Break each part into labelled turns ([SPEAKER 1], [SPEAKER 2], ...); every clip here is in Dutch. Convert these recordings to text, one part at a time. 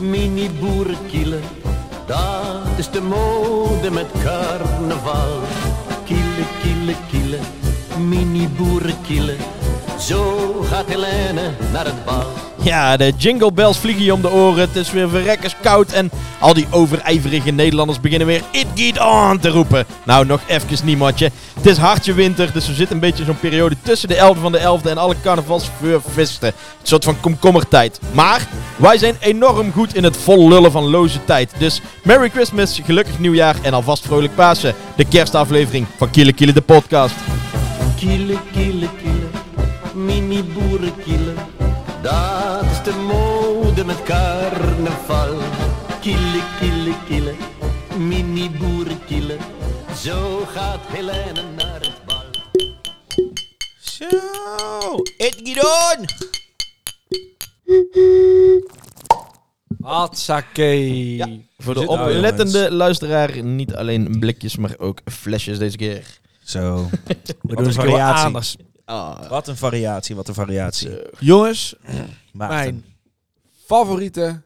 [SPEAKER 1] mini boerenkielen. Dat is de mode met carnaval. Kielen, kielen, kielen, mini boerenkielen. Zo gaat Helene naar het bal.
[SPEAKER 2] Ja, de jingle bells vliegen je om de oren. Het is weer verrekkers koud. En al die overijverige Nederlanders beginnen weer It Geht On te roepen. Nou, nog even niet, matje. Het is hartje winter, dus we zitten een beetje in zo'n periode tussen de 11e van de 11e en alle carnavalsfeesten. Een soort van komkommertijd. Maar wij zijn enorm goed in het vol lullen van loze tijd. Dus Merry Christmas, gelukkig nieuwjaar en alvast vrolijk Pasen. De kerstaflevering van Kiele Kiele de podcast.
[SPEAKER 1] Kiele, kiele, kiele, mini boerenkiele. Dat is de mode met carnaval. Kiele, kiele, kiele, mini boerenkiele. Zo gaat Helene naar het bal.
[SPEAKER 3] Zo, het Gidon! Hatsakee.
[SPEAKER 2] Ja, voor de
[SPEAKER 3] Zit nou,
[SPEAKER 2] oplettende luisteraar niet alleen blikjes, maar ook flesjes deze keer.
[SPEAKER 3] Zo. We
[SPEAKER 4] Dat
[SPEAKER 3] doen een
[SPEAKER 4] is wel
[SPEAKER 3] variatie.
[SPEAKER 4] Anders.
[SPEAKER 2] Ah,
[SPEAKER 3] Wat een variatie, wat een variatie.
[SPEAKER 4] Jongens,
[SPEAKER 3] Maarten.
[SPEAKER 4] mijn favoriete,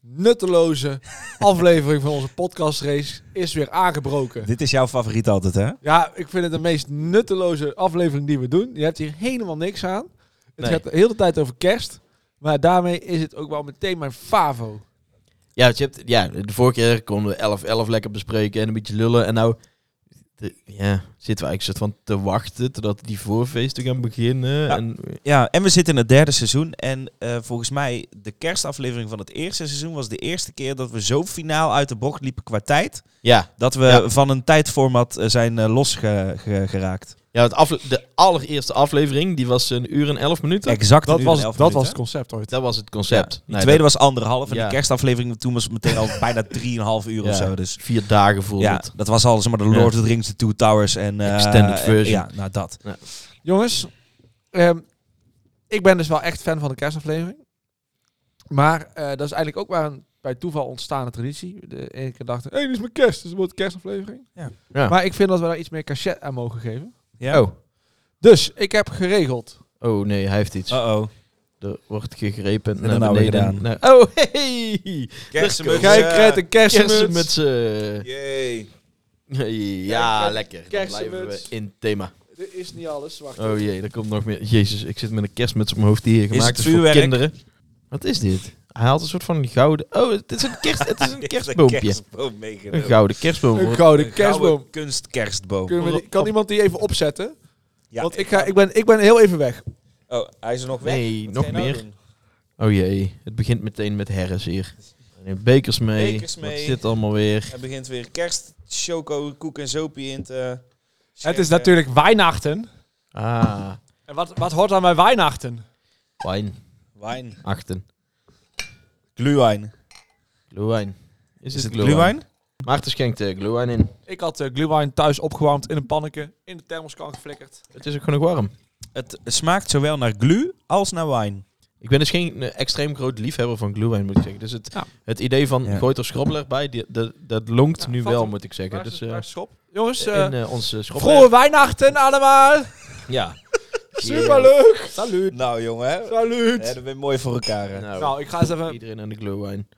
[SPEAKER 4] nutteloze aflevering van onze podcastrace is weer aangebroken.
[SPEAKER 3] Dit is jouw favoriet altijd, hè?
[SPEAKER 4] Ja, ik vind het de meest nutteloze aflevering die we doen. Je hebt hier helemaal niks aan. Het
[SPEAKER 2] Nee.
[SPEAKER 4] gaat de hele tijd over kerst. Maar daarmee is het ook wel meteen mijn favo.
[SPEAKER 2] Ja, want je hebt, ja, de vorige keer konden we 11-11 lekker bespreken en een beetje lullen. En nou de- ja, zitten we eigenlijk soort van te wachten totdat die voorfeesten gaan beginnen.
[SPEAKER 3] Ja.
[SPEAKER 2] En,
[SPEAKER 3] Ja, en we zitten in het derde seizoen. En eh, volgens mij, de kerstaflevering van het eerste seizoen was de eerste keer dat we zo finaal uit de bocht liepen qua tijd.
[SPEAKER 2] ja,
[SPEAKER 3] Dat we
[SPEAKER 2] Ja.
[SPEAKER 3] van een tijdformat eh, zijn eh, losgeraakt.
[SPEAKER 2] ja want afle- de allereerste aflevering, die was een uur en elf minuten.
[SPEAKER 3] Exact.
[SPEAKER 4] Dat
[SPEAKER 3] een uur en
[SPEAKER 4] was,
[SPEAKER 3] elf
[SPEAKER 4] dat was
[SPEAKER 3] minuten.
[SPEAKER 4] het concept ooit.
[SPEAKER 2] dat was het concept.
[SPEAKER 3] Ja, die
[SPEAKER 2] Nee,
[SPEAKER 3] tweede
[SPEAKER 2] dat-
[SPEAKER 3] was anderhalf. En
[SPEAKER 2] Ja.
[SPEAKER 3] de kerstaflevering toen was meteen al bijna drieënhalf uur of
[SPEAKER 2] Ja.
[SPEAKER 3] zo. Dus
[SPEAKER 2] vier dagen voelde
[SPEAKER 3] ja,
[SPEAKER 2] het.
[SPEAKER 3] dat was al zeg maar, de
[SPEAKER 2] Ja.
[SPEAKER 3] Lord of the Rings, de Two Towers en... eh,
[SPEAKER 2] Extended
[SPEAKER 3] eh,
[SPEAKER 2] version.
[SPEAKER 3] Ja, nou dat.
[SPEAKER 4] Jongens, ehm, ik ben dus wel echt fan van de kerstaflevering. Maar eh, dat is eigenlijk ook maar een bij toeval ontstaande traditie. De ene keer dacht ik, hey, dit is mijn kerst, dus het wordt kerstaflevering.
[SPEAKER 3] Ja.
[SPEAKER 2] Ja.
[SPEAKER 4] Maar ik vind dat we daar iets meer cachet aan mogen geven.
[SPEAKER 3] Ja.
[SPEAKER 2] Oh.
[SPEAKER 4] Dus, ik heb geregeld.
[SPEAKER 2] Oh nee, hij heeft iets.
[SPEAKER 3] Uh-oh.
[SPEAKER 2] Er wordt gegrepen
[SPEAKER 3] En dat
[SPEAKER 2] naar
[SPEAKER 3] nou weer
[SPEAKER 2] beneden. Naar- oh, hey! Kijk,
[SPEAKER 3] Kerstmuts.
[SPEAKER 4] Kijk, Kret, een kerstmuts.
[SPEAKER 2] Kerstmutsen.
[SPEAKER 3] Yay.
[SPEAKER 2] Ja,
[SPEAKER 4] Kijk,
[SPEAKER 2] lekker. Dan
[SPEAKER 4] kerstmuts.
[SPEAKER 2] blijven we in thema.
[SPEAKER 4] Dit is niet alles, wacht.
[SPEAKER 2] Oh jee, er komt nog meer. Jezus, ik zit met een kerstmuts op mijn hoofd die hier
[SPEAKER 3] het
[SPEAKER 2] gemaakt is, voor
[SPEAKER 3] vuurwerk?
[SPEAKER 2] kinderen. Wat is dit? Hij haalt een soort van gouden... Oh, het is een, kerst, het is een kerstboompje.
[SPEAKER 3] kerstboom
[SPEAKER 2] Een
[SPEAKER 3] meegenomen.
[SPEAKER 2] gouden kerstboom.
[SPEAKER 4] Een
[SPEAKER 2] hoor.
[SPEAKER 4] gouden kerstboom.
[SPEAKER 3] kunstkerstboom.
[SPEAKER 4] Kunnen we die- kan iemand die even opzetten?
[SPEAKER 3] Ja,
[SPEAKER 4] Want ik, ga, ik, ben, ik ben heel even weg.
[SPEAKER 3] Oh, hij is er nog weg.
[SPEAKER 2] Nee,
[SPEAKER 3] Wat
[SPEAKER 2] nog
[SPEAKER 3] ga je nou
[SPEAKER 2] meer.
[SPEAKER 3] doen?
[SPEAKER 2] Oh jee, het begint meteen met herres hier. Hij neemt Bekers mee.
[SPEAKER 3] Bekers
[SPEAKER 2] Wat
[SPEAKER 3] mee.
[SPEAKER 2] zit allemaal weer?
[SPEAKER 3] Hij begint weer kerst, choco, koek en zopie in te
[SPEAKER 4] Het is
[SPEAKER 3] schenken.
[SPEAKER 4] natuurlijk Weihnachten.
[SPEAKER 2] Ah,
[SPEAKER 4] En wat, wat hoort aan bij Weihnachten?
[SPEAKER 2] wijn.
[SPEAKER 3] Wijn.
[SPEAKER 2] Achten.
[SPEAKER 3] Gluwijn.
[SPEAKER 2] Glühwein. Is,
[SPEAKER 3] Is
[SPEAKER 2] het
[SPEAKER 3] het
[SPEAKER 2] glühwein?
[SPEAKER 3] gluwijn?
[SPEAKER 2] Maarten schenkt eh glühwein in.
[SPEAKER 4] Ik had de glühwein thuis opgewarmd in een pannetje, in de thermoskan geflikkerd.
[SPEAKER 2] Het is ook gewoon nog warm.
[SPEAKER 3] Het smaakt zowel naar glu als naar wijn.
[SPEAKER 2] Ik ben dus geen eh, extreem groot liefhebber van glühwein, moet ik zeggen. Dus het,
[SPEAKER 4] Ja.
[SPEAKER 2] het idee van
[SPEAKER 3] Ja.
[SPEAKER 2] gooit er schrobbel erbij, die, dat, dat longt
[SPEAKER 4] Ja,
[SPEAKER 2] nu
[SPEAKER 4] valt
[SPEAKER 2] wel,
[SPEAKER 4] hem.
[SPEAKER 2] moet ik zeggen. Dus, eh,
[SPEAKER 4] Jongens,
[SPEAKER 2] in eh, onze schrobbel.
[SPEAKER 4] vroege Weihnachten allemaal!
[SPEAKER 2] Ja.
[SPEAKER 4] Superleuk! eh, Salut!
[SPEAKER 3] Nou jongen, hè?
[SPEAKER 4] Salut!
[SPEAKER 3] dat ben mooi voor elkaar. hè.
[SPEAKER 2] Nou,
[SPEAKER 4] Nou, ik ga eens even...
[SPEAKER 2] iedereen aan de glühwein.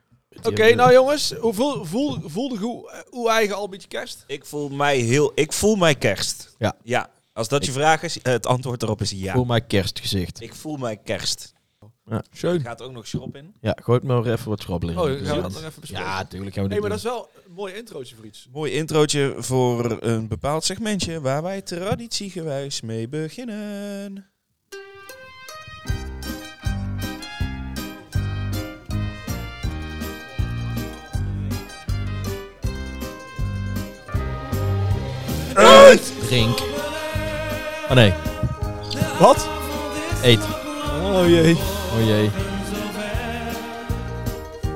[SPEAKER 4] Oké, nou jongens, hoe voel, voel, voelde je hoe, eh, hoe eigen al een beetje kerst?
[SPEAKER 3] Ik voel mij heel... Ik voel mij kerst.
[SPEAKER 2] Ja.
[SPEAKER 3] Ja. Als dat je
[SPEAKER 2] Ik-
[SPEAKER 3] vraag is, eh, het antwoord erop is ja.
[SPEAKER 2] Voel maar kerstgezicht.
[SPEAKER 3] Ik voel mij kerst.
[SPEAKER 4] Schön.
[SPEAKER 3] Gaat er ook nog schrop in?
[SPEAKER 2] Ja, gooit maar even wat schrobbel in.
[SPEAKER 4] Oh, gaan we
[SPEAKER 2] Ja,
[SPEAKER 4] dat nog even bespreken?
[SPEAKER 2] Ja, tuurlijk gaan we
[SPEAKER 4] Hé,
[SPEAKER 2] dit
[SPEAKER 4] maar dat
[SPEAKER 2] doen.
[SPEAKER 4] is wel een mooi introotje voor iets.
[SPEAKER 3] Mooi introotje voor een bepaald segmentje waar wij traditiegewijs mee beginnen.
[SPEAKER 2] Drink. Oh nee,
[SPEAKER 4] Wat?
[SPEAKER 2] eet.
[SPEAKER 4] Oh jee.
[SPEAKER 2] Oh jee.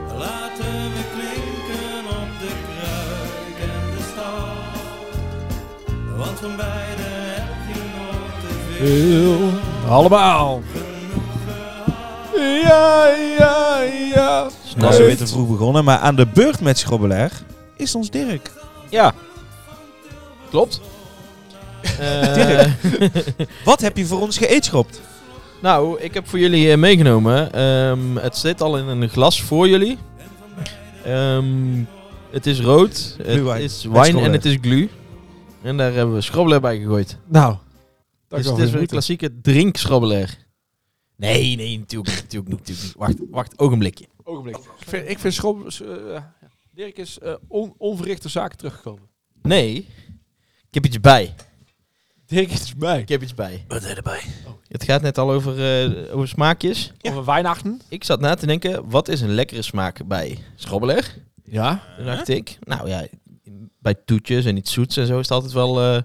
[SPEAKER 4] Nou,
[SPEAKER 5] Laten we klinken op de kruik en de stad. Want van beide heb je nog te veel.
[SPEAKER 4] Allemaal. Ja, ja, ja.
[SPEAKER 3] Nou, ze weer te vroeg begonnen, maar aan de beurt met Schrobbelaar is ons Dirk.
[SPEAKER 2] Ja. Klopt. Eh,
[SPEAKER 3] Dirk. Wat heb je voor ons geëetschropt?
[SPEAKER 2] Nou, ik heb voor jullie eh, meegenomen. ehm, het zit al in een glas voor jullie. Ehm, het is rood, het
[SPEAKER 3] Glühwein.
[SPEAKER 2] is
[SPEAKER 3] Met
[SPEAKER 2] wijn
[SPEAKER 3] schrobbelen.
[SPEAKER 2] en het is glu. En daar hebben we schrobbelair bij gegooid.
[SPEAKER 4] Nou, dat
[SPEAKER 2] Dus het is weer een klassieke drinkschrobbelair. Nee, nee, natuurlijk niet, natuurlijk niet, natuurlijk niet. Wacht, wacht, ogenblikje.
[SPEAKER 4] Ogenblik. Ik vind, ik vind Schrob... eh, ja. Dirk is eh, on, onverrichte zaken teruggekomen.
[SPEAKER 2] Nee, ik heb iets bij.
[SPEAKER 4] Dirk is bij.
[SPEAKER 2] Ik heb iets bij.
[SPEAKER 3] Wat deed erbij?
[SPEAKER 2] Het gaat net al over, eh, over smaakjes.
[SPEAKER 4] Over Weihnachten.
[SPEAKER 2] Ik zat na te denken, wat is een lekkere smaak bij schrobbelair?
[SPEAKER 4] Ja.
[SPEAKER 2] Toen dacht ik, nou ja, bij toetjes en iets zoets en zo is het altijd wel, eh,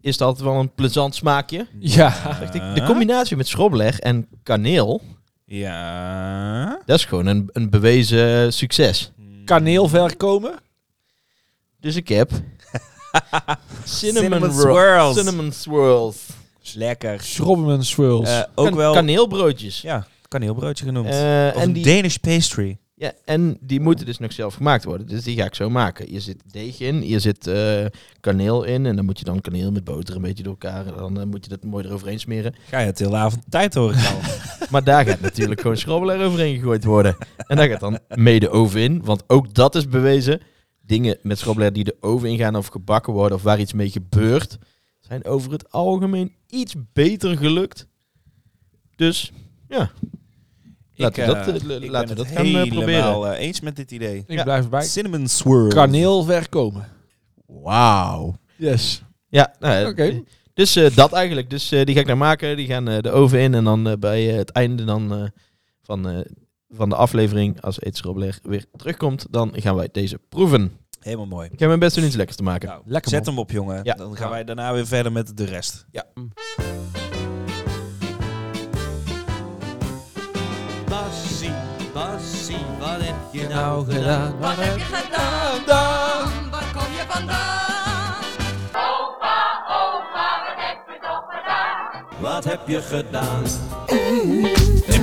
[SPEAKER 2] is het altijd wel een plezant smaakje.
[SPEAKER 4] Ja.
[SPEAKER 2] Dacht ik, de combinatie met schrobbeleg en kaneel,
[SPEAKER 3] Ja.
[SPEAKER 2] dat is gewoon een, een bewezen succes.
[SPEAKER 4] Kaneel ver komen.
[SPEAKER 2] Dus ik heb cinnamon,
[SPEAKER 3] Cinnamon
[SPEAKER 2] ro-
[SPEAKER 3] swirls.
[SPEAKER 2] Cinnamon swirls.
[SPEAKER 3] Lekker.
[SPEAKER 4] Schrobbemen swirls.
[SPEAKER 3] Eh, ook
[SPEAKER 2] Kan-
[SPEAKER 3] wel...
[SPEAKER 2] Kaneelbroodjes.
[SPEAKER 3] Ja, kaneelbroodje genoemd.
[SPEAKER 2] Eh, en,
[SPEAKER 3] of een
[SPEAKER 2] die,
[SPEAKER 3] Danish pastry.
[SPEAKER 2] ja, en die moeten dus nog zelf gemaakt worden. Dus die ga ik zo maken. Je zit deeg in, je zit eh, kaneel in. En dan moet je dan kaneel met boter een beetje door elkaar. En dan eh, moet je dat mooi eroverheen smeren.
[SPEAKER 3] Ga je het heel avond tijd horen al.
[SPEAKER 2] Maar daar gaat natuurlijk gewoon schrobbelaar overheen gegooid worden. En daar gaat dan mee de oven in. Want ook dat is bewezen. Dingen met schrobbelaar die de oven ingaan of gebakken worden of waar iets mee gebeurt, zijn over het algemeen iets beter gelukt. Dus ja, laten
[SPEAKER 3] Ik,
[SPEAKER 2] we
[SPEAKER 3] eh,
[SPEAKER 2] dat, eh, l-
[SPEAKER 3] ik
[SPEAKER 2] laten we
[SPEAKER 3] ben
[SPEAKER 2] dat
[SPEAKER 3] het
[SPEAKER 2] gaan eh, proberen.
[SPEAKER 3] helemaal eh, eens met dit idee.
[SPEAKER 4] ik
[SPEAKER 2] ja.
[SPEAKER 4] blijf erbij.
[SPEAKER 3] Cinnamon swirl.
[SPEAKER 4] Kaneel ver komen.
[SPEAKER 2] Wauw.
[SPEAKER 4] Yes.
[SPEAKER 2] Ja, nou, eh,
[SPEAKER 4] Oké.
[SPEAKER 2] dus eh, dat eigenlijk. Dus eh, die ga ik nou maken. Die gaan eh, de oven in. En dan eh, bij eh, het einde dan, eh, van, eh, van de aflevering, als Eetsrobler weer terugkomt, dan gaan wij deze proeven.
[SPEAKER 3] Helemaal mooi.
[SPEAKER 2] Ik ga mijn best doen iets lekkers te maken.
[SPEAKER 3] Nou,
[SPEAKER 4] Lekker,
[SPEAKER 3] Zet
[SPEAKER 4] man.
[SPEAKER 3] hem op, jongen.
[SPEAKER 2] Ja.
[SPEAKER 3] Dan gaan wij daarna weer verder met de rest.
[SPEAKER 5] Bassie, Bassie, wat heb je
[SPEAKER 4] Nou gedaan.
[SPEAKER 6] Wat heb je gedaan dan? Waar kom je vandaan?
[SPEAKER 5] Wat heb je gedaan?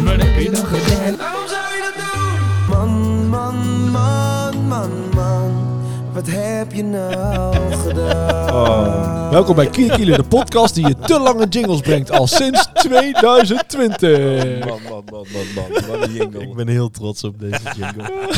[SPEAKER 7] Waarom zou je dat doen? Man, man, man, man, man. Wat heb je nou gedaan?
[SPEAKER 4] Welkom bij Kierkielen, de podcast die je te lange jingles brengt al sinds 2020.
[SPEAKER 3] Man, man, man, man, man. Wat een jingle.
[SPEAKER 2] ben heel trots op deze jingle.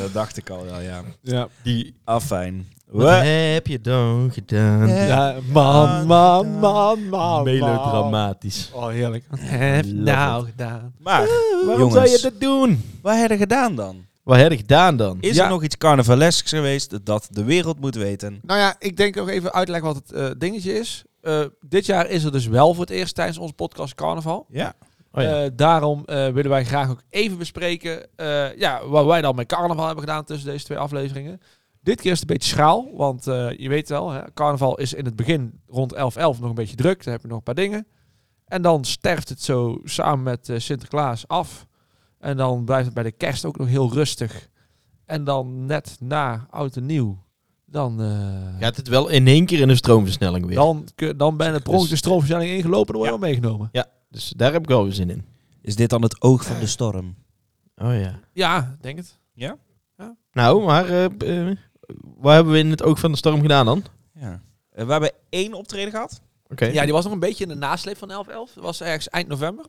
[SPEAKER 3] Dat dacht ik al, ja. ja.
[SPEAKER 4] Ja,
[SPEAKER 3] Die... Afijn.
[SPEAKER 2] Wat
[SPEAKER 3] We... Ah,
[SPEAKER 2] heb je dan gedaan?
[SPEAKER 4] ja man, man, man, man.
[SPEAKER 2] Melodramatisch.
[SPEAKER 4] Oh, heerlijk. Wat heb je nou gedaan?
[SPEAKER 3] Maar,
[SPEAKER 2] Waarom
[SPEAKER 3] jongens,
[SPEAKER 2] zou je dat doen?
[SPEAKER 3] wat hebben we gedaan dan?
[SPEAKER 2] Wat heb je gedaan dan?
[SPEAKER 3] Is
[SPEAKER 4] Ja.
[SPEAKER 3] er nog iets carnavalesks geweest dat de wereld moet weten?
[SPEAKER 4] Nou ja, ik denk ook even uitleggen wat het eh, dingetje is. Eh, dit jaar is er dus wel voor het eerst tijdens onze podcast carnaval.
[SPEAKER 3] Ja.
[SPEAKER 2] Oh ja.
[SPEAKER 4] Eh, daarom eh, willen wij graag ook even bespreken eh, ja, wat wij dan met carnaval hebben gedaan tussen deze twee afleveringen. Dit keer is het een beetje schraal, want eh, je weet wel, hè, carnaval is in het begin rond 11.11 nog een beetje druk. Dan heb je nog een paar dingen. En dan sterft het zo samen met eh, Sinterklaas af. En dan blijft het bij de kerst ook nog heel rustig. En dan net na Oud en Nieuw, dan... eh,
[SPEAKER 2] Gaat het wel in één keer in een stroomversnelling weer?
[SPEAKER 4] dan, kun- dan ben je per ongeluk de stroomversnelling ingelopen, dan word je wel meegenomen.
[SPEAKER 2] Dus daar heb ik wel weer zin in.
[SPEAKER 3] Is dit dan het oog van de storm?
[SPEAKER 2] Oh ja.
[SPEAKER 4] Ja, denk het.
[SPEAKER 2] Nou, maar eh, b- eh, wat hebben we in het oog van de storm gedaan dan? Oké.
[SPEAKER 3] Ja. Eh, We hebben één optreden gehad.
[SPEAKER 4] Ja, die was nog een beetje in de nasleep van 11.11. Dat was ergens eind november.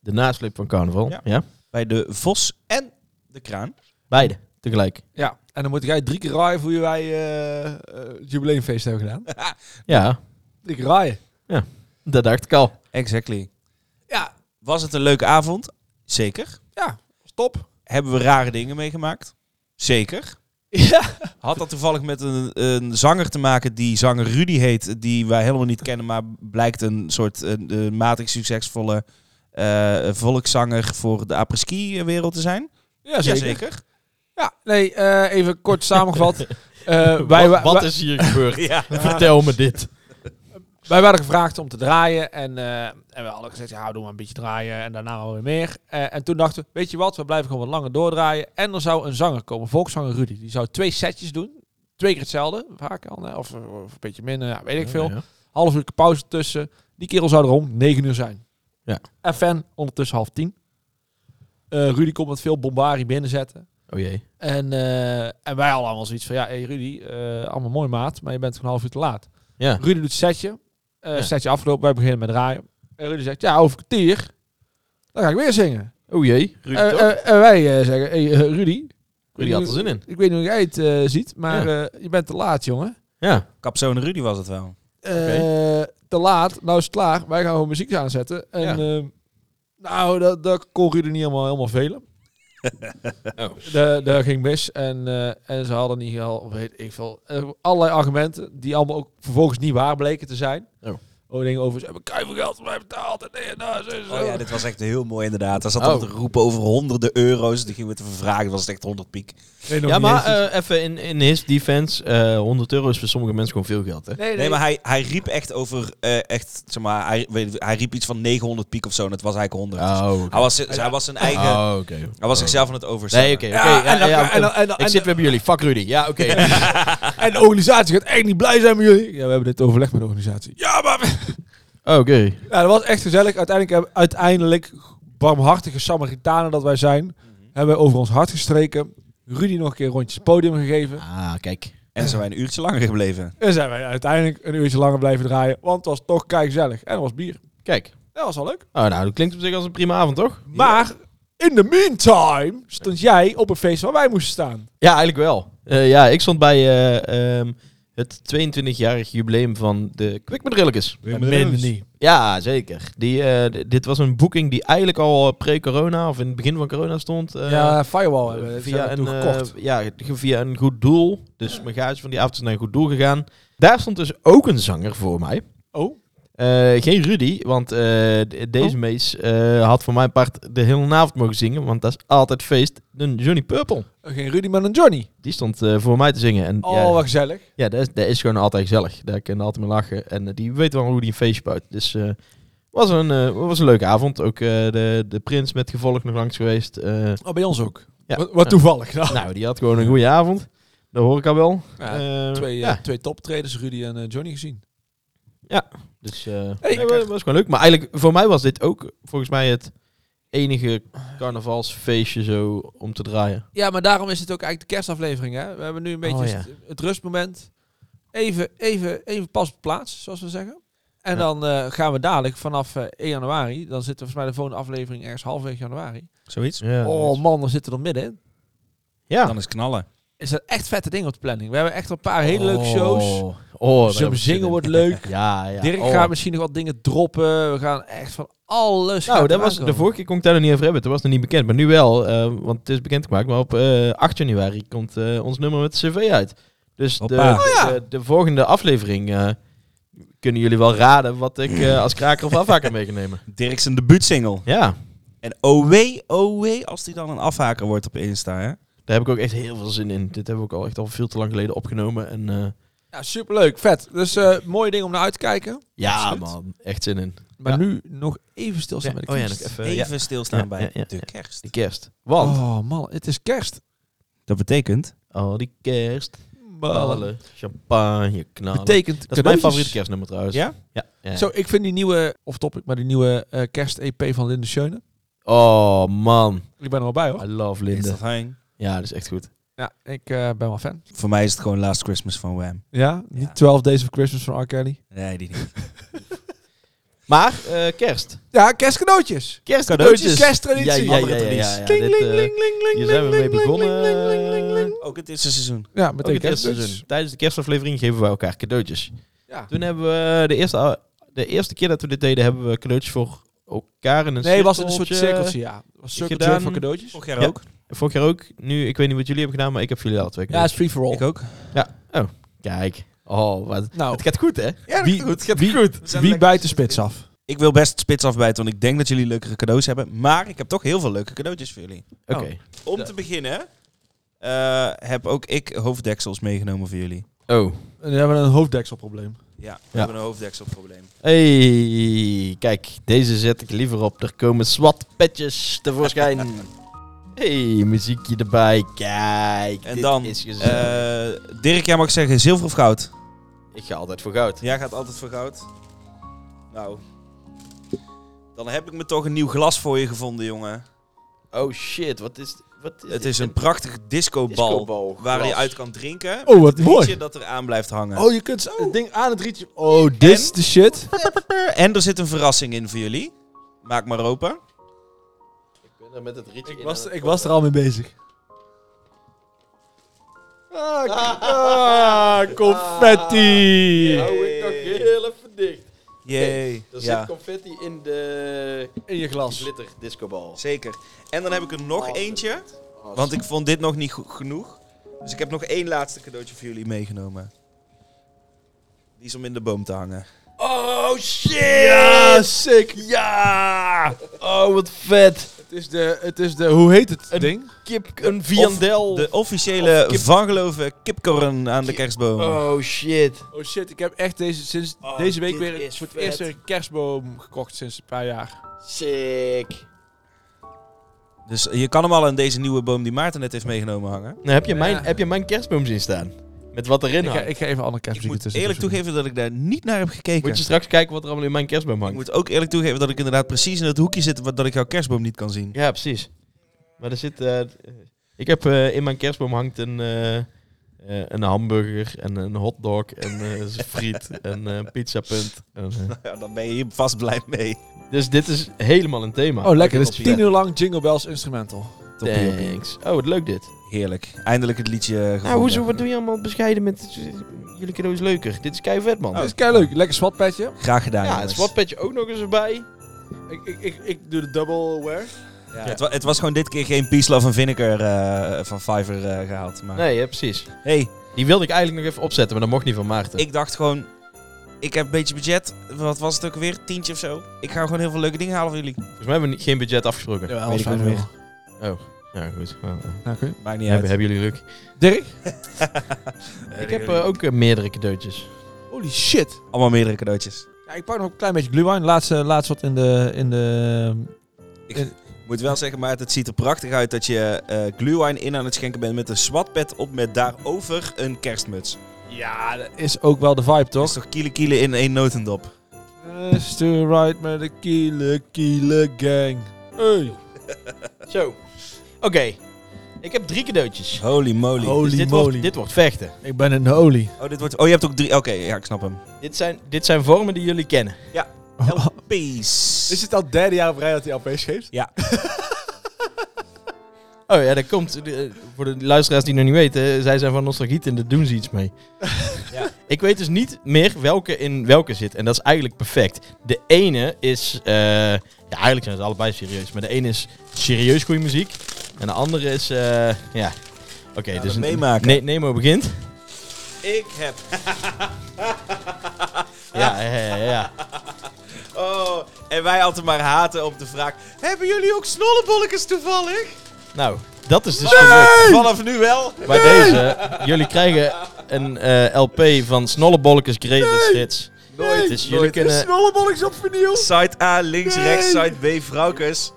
[SPEAKER 2] De nasleep van carnaval. Ja.
[SPEAKER 3] Ja. Bij de Vos en de Kraan.
[SPEAKER 2] Beide tegelijk.
[SPEAKER 4] Ja, en dan moet jij drie keer raaien voor je wij eh, eh, het jubileumfeest hebben gedaan.
[SPEAKER 2] Ja,
[SPEAKER 4] drie keer raaien.
[SPEAKER 2] dat dacht ik al.
[SPEAKER 3] Exactly.
[SPEAKER 4] Ja,
[SPEAKER 3] Was het een leuke avond? Zeker.
[SPEAKER 4] ja, stop.
[SPEAKER 3] Hebben we rare dingen meegemaakt? Zeker.
[SPEAKER 4] Ja.
[SPEAKER 3] Had dat toevallig met een, een zanger te maken die zanger Rudy heet, die wij helemaal niet kennen, maar blijkt een soort een, een matig succesvolle eh, volkszanger voor de apres-ski wereld te zijn?
[SPEAKER 4] Ja,
[SPEAKER 3] Jazeker.
[SPEAKER 4] Ja, nee, eh, even kort samengevat. Eh,
[SPEAKER 2] Wat,
[SPEAKER 4] wij, wa-
[SPEAKER 2] wat
[SPEAKER 4] wa-
[SPEAKER 2] is hier gebeurd?
[SPEAKER 3] Ja.
[SPEAKER 2] Vertel me dit.
[SPEAKER 4] wij werden gevraagd om te draaien. En, eh, en we hadden gezegd, ja, doe maar een beetje draaien. En daarna wel weer meer. Eh, en toen dachten we, weet je wat, we blijven gewoon wat langer doordraaien. En er zou een zanger komen, volkszanger Rudy. Die zou twee setjes doen. Twee keer hetzelfde, vaak al. hè, Of, of een beetje minder, ja, weet ik veel.
[SPEAKER 2] Ja.
[SPEAKER 4] half uur pauze tussen. Die kerel zou er om 9 uur zijn.
[SPEAKER 2] Ja.
[SPEAKER 4] FN ondertussen half tien. Eh, Rudy komt met veel bombari binnenzetten.
[SPEAKER 2] Oh jee.
[SPEAKER 4] En, eh, en wij al allemaal zoiets van, ja, hey Rudy, eh, allemaal mooi maat, maar je bent gewoon een half uur te laat.
[SPEAKER 2] Ja.
[SPEAKER 4] Rudy doet het setje. Eh,
[SPEAKER 2] Ja.
[SPEAKER 4] Setje afgelopen, wij beginnen met draaien. En Rudy zegt, ja, over kwartier, dan ga ik weer zingen.
[SPEAKER 2] Oh jee. Ruud
[SPEAKER 4] Eh,
[SPEAKER 2] ook.
[SPEAKER 4] eh, en wij eh, zeggen, hey, eh, Rudy,
[SPEAKER 2] Rudy had er zin in.
[SPEAKER 4] Ik weet niet hoe jij het eh, ziet, maar eh, je bent te laat, jongen.
[SPEAKER 2] Ja.
[SPEAKER 3] Capzone Rudy was het wel.
[SPEAKER 4] Eh, te laat, nou is het klaar. Wij gaan gewoon muziek aanzetten. En ehm, nou, dat, dat kon Ruud niet helemaal, helemaal velen.
[SPEAKER 2] Oh.
[SPEAKER 4] Da- Daar ging mis. En, eh, en ze hadden niet al, weet ik veel, eh, allerlei argumenten die allemaal ook vervolgens niet waar bleken te zijn.
[SPEAKER 2] Oh.
[SPEAKER 4] Over dingen over, ze hebben keihard geld voor mij betaald. En, eh, nou, zo, zo.
[SPEAKER 3] Oh ja, dit was echt heel mooi inderdaad. Daar zat
[SPEAKER 2] Oh.
[SPEAKER 3] al te roepen over honderden euro's. Die gingen we te vervragen. Dat was het echt 100 piek.
[SPEAKER 4] Nee, nog
[SPEAKER 2] Ja,
[SPEAKER 4] niet
[SPEAKER 2] maar
[SPEAKER 4] eens.
[SPEAKER 2] eh, even in, in his defense. eh 100 euro is voor sommige mensen gewoon veel geld, hè?
[SPEAKER 4] nee, nee,
[SPEAKER 3] Nee, maar hij, hij riep echt over, eh, echt, zeg maar, hij, weet- hij riep iets van 900 piek of zo. En het was eigenlijk 100. Dus
[SPEAKER 2] Oh,
[SPEAKER 3] hij, was, hij was zijn eigen,
[SPEAKER 2] Oh, oké.
[SPEAKER 3] hij was zichzelf aan het overstellen.
[SPEAKER 2] Nee, oké. oké.
[SPEAKER 4] Ja,
[SPEAKER 2] Ja,
[SPEAKER 4] en dan-
[SPEAKER 2] ja,
[SPEAKER 4] en dan- en dan-
[SPEAKER 2] ik zit weer bij jullie. Fuck Rudy. Ja, oké.
[SPEAKER 4] eh, En de organisatie gaat echt niet blij zijn met jullie. Ja, we hebben dit overlegd met de organisatie. Ja, maar...
[SPEAKER 2] oké.
[SPEAKER 4] Ja, dat was echt gezellig. Uiteindelijk, hebben- uiteindelijk barmhartige Samaritanen dat wij zijn,
[SPEAKER 2] Mhm.
[SPEAKER 4] hebben we over ons hart gestreken. Rudy nog een keer rondjes het podium gegeven.
[SPEAKER 2] Ah, kijk.
[SPEAKER 3] En zijn wij een uurtje langer gebleven.
[SPEAKER 4] En zijn wij uiteindelijk een uurtje langer blijven draaien, want het was toch gezellig. En er was bier.
[SPEAKER 2] Kijk.
[SPEAKER 4] Dat was wel leuk.
[SPEAKER 2] Oh, nou, dat klinkt op zich als een prima avond, toch?
[SPEAKER 4] Maar in the meantime stond jij op een feest waar wij moesten staan.
[SPEAKER 2] Ja, eigenlijk wel. Eh, ja, ik stond bij eh, ehm, het 22-jarig jubileum van de Quick Madrillicus.
[SPEAKER 4] niet.
[SPEAKER 2] Ja, zeker. Die, eh, d- dit was een boeking die eigenlijk al pre-corona of in het begin van corona stond. eh,
[SPEAKER 4] ja, Firewall hebben we
[SPEAKER 2] via een,
[SPEAKER 4] toen
[SPEAKER 2] eh,
[SPEAKER 4] gekocht.
[SPEAKER 2] ja, ge- via een goed doel. Dus mijn gage van die avond is naar een goed doel gegaan. Daar stond dus ook een zanger voor mij.
[SPEAKER 4] Oh.
[SPEAKER 2] Eh, geen Rudy, want eh, d- deze mees eh, had voor mijn part de hele avond mogen zingen. Want dat is altijd feest. Een Johnny Purple.
[SPEAKER 4] Geen Rudy, maar een Johnny.
[SPEAKER 2] Die stond eh, voor mij te zingen. En,
[SPEAKER 4] Oh,
[SPEAKER 2] ja,
[SPEAKER 4] wat gezellig.
[SPEAKER 2] ja, dat is, dat is gewoon altijd gezellig. Daar kan je altijd mee lachen. En eh, die weet wel hoe die een feestje bouwt. Dus eh was, een, eh, was een leuke avond. Ook eh, de, de prins met gevolg nog langs geweest. Eh,
[SPEAKER 4] Oh, bij ons ook.
[SPEAKER 2] Ja.
[SPEAKER 4] Wat, wat
[SPEAKER 2] Ja.
[SPEAKER 4] toevallig. Nou,
[SPEAKER 2] nou, die had gewoon een goede avond. Dat hoor ik al wel.
[SPEAKER 4] Ja,
[SPEAKER 2] Eh,
[SPEAKER 4] twee, eh,
[SPEAKER 2] ja.
[SPEAKER 4] twee toptreders, Rudy en eh, Johnny gezien.
[SPEAKER 2] Dus eh
[SPEAKER 4] Hey,
[SPEAKER 2] nee, was, was gewoon leuk. Maar eigenlijk, voor mij was dit ook volgens mij het enige carnavalsfeestje zo om te draaien.
[SPEAKER 4] Ja, maar daarom is het ook eigenlijk de kerstaflevering. Hè? We hebben nu een beetje
[SPEAKER 2] Oh, ja.
[SPEAKER 4] het, het rustmoment. Even, even, even pas op de plaats, zoals we zeggen. En
[SPEAKER 2] Ja.
[SPEAKER 4] dan eh, gaan we dadelijk vanaf eh, 1 januari. Dan zitten we volgens mij de volgende aflevering ergens halfweg januari.
[SPEAKER 3] Zoiets.
[SPEAKER 2] Ja,
[SPEAKER 4] oh man, dan zitten we er middenin.
[SPEAKER 2] ja.
[SPEAKER 3] Dan is knallen.
[SPEAKER 4] Is dat echt vette dingen op de planning. We hebben echt een paar hele leuke shows.
[SPEAKER 2] Oh, Oh, daar heb
[SPEAKER 4] Zo'n
[SPEAKER 2] ik zin
[SPEAKER 4] zingen
[SPEAKER 2] in.
[SPEAKER 4] wordt leuk.
[SPEAKER 2] Ja, ja.
[SPEAKER 4] Dirk
[SPEAKER 2] Oh.
[SPEAKER 4] gaat misschien nog wat dingen droppen. We gaan echt van alles
[SPEAKER 2] Nou,
[SPEAKER 4] gaat
[SPEAKER 2] dat
[SPEAKER 4] eraan
[SPEAKER 2] was, de
[SPEAKER 4] komen.
[SPEAKER 2] vorige keer kon ik daar nog niet over hebben. Toen was het nog niet bekend. Maar nu wel, eh, want het is bekendgemaakt. Maar op eh, 8 januari komt eh, ons nummer met de CV uit. Dus de,
[SPEAKER 3] Hoppa.
[SPEAKER 2] de, de, volgende aflevering eh, kunnen jullie wel raden wat ik eh, als kraker of afhaker mee ga nemen.
[SPEAKER 3] Dirk zijn debuutsingle.
[SPEAKER 2] Ja,
[SPEAKER 3] En oh OW, OW, als die dan een afhaker wordt op Insta, hè?
[SPEAKER 2] daar heb ik ook echt heel veel zin in. Dit hebben we ook al echt al veel te lang geleden opgenomen. En, eh,
[SPEAKER 4] Ja, superleuk, vet. Dus eh mooie dingen om naar uit te kijken.
[SPEAKER 2] ja,
[SPEAKER 4] Absoluut.
[SPEAKER 2] man. Echt zin in.
[SPEAKER 4] Maar
[SPEAKER 2] Ja.
[SPEAKER 4] nu nog even stilstaan
[SPEAKER 2] Ja,
[SPEAKER 4] bij de
[SPEAKER 2] oh ja,
[SPEAKER 4] kerst.
[SPEAKER 2] nog even.
[SPEAKER 3] Even stilstaan
[SPEAKER 2] Ja,
[SPEAKER 3] bij
[SPEAKER 2] ja, ja,
[SPEAKER 3] de
[SPEAKER 2] ja.
[SPEAKER 3] kerst.
[SPEAKER 2] De kerst. Want,
[SPEAKER 4] oh man, het is kerst.
[SPEAKER 3] Dat betekent...
[SPEAKER 2] oh, die kerst.
[SPEAKER 4] Ballen.
[SPEAKER 2] Ballen, champagne, knallen.
[SPEAKER 4] Betekent
[SPEAKER 2] Nou, dat is mijn
[SPEAKER 4] cadeautjes.
[SPEAKER 2] favoriete kerstnummer trouwens.
[SPEAKER 3] Ja?
[SPEAKER 2] Ja. ja.
[SPEAKER 4] Zo, ik vind die nieuwe, of topic, maar die nieuwe eh, kerst-EP van Linde Schöne.
[SPEAKER 2] Oh, man.
[SPEAKER 4] Ik ben er wel bij hoor.
[SPEAKER 2] I love
[SPEAKER 3] Is
[SPEAKER 2] Linde.
[SPEAKER 3] dat heen?
[SPEAKER 2] Ja, dat is echt goed.
[SPEAKER 4] Ja, ik eh, ben wel fan.
[SPEAKER 3] Voor mij is het gewoon Last Christmas van Wham.
[SPEAKER 4] Ja, niet 12 Days of Christmas van R. Kelly.
[SPEAKER 3] Nee, die niet.
[SPEAKER 2] Maar, eh, kerst.
[SPEAKER 4] Ja, kerstcadeautjes.
[SPEAKER 2] Kerst,
[SPEAKER 4] Kersttradities. Andere
[SPEAKER 3] tradities.
[SPEAKER 2] dit, eh, Hier zijn we mee begonnen.
[SPEAKER 3] Ook het eerste seizoen.
[SPEAKER 4] Ja,
[SPEAKER 2] Ook
[SPEAKER 4] meteen
[SPEAKER 2] het eerste
[SPEAKER 4] kerstcadeautjes.
[SPEAKER 2] seizoen. Tijdens de kerstaflevering geven wij elkaar cadeautjes.
[SPEAKER 4] Ja.
[SPEAKER 2] Toen hebben we de eerste, de eerste keer dat we dit deden, hebben we cadeautjes voor elkaar in een
[SPEAKER 4] Nee, was het een soort cirkeltje,
[SPEAKER 2] cirkeltje.
[SPEAKER 4] ja. Het Was een
[SPEAKER 2] Ik
[SPEAKER 4] cirkeltje
[SPEAKER 2] gedaan.
[SPEAKER 4] voor cadeautjes.
[SPEAKER 3] Vorig jaar
[SPEAKER 2] Ja.
[SPEAKER 3] ook.
[SPEAKER 2] Vorig jaar ook. Nu, ik weet niet wat jullie hebben gedaan, maar ik heb voor jullie alle twee
[SPEAKER 4] Ja,
[SPEAKER 2] cadeaus.
[SPEAKER 4] is free for all.
[SPEAKER 3] Ik ook.
[SPEAKER 2] Kijk. Oh, wat.
[SPEAKER 4] Nou,
[SPEAKER 2] Het gaat goed, hè?
[SPEAKER 3] Ja,
[SPEAKER 4] Wie-
[SPEAKER 3] goed. Het gaat
[SPEAKER 4] wie-
[SPEAKER 3] goed. We zijn
[SPEAKER 4] wie
[SPEAKER 3] lekker
[SPEAKER 4] bijt de
[SPEAKER 3] zitten.
[SPEAKER 4] spits af?
[SPEAKER 3] Ik wil best spits afbijten, want ik denk dat jullie leukere cadeaus hebben. Maar ik heb toch heel veel leuke cadeautjes voor jullie.
[SPEAKER 2] Oké.
[SPEAKER 3] Om te beginnen eh, heb ook ik hoofddeksels meegenomen voor jullie.
[SPEAKER 2] Oh.
[SPEAKER 4] En we hebben een hoofddekselprobleem.
[SPEAKER 3] Ja, we
[SPEAKER 2] Ja.
[SPEAKER 3] hebben een hoofddekselprobleem.
[SPEAKER 2] Hey, kijk, deze zet ik liever op. Er komen SWAT-petjes tevoorschijn. hey, muziekje erbij. Kijk,
[SPEAKER 3] En
[SPEAKER 2] dit
[SPEAKER 3] dan,
[SPEAKER 2] is gezellig.
[SPEAKER 3] Eh, Dirk, jij mag zeggen zilver of goud?
[SPEAKER 2] ik ga altijd voor goud.
[SPEAKER 3] Jij gaat altijd voor goud. Nou, dan heb ik me toch een nieuw glas voor je gevonden, jongen.
[SPEAKER 2] Oh shit, wat is... Wat is
[SPEAKER 3] Het
[SPEAKER 2] dit?
[SPEAKER 3] is een prachtig discobal,
[SPEAKER 2] discobal,
[SPEAKER 3] waar je
[SPEAKER 2] glas.
[SPEAKER 3] uit kan drinken.
[SPEAKER 4] Oh, wat
[SPEAKER 3] Een rietje
[SPEAKER 4] mooi.
[SPEAKER 3] dat er aan blijft hangen.
[SPEAKER 4] Oh, je kunt zo het ding aan het rietje... Oh, dit is de shit.
[SPEAKER 3] En er zit een verrassing in voor jullie. Maak maar open.
[SPEAKER 2] Ik ben er met het rietje
[SPEAKER 4] Ik
[SPEAKER 2] in
[SPEAKER 4] was,
[SPEAKER 2] aan
[SPEAKER 4] ik was er al mee bezig.
[SPEAKER 2] Ah, confetti.
[SPEAKER 4] Hou ik nog heel even dicht.
[SPEAKER 3] Jee.
[SPEAKER 2] Er
[SPEAKER 3] Ja,
[SPEAKER 2] zit confetti in de
[SPEAKER 4] In je glas.
[SPEAKER 2] glitter discobal.
[SPEAKER 3] zeker. En dan heb ik er nog
[SPEAKER 2] Altijd.
[SPEAKER 3] eentje. Want ik vond dit nog niet goed genoeg. Dus ik heb nog één laatste cadeautje voor jullie meegenomen. Die is om in de boom te hangen.
[SPEAKER 2] Oh shit! Ja, sick! Ja! Oh, wat vet!
[SPEAKER 4] Het is de, het is de hoe heet het ding?
[SPEAKER 2] Kip, een viandel.
[SPEAKER 3] De officiële
[SPEAKER 2] Of kip-
[SPEAKER 3] Van Geloven kipkorn aan de kerstboom.
[SPEAKER 2] Oh shit.
[SPEAKER 4] Oh shit, ik heb echt deze, sinds
[SPEAKER 2] Oh,
[SPEAKER 4] deze week
[SPEAKER 2] dit
[SPEAKER 4] weer
[SPEAKER 2] is
[SPEAKER 4] voor het
[SPEAKER 2] vet.
[SPEAKER 4] eerst weer een kerstboom gekocht sinds een paar jaar.
[SPEAKER 2] Sick.
[SPEAKER 3] Dus je kan hem al aan deze nieuwe boom die Maarten net heeft meegenomen hangen.
[SPEAKER 2] Nou, heb, je
[SPEAKER 4] Ja.
[SPEAKER 2] mijn, heb je mijn kerstboom zien staan? Met wat erin
[SPEAKER 4] Ik ga,
[SPEAKER 2] hangt.
[SPEAKER 4] ik ga even een andere
[SPEAKER 3] Ik
[SPEAKER 4] kerstmuziek
[SPEAKER 3] moet
[SPEAKER 4] tussen.
[SPEAKER 3] eerlijk toegeven dat ik daar niet naar heb gekeken.
[SPEAKER 2] Moet je straks kijken wat er allemaal in mijn kerstboom
[SPEAKER 3] Ik
[SPEAKER 2] hangt.
[SPEAKER 3] moet ook eerlijk toegeven dat ik inderdaad precies in het hoekje zit wat- dat ik jouw kerstboom niet kan zien.
[SPEAKER 2] Ja, precies. Maar er zit... eh, ik heb eh, in mijn kerstboom hangt een, eh, eh, een hamburger en een hotdog en eh, friet en eh, pizzapunt. En, eh,
[SPEAKER 3] Ja, dan ben je hier vast blij mee.
[SPEAKER 2] dus dit is helemaal een thema.
[SPEAKER 4] Oh lekker, dit is
[SPEAKER 2] Toppie.
[SPEAKER 4] tien uur lang Jingle Bells instrumental.
[SPEAKER 3] Toppie, joppie.
[SPEAKER 2] Thanks. Oh, wat leuk dit.
[SPEAKER 3] Heerlijk. Eindelijk het liedje gevonden.
[SPEAKER 2] Nou, hoezo, wat doe je allemaal bescheiden met... Jullie cadeau is leuker. Dit is keivet, man.
[SPEAKER 4] Oh, Dat is kei leuk, lekker swatpadje.
[SPEAKER 3] Graag gedaan,
[SPEAKER 2] ja,
[SPEAKER 3] jongens.
[SPEAKER 2] het swatpadje ook nog eens erbij.
[SPEAKER 4] Ik, ik, ik, ik doe de double wear.
[SPEAKER 3] Ja, Het, wa- het was gewoon dit keer geen Peace, Love en Vinegar eh, van Fiverr eh, gehaald. Maar
[SPEAKER 2] Nee, ja, precies.
[SPEAKER 3] hey,
[SPEAKER 2] Die wilde ik eigenlijk nog even opzetten, maar dat mocht niet van Maarten.
[SPEAKER 3] ik dacht gewoon... Ik heb een beetje budget. Wat was het ook weer? Tientje of zo. Ik ga gewoon heel veel leuke dingen halen voor jullie.
[SPEAKER 2] Volgens mij hebben we niet- geen budget afgesproken.
[SPEAKER 4] Ja,
[SPEAKER 3] Weet
[SPEAKER 4] alles
[SPEAKER 3] ik ook
[SPEAKER 4] fijn
[SPEAKER 3] niet
[SPEAKER 4] weer.
[SPEAKER 2] Ja, goed. Nou, eh,
[SPEAKER 4] Nou, oké.
[SPEAKER 3] Maakt niet
[SPEAKER 2] hebben,
[SPEAKER 3] uit.
[SPEAKER 2] hebben jullie geluk.
[SPEAKER 4] Dirk?
[SPEAKER 2] Ik heb eh, ook eh, meerdere cadeautjes.
[SPEAKER 4] Holy shit.
[SPEAKER 3] Allemaal meerdere cadeautjes.
[SPEAKER 4] Ja, ik pak nog een klein beetje glühwein. Laatste, laatst wat in de... In de
[SPEAKER 3] Moet wel zeggen, maar het ziet er prachtig uit dat je eh glühwein in aan het schenken bent met een swatpet op met daarover een kerstmuts.
[SPEAKER 4] ja, dat is ook wel de vibe,
[SPEAKER 3] Dat
[SPEAKER 4] toch?
[SPEAKER 3] is toch kiele kiele in één notendop.
[SPEAKER 4] Is to ride met de Kiele Kiele Gang. Hey.
[SPEAKER 2] Zo. Oké. Ik heb drie cadeautjes. Dus
[SPEAKER 3] Holy moly.
[SPEAKER 4] Holy
[SPEAKER 2] dit,
[SPEAKER 4] moly.
[SPEAKER 2] Wordt, dit wordt vechten.
[SPEAKER 4] Ik ben een olie.
[SPEAKER 3] Oh, dit wordt... oh, je hebt ook drie... Oké, ja, ik snap hem.
[SPEAKER 2] Dit zijn, dit zijn vormen die jullie kennen.
[SPEAKER 3] Peace.
[SPEAKER 4] het al derde jaar op rij dat hij LP's geeft?
[SPEAKER 2] Oh ja, dat komt. eh, Voor de luisteraars die nog niet weten, zij zijn van Nostalgiet en daar doen ze iets mee.
[SPEAKER 3] Ja.
[SPEAKER 2] Ik weet dus niet meer welke in welke zit. En dat is eigenlijk perfect. De ene is. eh, ja, eigenlijk zijn ze allebei serieus. Maar de ene is serieus goede muziek. En de andere is. eh, ja. Oké,
[SPEAKER 3] dat
[SPEAKER 2] dus. een-
[SPEAKER 3] meemaken.
[SPEAKER 2] Ne- Nemo begint.
[SPEAKER 3] Ik heb... Ah.
[SPEAKER 2] Ja, ja, ja. ja.
[SPEAKER 3] Oh, en wij altijd maar haten op de vraag... Hebben jullie ook snollebolletjes toevallig?
[SPEAKER 2] Nou, dat is dus gelukt.
[SPEAKER 3] Vanaf nu wel.
[SPEAKER 2] Bij deze, jullie krijgen een eh, LP van Snollebolletjes Greatest Hits.
[SPEAKER 3] Nooit.
[SPEAKER 2] Dus jullie kunnen...
[SPEAKER 4] Snollebolletjes op vinyl.
[SPEAKER 3] Side A, links, rechts, side B, vrouwkes.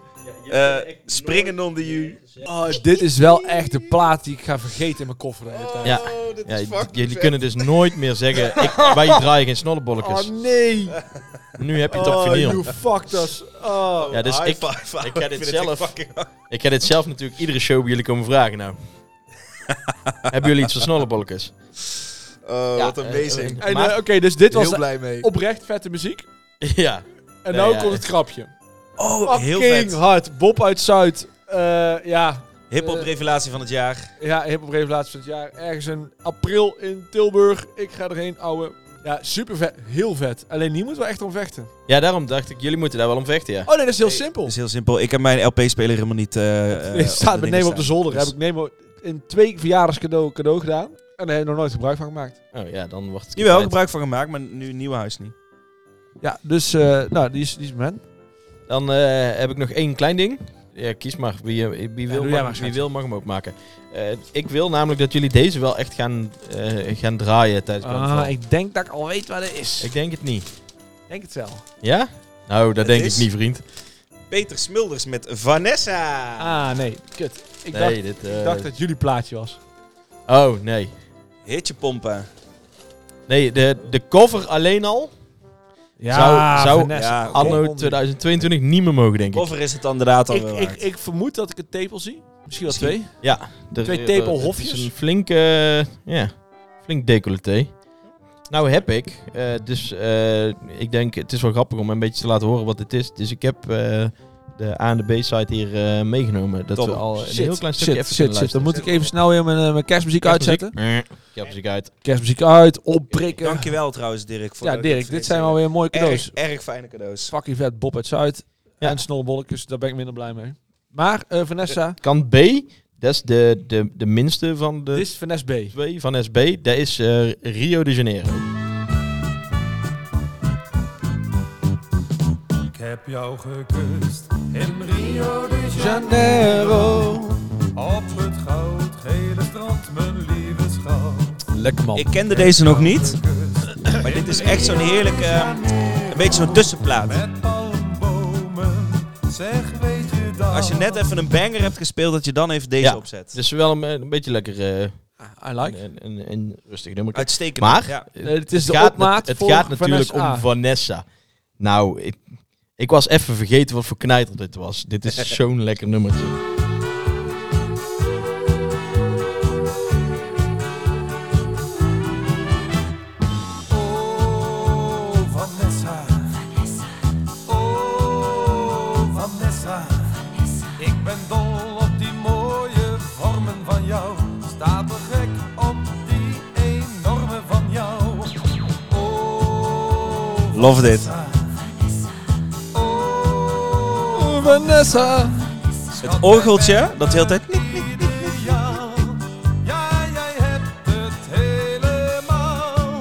[SPEAKER 3] Eh, springen onder you.
[SPEAKER 4] Oh, dit is wel echt de plaat die ik ga vergeten in mijn koffer de hele tijd.
[SPEAKER 2] Ja.
[SPEAKER 3] Oh, dit
[SPEAKER 2] Ja,
[SPEAKER 3] is fucking
[SPEAKER 2] jullie
[SPEAKER 3] vet. Oh,
[SPEAKER 2] kunnen dus nooit meer zeggen, ik, wij draaien geen snollebolletjes.
[SPEAKER 4] Oh, nee. Oh,
[SPEAKER 2] Nu heb je het op vinyl.
[SPEAKER 4] fucked us. Oh.
[SPEAKER 2] Ja, dus
[SPEAKER 3] High
[SPEAKER 2] ik,
[SPEAKER 3] five.
[SPEAKER 2] ik ga dit
[SPEAKER 3] vind het
[SPEAKER 2] zelf-
[SPEAKER 3] echt fucking-
[SPEAKER 2] ik ga dit zelf natuurlijk iedere show bij jullie komen vragen nou. Hebben jullie iets van snollebolletjes?
[SPEAKER 3] Oh, wat
[SPEAKER 2] eh,
[SPEAKER 3] amazing.
[SPEAKER 4] En,
[SPEAKER 2] Maar-
[SPEAKER 4] eh, Oké, dus dit was
[SPEAKER 3] Heel
[SPEAKER 4] de
[SPEAKER 3] blij mee.
[SPEAKER 4] oprecht vette muziek.
[SPEAKER 2] ja.
[SPEAKER 4] En
[SPEAKER 2] Nee,
[SPEAKER 4] nou
[SPEAKER 2] ja,
[SPEAKER 4] komt
[SPEAKER 2] ja.
[SPEAKER 4] het grapje.
[SPEAKER 3] Oh, heel
[SPEAKER 4] Fucking
[SPEAKER 3] vet.
[SPEAKER 4] hard. Bob uit Zuid. Eh, ja,
[SPEAKER 3] Hip-hop revelatie van het jaar.
[SPEAKER 4] Ja, hip-hop revelatie van het jaar. Ergens in april in Tilburg. Ik ga erheen, ouwe. Ja, super vet. Heel vet. Alleen die moeten we echt om vechten.
[SPEAKER 2] ja, daarom dacht ik, jullie moeten daar wel om vechten, ja.
[SPEAKER 4] Oh nee, dat is heel
[SPEAKER 3] Nee,
[SPEAKER 4] simpel.
[SPEAKER 3] Dat is heel simpel. Ik heb mijn LP-speler helemaal niet... eh, eh,
[SPEAKER 4] Ik staat
[SPEAKER 3] de
[SPEAKER 4] met
[SPEAKER 3] dingen
[SPEAKER 4] Nemo op de
[SPEAKER 3] staan.
[SPEAKER 4] zolder.
[SPEAKER 3] Dus-
[SPEAKER 4] Heb ik Nemo in twee verjaardagscadeau cadeau gedaan. En daar heb ik nog nooit gebruik van gemaakt.
[SPEAKER 2] Oh ja, dan wordt het...
[SPEAKER 3] Jawel,
[SPEAKER 2] compleet.
[SPEAKER 3] gebruik van gemaakt, maar nu nieuwe huis niet.
[SPEAKER 4] Ja, dus eh, nou, die is, die is men.
[SPEAKER 2] Dan eh, heb ik nog één klein ding. Ja, kies maar. Wie, eh, wie, wil,
[SPEAKER 4] doe jij
[SPEAKER 2] mag,
[SPEAKER 4] maar, schat.
[SPEAKER 2] wie wil mag hem ook maken. Eh, ik wil namelijk dat jullie deze wel echt gaan, eh, gaan draaien tijdens carnaval.
[SPEAKER 4] Ah, ik denk dat ik al weet wat het is. Ik
[SPEAKER 2] Ik denk het niet.
[SPEAKER 4] denk het wel.
[SPEAKER 2] Ja? Nou, dat
[SPEAKER 3] Het
[SPEAKER 2] denk
[SPEAKER 3] is-
[SPEAKER 2] ik niet, vriend.
[SPEAKER 3] Peter Smulders met Vanessa.
[SPEAKER 4] Ah, nee. Kut. Ik,
[SPEAKER 2] nee,
[SPEAKER 4] dacht,
[SPEAKER 2] dit...
[SPEAKER 4] ik
[SPEAKER 2] eh,
[SPEAKER 4] dacht dat jullie plaatje was.
[SPEAKER 2] Oh, nee.
[SPEAKER 3] Hitje pompen.
[SPEAKER 2] Nee, de, de cover alleen al
[SPEAKER 4] Ja,
[SPEAKER 2] zou-
[SPEAKER 4] Vanessa.
[SPEAKER 3] Ja,
[SPEAKER 2] anno 2022 niet meer mogen, denk ik.
[SPEAKER 3] Of er is het inderdaad al
[SPEAKER 4] Ik,
[SPEAKER 3] wel
[SPEAKER 4] ik,
[SPEAKER 3] waard.
[SPEAKER 4] ik vermoed dat ik een tepel zie. Misschien wel
[SPEAKER 3] Misschien.
[SPEAKER 4] twee.
[SPEAKER 2] Ja. de-
[SPEAKER 4] Twee
[SPEAKER 2] de-
[SPEAKER 4] tepelhofjes.
[SPEAKER 2] het is Een flink, eh, ja, flink decolleté. Nou heb ik, eh, dus eh, ik denk het is wel grappig om een beetje te laten horen wat het is. Dus ik heb eh, de A en de B-site hier eh, meegenomen. Dat
[SPEAKER 3] Top.
[SPEAKER 2] we al een
[SPEAKER 4] Shit,
[SPEAKER 2] heel klein stukje
[SPEAKER 4] shit,
[SPEAKER 2] even
[SPEAKER 4] shit,
[SPEAKER 2] kunnen
[SPEAKER 4] shit.
[SPEAKER 2] luisteren.
[SPEAKER 4] Dan
[SPEAKER 2] Eh,
[SPEAKER 4] moet ik even snel weer mijn, eh, mijn kerstmuziek uitzetten.
[SPEAKER 2] Ik heb ze uit.
[SPEAKER 4] Kerstmuziek uit, opprikken.
[SPEAKER 3] Dankjewel trouwens, Dirk. Voor
[SPEAKER 4] eh, Ja,
[SPEAKER 3] dat- eh,
[SPEAKER 4] Dirk, dit zijn alweer mooie cadeaus.
[SPEAKER 3] erg, erg fijne cadeaus.
[SPEAKER 4] Fucking vet, Bob uit Zuid.
[SPEAKER 2] Ja.
[SPEAKER 4] En snolbolletjes, daar ben ik minder blij mee. Maar eh, Vanessa,
[SPEAKER 2] Kant B, dat is de, de, de minste van de
[SPEAKER 4] dit is Vanessa B.
[SPEAKER 2] twee van SB. Dat is eh, Rio de Janeiro.
[SPEAKER 5] Ik heb jou gekust in Rio de
[SPEAKER 4] Janeiro.
[SPEAKER 5] Op het goudgele strand, mijn lieve schat.
[SPEAKER 4] Lekker man.
[SPEAKER 3] Ik kende deze nog niet,
[SPEAKER 5] Gekust
[SPEAKER 3] maar dit is echt zo'n heerlijke, eh, een beetje zo'n tussenplaat.
[SPEAKER 5] met palmbomen, zeg weet je dat?
[SPEAKER 3] Als je net even een banger hebt gespeeld, dat je dan even deze
[SPEAKER 2] Ja.
[SPEAKER 3] opzet.
[SPEAKER 2] Dus wel een, een beetje lekker eh,
[SPEAKER 4] I like.
[SPEAKER 2] een, een, een rustig nummer.
[SPEAKER 3] Uitstekend.
[SPEAKER 2] Maar
[SPEAKER 3] Ja.
[SPEAKER 4] Eh, het is de
[SPEAKER 2] gaat,
[SPEAKER 4] opmaat
[SPEAKER 2] nat- het
[SPEAKER 4] voor
[SPEAKER 2] gaat natuurlijk
[SPEAKER 4] Vanessa A.
[SPEAKER 2] om Vanessa. Nou, ik, ik was even vergeten wat voor knijter dit was. Dit is zo'n lekker nummertje.
[SPEAKER 5] Oh, Vanessa. Oh, Vanessa. Ik ben dol op die mooie vormen van jou. Sta me gek op die enorme van jou. Oh,
[SPEAKER 3] Love dit.
[SPEAKER 4] Oh, Vanessa.
[SPEAKER 3] Het orgeltje, dat de hele tijd...
[SPEAKER 5] Ideaal. Ja, jij hebt het helemaal.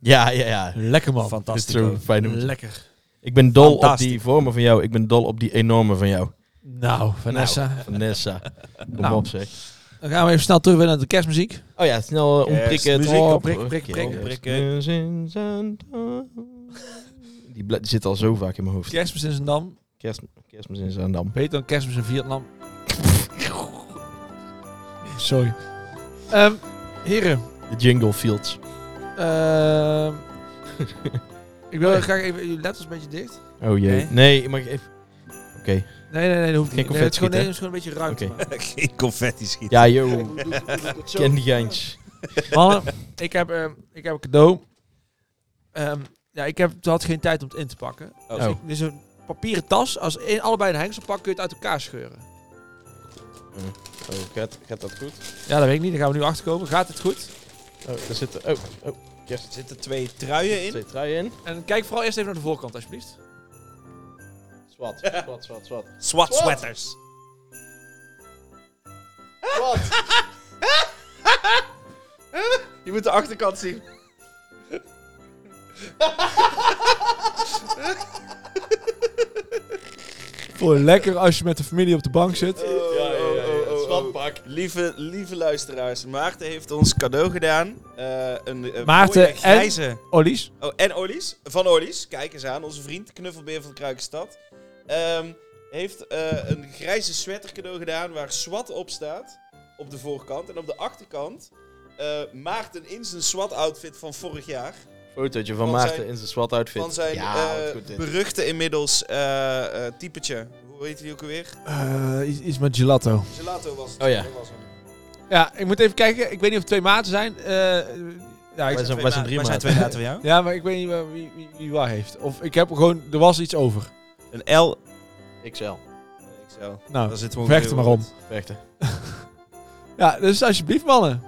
[SPEAKER 2] Ja, ja, ja.
[SPEAKER 4] Lekker man.
[SPEAKER 2] Dit is
[SPEAKER 3] Fantastisch.
[SPEAKER 2] zo'n fijn nummertje.
[SPEAKER 4] Lekker.
[SPEAKER 2] Ik ben dol op
[SPEAKER 3] Fantastisch.
[SPEAKER 2] die vormen van jou. Ik ben dol op die enorme van jou.
[SPEAKER 4] Nou, Vanessa.
[SPEAKER 2] Nou, Vanessa. Kom
[SPEAKER 4] Nou.
[SPEAKER 2] op zeg.
[SPEAKER 4] Dan gaan we even snel terug weer naar de kerstmuziek.
[SPEAKER 2] Oh ja, snel eh, omprikken.
[SPEAKER 3] Kerstmuziek,
[SPEAKER 2] Oh,
[SPEAKER 3] opprikken, opprikken,
[SPEAKER 2] Die bla- die zit al zo vaak in mijn hoofd.
[SPEAKER 4] Kerstmis in Zandam.
[SPEAKER 2] Kerst, kerstmis in Zaandam.
[SPEAKER 4] Beter dan kerstmis in Vietnam. Sorry. Ehm, heren.
[SPEAKER 2] De Jingle Fields.
[SPEAKER 4] ehm, ik wil graag even... Jullie letters een beetje dicht.
[SPEAKER 2] Oh jee.
[SPEAKER 4] Nee.
[SPEAKER 2] Nee, mag ik even... Oké.
[SPEAKER 4] Nee, nee, nee. Dat hoeft
[SPEAKER 2] Geen
[SPEAKER 4] niet. Nee,
[SPEAKER 2] confetti
[SPEAKER 4] het is gewoon,
[SPEAKER 2] schieten,
[SPEAKER 4] nee,
[SPEAKER 2] hè?
[SPEAKER 4] het is gewoon een beetje ruimte.
[SPEAKER 2] Oké.
[SPEAKER 4] maken.
[SPEAKER 3] Geen confetti schieten.
[SPEAKER 2] Ja, yo. Candy Geins.
[SPEAKER 4] Mannen, ik heb, ehm, ik heb een cadeau. Ehm, ja, ik heb, had geen tijd om het in te pakken. Dus
[SPEAKER 2] Oh.
[SPEAKER 4] Dit is een papieren tas. Als een, allebei een hengsel pakt, kun je het uit elkaar scheuren.
[SPEAKER 2] Oh, gaat, gaat dat goed?
[SPEAKER 4] Ja, dat weet ik niet. Daar gaan we nu achter komen. Gaat het goed?
[SPEAKER 2] Oh, er zitten... Oh, oh.
[SPEAKER 3] Er zitten twee truien in.
[SPEAKER 2] Twee truien in.
[SPEAKER 4] En kijk vooral eerst even naar de voorkant, alsjeblieft.
[SPEAKER 2] Zwart, zwart, zwart, zwart.
[SPEAKER 3] SWAT sweaters.
[SPEAKER 2] Je moet de achterkant zien.
[SPEAKER 4] Voor lekker als je met de familie op de bank zit.
[SPEAKER 3] Oh,
[SPEAKER 2] Ja, ja, ja. ja. Zwartpak.
[SPEAKER 3] Lieve, lieve luisteraars, Maarten heeft ons cadeau gedaan. Eh, een, eh,
[SPEAKER 4] Maarten
[SPEAKER 3] mooie grijze.
[SPEAKER 4] Ollies?
[SPEAKER 3] Oh, en Ollies. Van Ollies. Kijk eens aan. Onze vriend, knuffelbeer van de Kruikenstad. Ehm, heeft eh, een grijze sweater cadeau gedaan waar SWAT op staat. Op de voorkant. En op de achterkant eh, Maarten in zijn SWAT-outfit van vorig jaar.
[SPEAKER 2] Fotootje van,
[SPEAKER 3] Van
[SPEAKER 2] Maarten
[SPEAKER 3] zijn-
[SPEAKER 2] in zijn zwart outfit.
[SPEAKER 3] Van zijn
[SPEAKER 2] ja,
[SPEAKER 3] eh,
[SPEAKER 2] wat goed dit.
[SPEAKER 3] beruchte inmiddels eh, eh, typetje. Hoe heet die ook alweer?
[SPEAKER 2] Eh,
[SPEAKER 4] iets, met gelato.
[SPEAKER 3] Gelato was het.
[SPEAKER 2] Oh ja.
[SPEAKER 3] Dat was hem.
[SPEAKER 4] Ja, ik moet even kijken. Ik weet niet of het twee maten zijn. Eh, ja,
[SPEAKER 2] Wij
[SPEAKER 4] ik,
[SPEAKER 2] zijn,
[SPEAKER 3] Twee
[SPEAKER 2] wij zijn drie
[SPEAKER 3] ma- wij zijn
[SPEAKER 2] maanden.
[SPEAKER 3] twee maten van jou.
[SPEAKER 4] ja, maar ik weet niet waar- wie, wie, wie waar heeft. Of ik heb gewoon... Er was iets over.
[SPEAKER 3] Een L.
[SPEAKER 2] XL.
[SPEAKER 3] XL.
[SPEAKER 4] Nou,
[SPEAKER 3] Daar zit gewoon
[SPEAKER 4] vecht er maar om.
[SPEAKER 2] Vechten.
[SPEAKER 4] Ja, dus alsjeblieft mannen.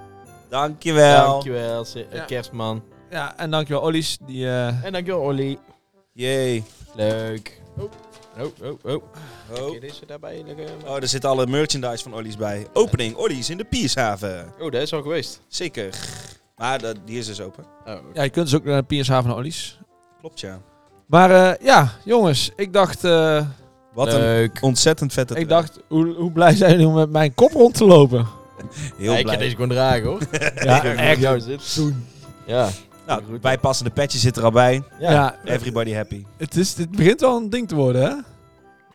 [SPEAKER 3] Dankjewel.
[SPEAKER 2] Dankjewel, se- eh,
[SPEAKER 4] Ja.
[SPEAKER 2] kerstman.
[SPEAKER 4] Ja, en dankjewel Ollies. Die, eh,
[SPEAKER 2] En dankjewel, Olly.
[SPEAKER 3] Jee.
[SPEAKER 2] Leuk. Oh, oh, oh. oh. Kun
[SPEAKER 3] Oh.
[SPEAKER 2] je deze daarbij leggen?
[SPEAKER 3] Oh, daar zit alle merchandise van Ollies bij. Opening Ollies in de Piershaven.
[SPEAKER 2] Oh, dat is al geweest.
[SPEAKER 3] Zeker. Maar dat, die is dus open.
[SPEAKER 2] Oh,
[SPEAKER 4] ja, je kunt dus ook naar Piershaven en Ollies.
[SPEAKER 3] Klopt ja.
[SPEAKER 4] Maar eh, ja, jongens. Ik dacht... eh,
[SPEAKER 3] Wat een
[SPEAKER 2] Leuk.
[SPEAKER 3] ontzettend vette
[SPEAKER 4] ik
[SPEAKER 3] trui.
[SPEAKER 4] dacht, hoe, hoe blij zijn jullie om met mijn kop rond te lopen?
[SPEAKER 2] Ja,
[SPEAKER 3] Heel
[SPEAKER 2] ik kan
[SPEAKER 3] blij.
[SPEAKER 2] deze gewoon dragen, hoor.
[SPEAKER 4] Ja,
[SPEAKER 2] echt. Jou zit. Ja.
[SPEAKER 3] Nou, het bijpassende petje zit er al bij.
[SPEAKER 2] ja.
[SPEAKER 4] Ja,
[SPEAKER 3] Everybody happy.
[SPEAKER 4] het, is, het begint wel een ding te worden,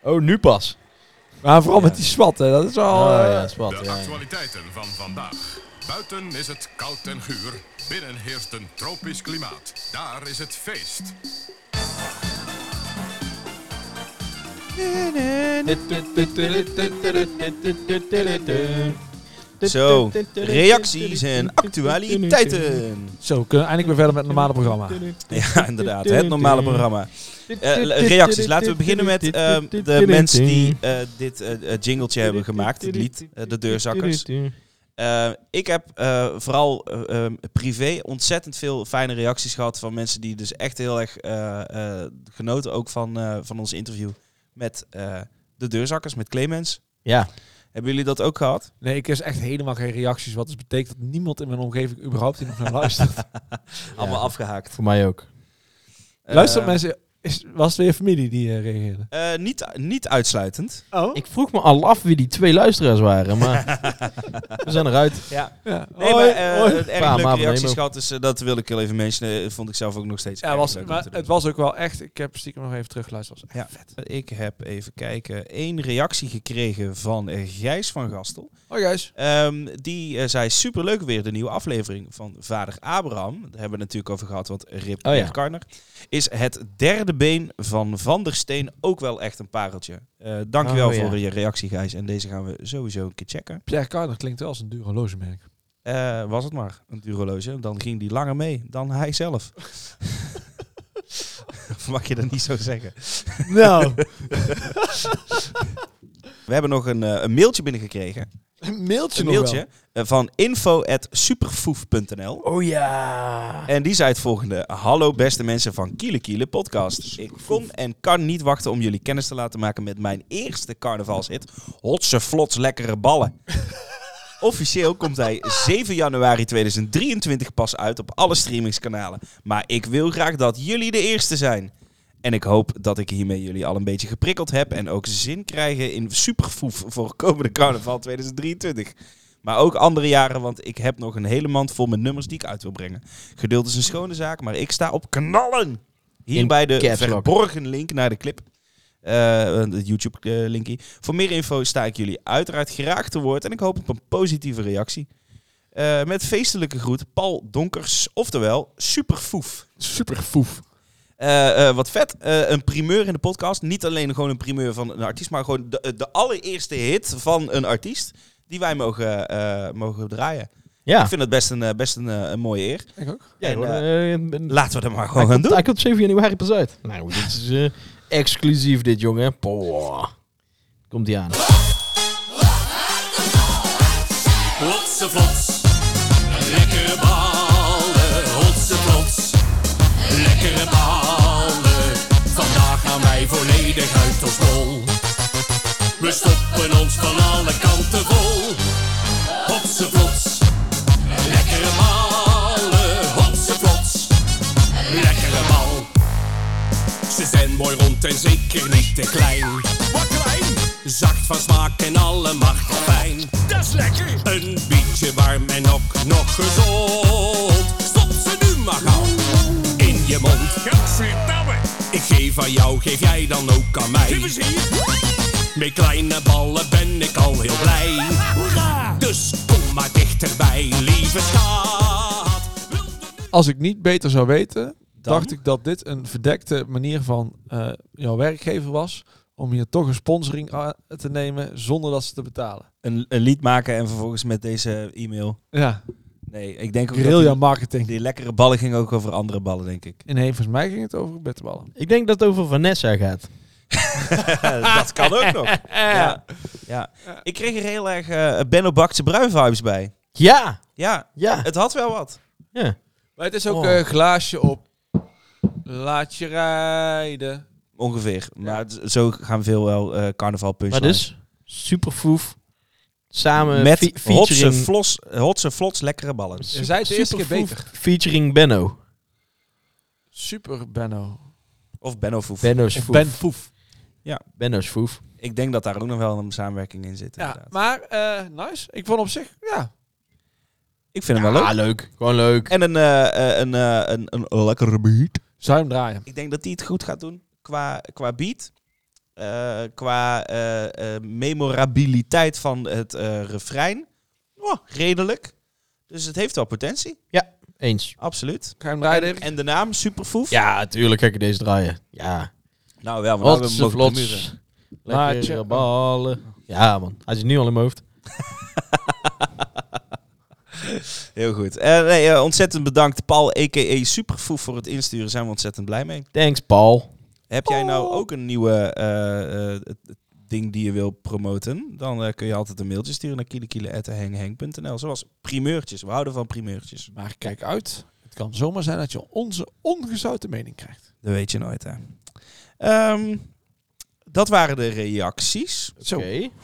[SPEAKER 4] hè?
[SPEAKER 2] Oh, nu pas.
[SPEAKER 4] Maar vooral
[SPEAKER 3] Ja.
[SPEAKER 4] met die SWAT, hè, dat is wel...
[SPEAKER 2] Oh,
[SPEAKER 4] eh,
[SPEAKER 2] ja, zwart.
[SPEAKER 8] De
[SPEAKER 2] ja, ja.
[SPEAKER 8] actualiteiten van vandaag. Buiten is het koud en guur. Binnen heerst een tropisch klimaat. Daar is het feest.
[SPEAKER 2] Oh.
[SPEAKER 3] Zo, reacties en actualiteiten.
[SPEAKER 4] Eh, Zo, we kunnen eindelijk weer verder met het normale programma.
[SPEAKER 3] Ja, inderdaad. Het normale programma. Eh, reacties. Laten we beginnen met eh, de mensen die eh, dit eh, eh, jingletje hebben gemaakt, het lied, eh, de deurzakkers. Eh, ik heb eh, vooral eh, eh, privé ontzettend veel fijne reacties gehad van mensen die dus echt heel erg eh, eh, genoten ook van, eh, van ons interview met eh, de deurzakkers, met Clemens.
[SPEAKER 2] Ja.
[SPEAKER 3] Hebben jullie dat ook gehad?
[SPEAKER 4] Nee, ik kreeg echt helemaal geen reacties. Wat dus betekent dat niemand in mijn omgeving überhaupt hier nog naar luistert.
[SPEAKER 3] Allemaal afgehaakt.
[SPEAKER 2] Voor mij ook.
[SPEAKER 4] Luister
[SPEAKER 3] Eh,
[SPEAKER 4] mensen, is, was het weer je familie die eh, reageerde?
[SPEAKER 3] eh, niet, niet uitsluitend.
[SPEAKER 4] Oh?
[SPEAKER 2] Ik vroeg me al af wie die twee luisteraars waren, maar we zijn eruit.
[SPEAKER 3] Ja.
[SPEAKER 4] Ja.
[SPEAKER 3] Nee, maar
[SPEAKER 4] Hoi,
[SPEAKER 3] eh,
[SPEAKER 4] hoi.
[SPEAKER 3] erg
[SPEAKER 2] Pa,
[SPEAKER 3] leuke
[SPEAKER 2] maar
[SPEAKER 3] reacties
[SPEAKER 2] nemen.
[SPEAKER 3] gehad, dus eh, dat wilde ik heel even mentionen. Eh, Vond ik zelf ook nog steeds
[SPEAKER 4] Ja,
[SPEAKER 3] erg
[SPEAKER 4] was,
[SPEAKER 3] leuk om
[SPEAKER 4] maar
[SPEAKER 3] te doen.
[SPEAKER 4] het was ook wel echt. Ik heb stiekem nog even teruggeluisterd. Was echt
[SPEAKER 3] Ja, ik heb even kijken. één reactie gekregen van eh, Gijs van Gastel.
[SPEAKER 4] Oh, juist.
[SPEAKER 3] Ehm, die eh, zei superleuk weer de nieuwe aflevering van Vader Abraham. Daar hebben we het natuurlijk over gehad, want Rip
[SPEAKER 2] Oh ja.
[SPEAKER 3] Karner. Is het derde been van Van der Steen ook wel echt een pareltje? Eh dankjewel
[SPEAKER 2] Oh ja.
[SPEAKER 3] voor je reactie, Gijs. En deze gaan we sowieso een keer checken.
[SPEAKER 4] Pierre Carter klinkt wel als een duur horlogemerk.
[SPEAKER 3] Eh, was het maar een horloge. Dan ging die langer mee dan hij zelf. Of Mag je dat niet zo zeggen?
[SPEAKER 4] Nou,
[SPEAKER 3] We hebben nog een, eh, een mailtje binnengekregen.
[SPEAKER 4] een mailtje
[SPEAKER 3] een
[SPEAKER 4] nog
[SPEAKER 3] mailtje
[SPEAKER 4] wel.
[SPEAKER 3] eh, van info.superfoef.nl. Oh ja. En die zei het volgende. Hallo beste mensen van Kiele Kiele podcast. Ik kon en kan niet wachten om jullie kennis te laten maken met mijn eerste carnavalshit. Hotse flots lekkere ballen. Officieel komt hij 7 januari 2023 pas uit op alle streamingskanalen. Maar ik wil graag dat jullie de eerste zijn. En ik hoop dat ik hiermee jullie al een beetje geprikkeld heb en ook zin krijgen in superfoef voor komende carnaval 2023. Maar ook andere jaren, want ik heb nog een hele mand vol met nummers die ik uit wil brengen. Geduld is een schone zaak, maar ik sta op knallen. Hierbij de
[SPEAKER 2] caps lock.
[SPEAKER 3] verborgen link naar de clip. Eh, de YouTube-linkie. voor meer info sta ik jullie uiteraard graag te woord en ik hoop op een positieve reactie. Eh, met feestelijke groet, Paul Donkers, oftewel Superfoef.
[SPEAKER 4] Superfoef.
[SPEAKER 3] Eh, eh, wat vet. Eh, een primeur in de podcast. Niet alleen gewoon een primeur van een artiest, maar gewoon de, de allereerste hit van een artiest. Die wij mogen, eh, mogen draaien.
[SPEAKER 2] Ja.
[SPEAKER 3] Ik vind het best een, eh, best een, eh, een mooie eer.
[SPEAKER 4] Ik ook.
[SPEAKER 2] Ja,
[SPEAKER 3] En,
[SPEAKER 2] hoor,
[SPEAKER 3] eh,
[SPEAKER 2] eh, ben-
[SPEAKER 3] Laten we dat maar gewoon gaan doen.
[SPEAKER 2] Hij komt 7 januari pas uit. Nou, dit is eh, exclusief dit, jongen. Poh. Komt die aan.
[SPEAKER 9] Hotse vlots, lekkere ballen, hotse vlots, lekkere ballen. Vandaag gaan wij volledig uit ons bol. We stoppen ons van alle kanten vol. Hotse vlots, lekkere ballen, hotse vlots, lekkere bal. Ze zijn mooi rond en zeker niet te klein. Wat klein? Zacht van smaak en alle macht fijn. Dat is lekker. Een beetje warm en ook nog gezond. Stop ze nu maar gauw in je mond. Gadverdamme. Ik geef aan jou, geef jij dan ook aan mij. Met kleine ballen ben ik al heel blij. Dus kom maar dichterbij, lieve schat.
[SPEAKER 4] Als ik niet beter zou weten,
[SPEAKER 3] Dan?
[SPEAKER 4] dacht ik dat dit een verdekte manier van eh, jouw werkgever was. Om hier toch een sponsoring aan te nemen zonder dat ze te betalen.
[SPEAKER 3] Een, een lied maken en vervolgens met deze e-mail.
[SPEAKER 4] Ja,
[SPEAKER 3] Nee, ik denk ook dat
[SPEAKER 4] guerrilla
[SPEAKER 3] die,
[SPEAKER 4] marketing.
[SPEAKER 3] die lekkere ballen ging ook over andere ballen, denk ik.
[SPEAKER 4] Nee, volgens mij ging het over bedballen.
[SPEAKER 2] Ik denk dat het over Vanessa gaat.
[SPEAKER 3] dat kan ook nog. Ja. Ja. Ik kreeg er heel erg eh Benno Bakse Bruin vibes bij.
[SPEAKER 2] Ja!
[SPEAKER 3] Ja,
[SPEAKER 2] Ja!
[SPEAKER 3] het had wel wat.
[SPEAKER 2] ja.
[SPEAKER 4] Maar het is ook
[SPEAKER 2] Oh.
[SPEAKER 4] eh, glaasje op. Laat je rijden.
[SPEAKER 3] Ongeveer. Maar het- zo gaan veel wel eh carnaval
[SPEAKER 2] Maar dus, superfoef. Samen
[SPEAKER 3] Met
[SPEAKER 2] fe-
[SPEAKER 3] hotse,
[SPEAKER 2] featuring,
[SPEAKER 3] vlos, hotse flots lekkere ballen.
[SPEAKER 4] Je zei het de eerste keer
[SPEAKER 2] Superfoef
[SPEAKER 4] beter.
[SPEAKER 2] featuring Benno.
[SPEAKER 4] Super Benno.
[SPEAKER 3] Of Benno Foef.
[SPEAKER 2] Benno's
[SPEAKER 4] Of
[SPEAKER 2] foef.
[SPEAKER 4] Ben Foef.
[SPEAKER 2] Benno's foef.
[SPEAKER 3] Ik denk dat daar ook nog wel een samenwerking in zit.
[SPEAKER 4] Ja,
[SPEAKER 3] inderdaad.
[SPEAKER 4] maar eh, nice. Ik vond op zich, ja.
[SPEAKER 3] Ik vind hem wel leuk.
[SPEAKER 2] Ah, leuk. Gewoon leuk.
[SPEAKER 3] En een, eh, eh, een, eh, een, een lekkere beat.
[SPEAKER 4] Zou je hem draaien?
[SPEAKER 3] Ik denk dat hij het goed gaat doen qua, qua beat. eh, qua eh, eh, memorabiliteit van het eh, refrein. Oh, redelijk. Dus het heeft wel potentie.
[SPEAKER 2] Eens.
[SPEAKER 3] Absoluut.
[SPEAKER 4] Ga je hem draaien, Dirk?
[SPEAKER 3] En de naam, Superfoef.
[SPEAKER 2] Ja, tuurlijk ga ik deze draaien. Ja.
[SPEAKER 3] Nou wel, maar nou, we
[SPEAKER 2] Hotse
[SPEAKER 3] mogen
[SPEAKER 2] vlots.
[SPEAKER 3] muren.
[SPEAKER 4] Laat
[SPEAKER 2] Lekkere
[SPEAKER 4] je-
[SPEAKER 2] ballen. Ja, man. Hij is nu al in mijn hoofd.
[SPEAKER 3] Heel goed. Eh, nee, eh, ontzettend bedankt Paul, a.k.a. Superfoef, voor het insturen. Zijn we ontzettend blij mee.
[SPEAKER 2] Thanks, Paul.
[SPEAKER 3] Heb jij nou
[SPEAKER 4] Oh.
[SPEAKER 3] ook een nieuwe eh, eh, het- het ding die je wil promoten? Dan eh, kun je altijd een mailtje sturen naar kielekiele.hengheng.nl. Zoals primeurtjes. We houden van primeurtjes.
[SPEAKER 4] Maar kijk uit. Het kan zomaar zijn dat je onze ongezouten mening krijgt.
[SPEAKER 3] Dat weet je nooit, hè. Ehm, dat waren de reacties.
[SPEAKER 4] Zo.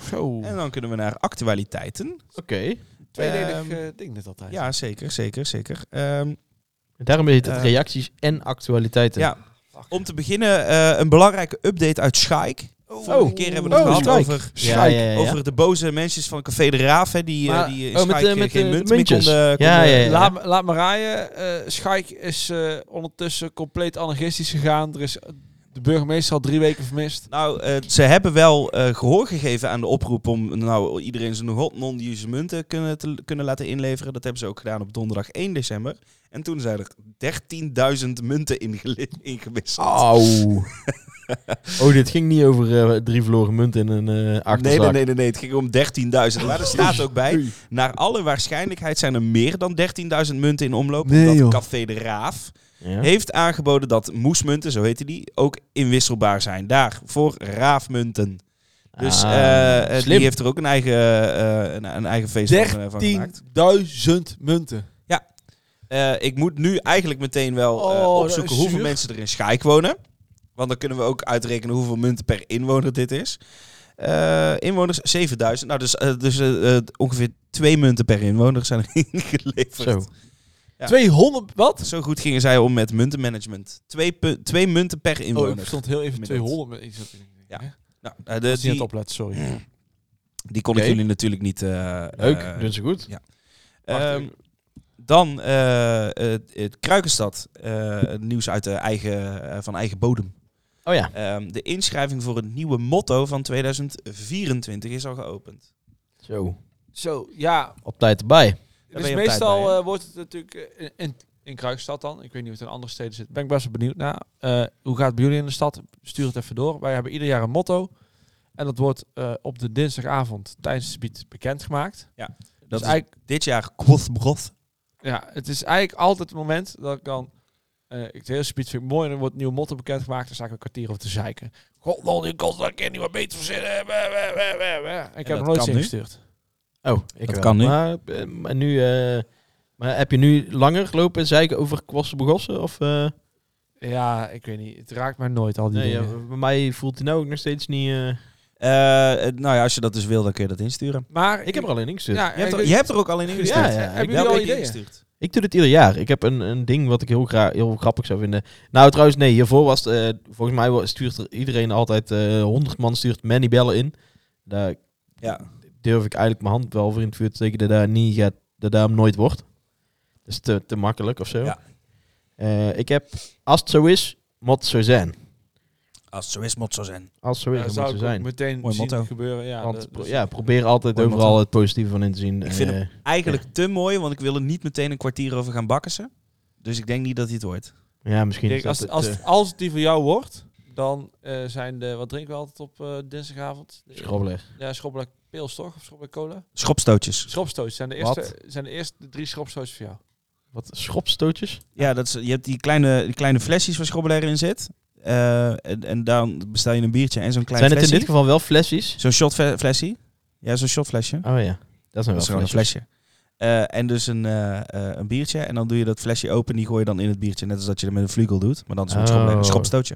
[SPEAKER 4] Zo.
[SPEAKER 3] En dan kunnen we naar actualiteiten.
[SPEAKER 2] oké.
[SPEAKER 4] Tweeledig
[SPEAKER 3] Ehm,
[SPEAKER 4] eh, ding net altijd.
[SPEAKER 3] ja, zeker, zeker, zeker. Ehm,
[SPEAKER 2] Daarom heet het
[SPEAKER 3] Eh.
[SPEAKER 2] reacties en actualiteiten.
[SPEAKER 3] Ja. Om te beginnen eh, een belangrijke update uit Schaik. Vorige keer hebben we het
[SPEAKER 2] Oh,
[SPEAKER 3] gehad
[SPEAKER 2] Schaik.
[SPEAKER 3] over,
[SPEAKER 2] ja, ja, ja, ja.
[SPEAKER 3] over de boze mensjes van Café de Raaf. Hè, die, eh,
[SPEAKER 4] Maar-
[SPEAKER 3] die in
[SPEAKER 2] oh, met,
[SPEAKER 3] Schaik
[SPEAKER 2] eh,
[SPEAKER 3] eh,
[SPEAKER 2] met,
[SPEAKER 3] geen
[SPEAKER 2] eh,
[SPEAKER 3] munt meer
[SPEAKER 2] muntjes.
[SPEAKER 3] konden, konden-
[SPEAKER 2] Ja, ja, ja.
[SPEAKER 4] Laat, me- laat maar rijden. Eh, Schaik is eh, ondertussen compleet anarchistisch gegaan. Er is de burgemeester al drie weken vermist.
[SPEAKER 3] Nou, eh, ze hebben wel eh, gehoor gegeven aan de oproep om nou, iedereen zijn hot non-use munten kunnen, te, kunnen laten inleveren. Dat hebben ze ook gedaan op donderdag 1 december. En toen zijn er 13.000 munten ingeli- ingewisseld.
[SPEAKER 2] Auw. oh, dit ging niet over eh, drie verloren munten in een eh
[SPEAKER 3] nee,
[SPEAKER 2] achterzak.
[SPEAKER 3] nee, nee, nee, nee, het ging om 13.000. Maar er staat ook bij, Naar alle waarschijnlijkheid zijn er meer dan 13.000 munten in omloop.
[SPEAKER 4] Nee,
[SPEAKER 3] omdat
[SPEAKER 4] joh.
[SPEAKER 3] Café de Raaf
[SPEAKER 2] Ja.
[SPEAKER 3] heeft aangeboden dat moesmunten, zo heten die, ook inwisselbaar zijn. Daar, voor raafmunten. Dus
[SPEAKER 2] Ah,
[SPEAKER 3] eh, eh,
[SPEAKER 2] slim.
[SPEAKER 3] die heeft er ook een eigen, eh, een, een eigen feest van, eh, van gemaakt.
[SPEAKER 4] 13.000 munten.
[SPEAKER 3] Eh, ik moet nu eigenlijk meteen wel eh,
[SPEAKER 4] Oh, dat
[SPEAKER 3] opzoeken
[SPEAKER 4] is
[SPEAKER 3] hoeveel
[SPEAKER 4] zuur.
[SPEAKER 3] mensen er in Schaik wonen. Want dan kunnen we ook uitrekenen hoeveel munten per inwoner dit is. Eh, inwoners 7000. Nou, dus, eh, dus eh, eh, ongeveer twee munten per inwoner zijn er ingeleverd.
[SPEAKER 2] Zo.
[SPEAKER 3] Ja.
[SPEAKER 4] 200, wat?
[SPEAKER 3] Zo goed gingen zij om met muntenmanagement. Twee, pu- twee munten per
[SPEAKER 4] Oh,
[SPEAKER 3] inwoner.
[SPEAKER 4] ik stond heel even
[SPEAKER 3] Inmiddels.
[SPEAKER 4] 200. met iets.
[SPEAKER 3] Ja.
[SPEAKER 4] Ja.
[SPEAKER 3] nou, eh, de-
[SPEAKER 4] niet aan het
[SPEAKER 3] die,
[SPEAKER 4] opletten, sorry.
[SPEAKER 3] die kon
[SPEAKER 2] Oké.
[SPEAKER 3] ik jullie natuurlijk niet... eh,
[SPEAKER 2] Leuk,
[SPEAKER 3] eh,
[SPEAKER 4] dus
[SPEAKER 2] doen ze goed.
[SPEAKER 3] ehm, dan eh, het, het Kruikenstad. Eh, het nieuws uit de eigen, eh, van eigen bodem.
[SPEAKER 2] Oh ja.
[SPEAKER 3] Ehm, de inschrijving voor het nieuwe motto van 2024 is al geopend.
[SPEAKER 2] Zo.
[SPEAKER 4] Zo, ja.
[SPEAKER 2] Op tijd erbij.
[SPEAKER 3] ben
[SPEAKER 4] Dus
[SPEAKER 3] je op tijd
[SPEAKER 4] meestal
[SPEAKER 3] bij, hè?
[SPEAKER 4] eh, wordt het natuurlijk eh, in, in, in Kruisstad dan. Ik weet niet hoe het in andere steden zit. Ben ik best wel benieuwd naar. Eh, hoe gaat het bij jullie in de stad? Stuur het even door. Wij hebben ieder jaar een motto. En dat wordt eh, op de dinsdagavond tijdens het gebied bekendgemaakt.
[SPEAKER 3] Dat
[SPEAKER 4] dus
[SPEAKER 3] is
[SPEAKER 4] eigenlijk,
[SPEAKER 3] dit jaar kwotbrot.
[SPEAKER 4] ja, het is eigenlijk altijd het moment dat ik dan... eh, ik het hele gebied vind ik mooi en er wordt een nieuw motto bekendgemaakt. Dan sta ik een kwartier over te zeiken. God, lol, die kost dat kind niet wat beter verzinnen. Bah, bah, bah, bah, bah. Ik heb nog
[SPEAKER 3] dat kan
[SPEAKER 4] nooit
[SPEAKER 3] nu?
[SPEAKER 4] ingestuurd.
[SPEAKER 2] Oh, ik
[SPEAKER 3] Dat
[SPEAKER 2] wel.
[SPEAKER 3] kan nu.
[SPEAKER 2] Maar, eh, maar nu, eh, maar heb je nu langer lopen zeiken over kwassen begossen? Of, eh,
[SPEAKER 4] Ja, ik weet niet. Het raakt mij nooit al die
[SPEAKER 2] nee, ja,
[SPEAKER 4] dingen.
[SPEAKER 2] bij mij voelt hij nou ook nog steeds niet... eh,
[SPEAKER 3] Eh, eh, nou ja, als je dat dus wil, dan kun je dat insturen.
[SPEAKER 4] Maar
[SPEAKER 2] ik heb er al in ingestuurd.
[SPEAKER 4] Ja,
[SPEAKER 3] Je hebt
[SPEAKER 4] ik-
[SPEAKER 3] er, je hebt er ook al in ingestuurd.
[SPEAKER 2] Ja, ja.
[SPEAKER 4] Hebben
[SPEAKER 3] Welke
[SPEAKER 4] jullie al
[SPEAKER 3] heb je
[SPEAKER 4] ideeën?
[SPEAKER 3] ingestuurd?
[SPEAKER 2] Ik doe dit ieder jaar. Ik heb een, een ding wat ik heel, gra- heel grappig zou vinden. Nou, trouwens, nee. Hiervoor was het, eh, volgens mij wa- stuurt er iedereen altijd... eh 100 man stuurt Manny Bellen in. Daar
[SPEAKER 3] Ja.
[SPEAKER 2] durf ik eigenlijk mijn hand wel voor in het vuur te steken... dat daar niet gaat, dat daar hem nooit wordt. Dat is te, te makkelijk of zo.
[SPEAKER 3] Ja.
[SPEAKER 2] Eh, ik heb... Als het zo is, moet het zo zijn.
[SPEAKER 3] Als het zo is, moet het zo zijn.
[SPEAKER 2] Als het zo is, dan
[SPEAKER 4] Ja,
[SPEAKER 2] moet
[SPEAKER 4] zou
[SPEAKER 2] het
[SPEAKER 4] ik
[SPEAKER 2] zo
[SPEAKER 4] ook
[SPEAKER 2] zijn.
[SPEAKER 4] meteen
[SPEAKER 3] Mooi
[SPEAKER 4] zien
[SPEAKER 3] motto.
[SPEAKER 4] gebeuren. Ja,
[SPEAKER 2] Want
[SPEAKER 4] dat-
[SPEAKER 2] pro-
[SPEAKER 4] dat-
[SPEAKER 2] ja, probeer altijd
[SPEAKER 3] Mooi
[SPEAKER 2] overal
[SPEAKER 3] motto.
[SPEAKER 2] het positieve van in te zien.
[SPEAKER 3] Ik vind
[SPEAKER 2] Eh,
[SPEAKER 3] Eigenlijk te mooi, want ik wil er niet meteen een kwartier over gaan bakken. Dus ik denk niet dat hij het hoort.
[SPEAKER 2] Ja, misschien
[SPEAKER 4] Dirk,
[SPEAKER 2] is dat
[SPEAKER 4] als,
[SPEAKER 2] het,
[SPEAKER 4] als,
[SPEAKER 2] eh,
[SPEAKER 4] als het die voor jou wordt, dan eh, zijn de... Wat drinken we altijd op eh, dinsdagavond? De-
[SPEAKER 2] schrobbelen.
[SPEAKER 4] Ja, schrobbelak pils toch? Of schrobbelak cola?
[SPEAKER 3] Schopstootjes.
[SPEAKER 4] Schropstootjes zijn de
[SPEAKER 2] Wat?
[SPEAKER 4] eerste, zijn de eerste drie schropstootjes voor jou.
[SPEAKER 2] Wat? Schropstootjes?
[SPEAKER 3] Ja, dat is, je hebt die kleine, die kleine flesjes waar schrobbelair in zit. Eh, en, en dan bestel je een biertje en zo'n klein
[SPEAKER 2] Zijn het in
[SPEAKER 3] flesje.
[SPEAKER 2] dit geval wel flesjes?
[SPEAKER 3] Zo'n shotflesje. Ja, zo'n shotflesje.
[SPEAKER 2] Oh ja, dat zijn
[SPEAKER 3] Dat is
[SPEAKER 2] wel
[SPEAKER 3] gewoon een
[SPEAKER 2] flesjes.
[SPEAKER 3] flesje. Eh, en dus een, eh, eh, een biertje. En dan doe je dat flesje open. Die gooi je dan in het biertje. Net als dat je dat met een vlugel doet. Maar dan zo'n
[SPEAKER 2] Oh.
[SPEAKER 3] schrobbelair- een schropstootje.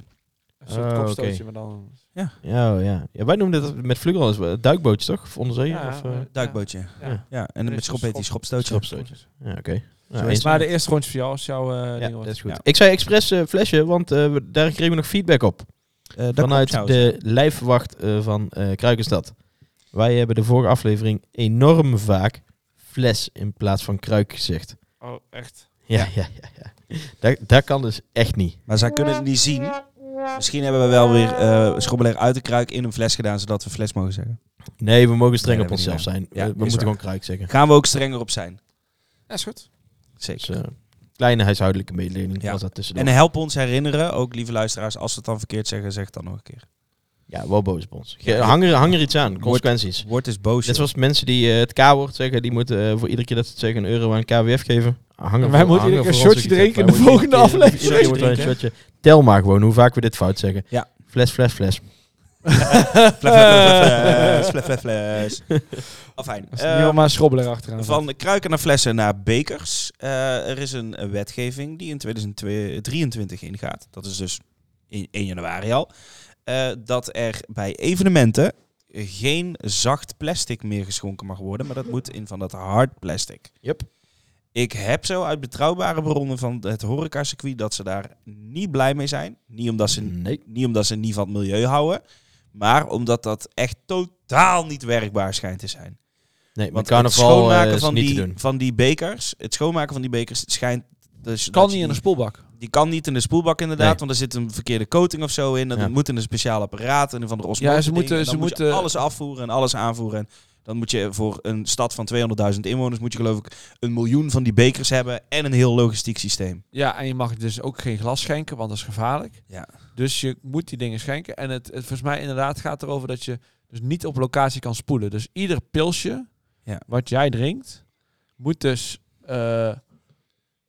[SPEAKER 4] Een soort
[SPEAKER 2] Oh,
[SPEAKER 4] kopstootje,
[SPEAKER 2] oké.
[SPEAKER 4] maar dan...
[SPEAKER 2] Ja, oh ja. ja, wij noemden dat met vlugel als wel- eh, duikbootjes, toch? Of onderzee?
[SPEAKER 4] Ja,
[SPEAKER 2] of, eh,
[SPEAKER 4] eh,
[SPEAKER 3] Duikbootje.
[SPEAKER 4] Ja.
[SPEAKER 2] Ja.
[SPEAKER 3] Ja, en
[SPEAKER 4] Er
[SPEAKER 3] met
[SPEAKER 4] is
[SPEAKER 3] schop
[SPEAKER 4] een
[SPEAKER 3] heet die
[SPEAKER 4] schop-
[SPEAKER 3] schropstootje.
[SPEAKER 2] Schropstootjes. Ja, oké. Nou,
[SPEAKER 4] Zo is
[SPEAKER 2] eens-
[SPEAKER 4] het. Maar de eerste rondje voor jou als jouw eh,
[SPEAKER 2] ja,
[SPEAKER 4] ding wordt.
[SPEAKER 2] dat is goed.
[SPEAKER 3] Ja.
[SPEAKER 2] Ik zei expres eh, flesje, want eh, we- daar kregen we nog feedback op.
[SPEAKER 3] Eh, dat
[SPEAKER 2] vanuit
[SPEAKER 3] klopt trouwens.
[SPEAKER 2] de lijfwacht eh, van eh, Kruikenstad. Wij hebben de vorige aflevering enorm vaak fles in plaats van kruik gezegd.
[SPEAKER 4] Oh, echt?
[SPEAKER 2] Ja, ja, ja. ja. Dat, dat kan dus echt niet.
[SPEAKER 3] Maar zij kunnen het niet zien. Misschien hebben we wel weer eh schrobbelair uit de kruik in een fles gedaan. Zodat we fles mogen zeggen.
[SPEAKER 2] Nee, we mogen streng
[SPEAKER 3] Nee,
[SPEAKER 2] op
[SPEAKER 3] dat
[SPEAKER 2] onszelf
[SPEAKER 3] weet ik
[SPEAKER 2] zijn.
[SPEAKER 3] Ja,
[SPEAKER 2] Eh, we
[SPEAKER 3] is
[SPEAKER 2] moeten
[SPEAKER 3] waar.
[SPEAKER 2] gewoon kruik zeggen.
[SPEAKER 3] Gaan we ook strenger op zijn.
[SPEAKER 4] Ja, is goed.
[SPEAKER 3] Zeker.
[SPEAKER 2] Dus, eh, kleine huishoudelijke mededeling
[SPEAKER 3] Ja.
[SPEAKER 2] was dat tussendoor.
[SPEAKER 3] En help ons herinneren, ook lieve luisteraars, als we het dan verkeerd zeggen, zeg het dan nog een keer.
[SPEAKER 2] Ja, wel boos op ons. Ge- Hang er, hang er iets aan, consequenties.
[SPEAKER 3] Word is boos.
[SPEAKER 2] Net
[SPEAKER 3] joh.
[SPEAKER 2] zoals mensen die eh, het K-woord zeggen, die moeten eh, voor iedere keer dat ze het zeggen een euro aan KWF geven. Hang er
[SPEAKER 4] Wij
[SPEAKER 2] voor-
[SPEAKER 4] moeten
[SPEAKER 2] hang er
[SPEAKER 4] iedere
[SPEAKER 2] voor
[SPEAKER 4] keer een
[SPEAKER 2] ons
[SPEAKER 4] shotje
[SPEAKER 2] ook iets
[SPEAKER 4] drinken
[SPEAKER 2] aan.
[SPEAKER 4] in de
[SPEAKER 2] Wij moeten
[SPEAKER 4] volgende
[SPEAKER 2] iedere keer- iedere keer
[SPEAKER 4] aflevering.
[SPEAKER 2] wordt er een shotje. Tel maar gewoon hoe vaak we dit fout zeggen.
[SPEAKER 3] Ja.
[SPEAKER 2] Fles, fles, fles.
[SPEAKER 3] Fles, fles, fles, fles. Eh. Afijn. eh,
[SPEAKER 4] Als het niet allemaal een schrobbel erachteraan. zat.
[SPEAKER 3] Van kruiken naar flessen naar bekers. Eh, er is een eh, wetgeving die in 2023 ingaat. Dat is dus in 1 januari al. Eh, dat er bij evenementen geen zacht plastic meer geschonken mag worden. Maar dat moet in van dat hard plastic.
[SPEAKER 2] Yep.
[SPEAKER 3] Ik heb zo uit betrouwbare bronnen van het horecacircuit dat ze daar niet blij mee zijn. Niet omdat ze
[SPEAKER 2] Nee.
[SPEAKER 3] niet omdat ze niet van het milieu houden, maar omdat dat echt totaal niet werkbaar schijnt te zijn.
[SPEAKER 2] Nee, want
[SPEAKER 3] Want
[SPEAKER 2] carnaval
[SPEAKER 3] het schoonmaken
[SPEAKER 2] eh, is
[SPEAKER 3] van,
[SPEAKER 2] niet
[SPEAKER 3] die,
[SPEAKER 2] te doen.
[SPEAKER 3] van die bekers, het schoonmaken van die bekers schijnt dus
[SPEAKER 4] Kan
[SPEAKER 3] dat je
[SPEAKER 4] niet in een spoelbak.
[SPEAKER 3] die kan niet in de spoelbak inderdaad,
[SPEAKER 2] Nee.
[SPEAKER 3] want er zit een verkeerde coating of zo in. Dat
[SPEAKER 2] Ja.
[SPEAKER 3] moet in een speciaal apparaat en van de osmose.
[SPEAKER 4] Ja, ze
[SPEAKER 3] ding.
[SPEAKER 4] moeten-
[SPEAKER 3] En dan
[SPEAKER 4] ze
[SPEAKER 3] moet je
[SPEAKER 4] moeten-
[SPEAKER 3] alles afvoeren en alles aanvoeren. En dan moet je voor een stad van 200.000 inwoners moet je geloof ik een miljoen van die bekers hebben en een heel logistiek systeem.
[SPEAKER 4] Ja, en je mag dus ook geen glas schenken, want dat is gevaarlijk.
[SPEAKER 3] Ja.
[SPEAKER 4] Dus je moet die dingen schenken. En het, het volgens mij inderdaad gaat erover dat je dus niet op locatie kan spoelen. Dus ieder pilsje
[SPEAKER 3] Ja.
[SPEAKER 4] wat jij drinkt, moet dus eh,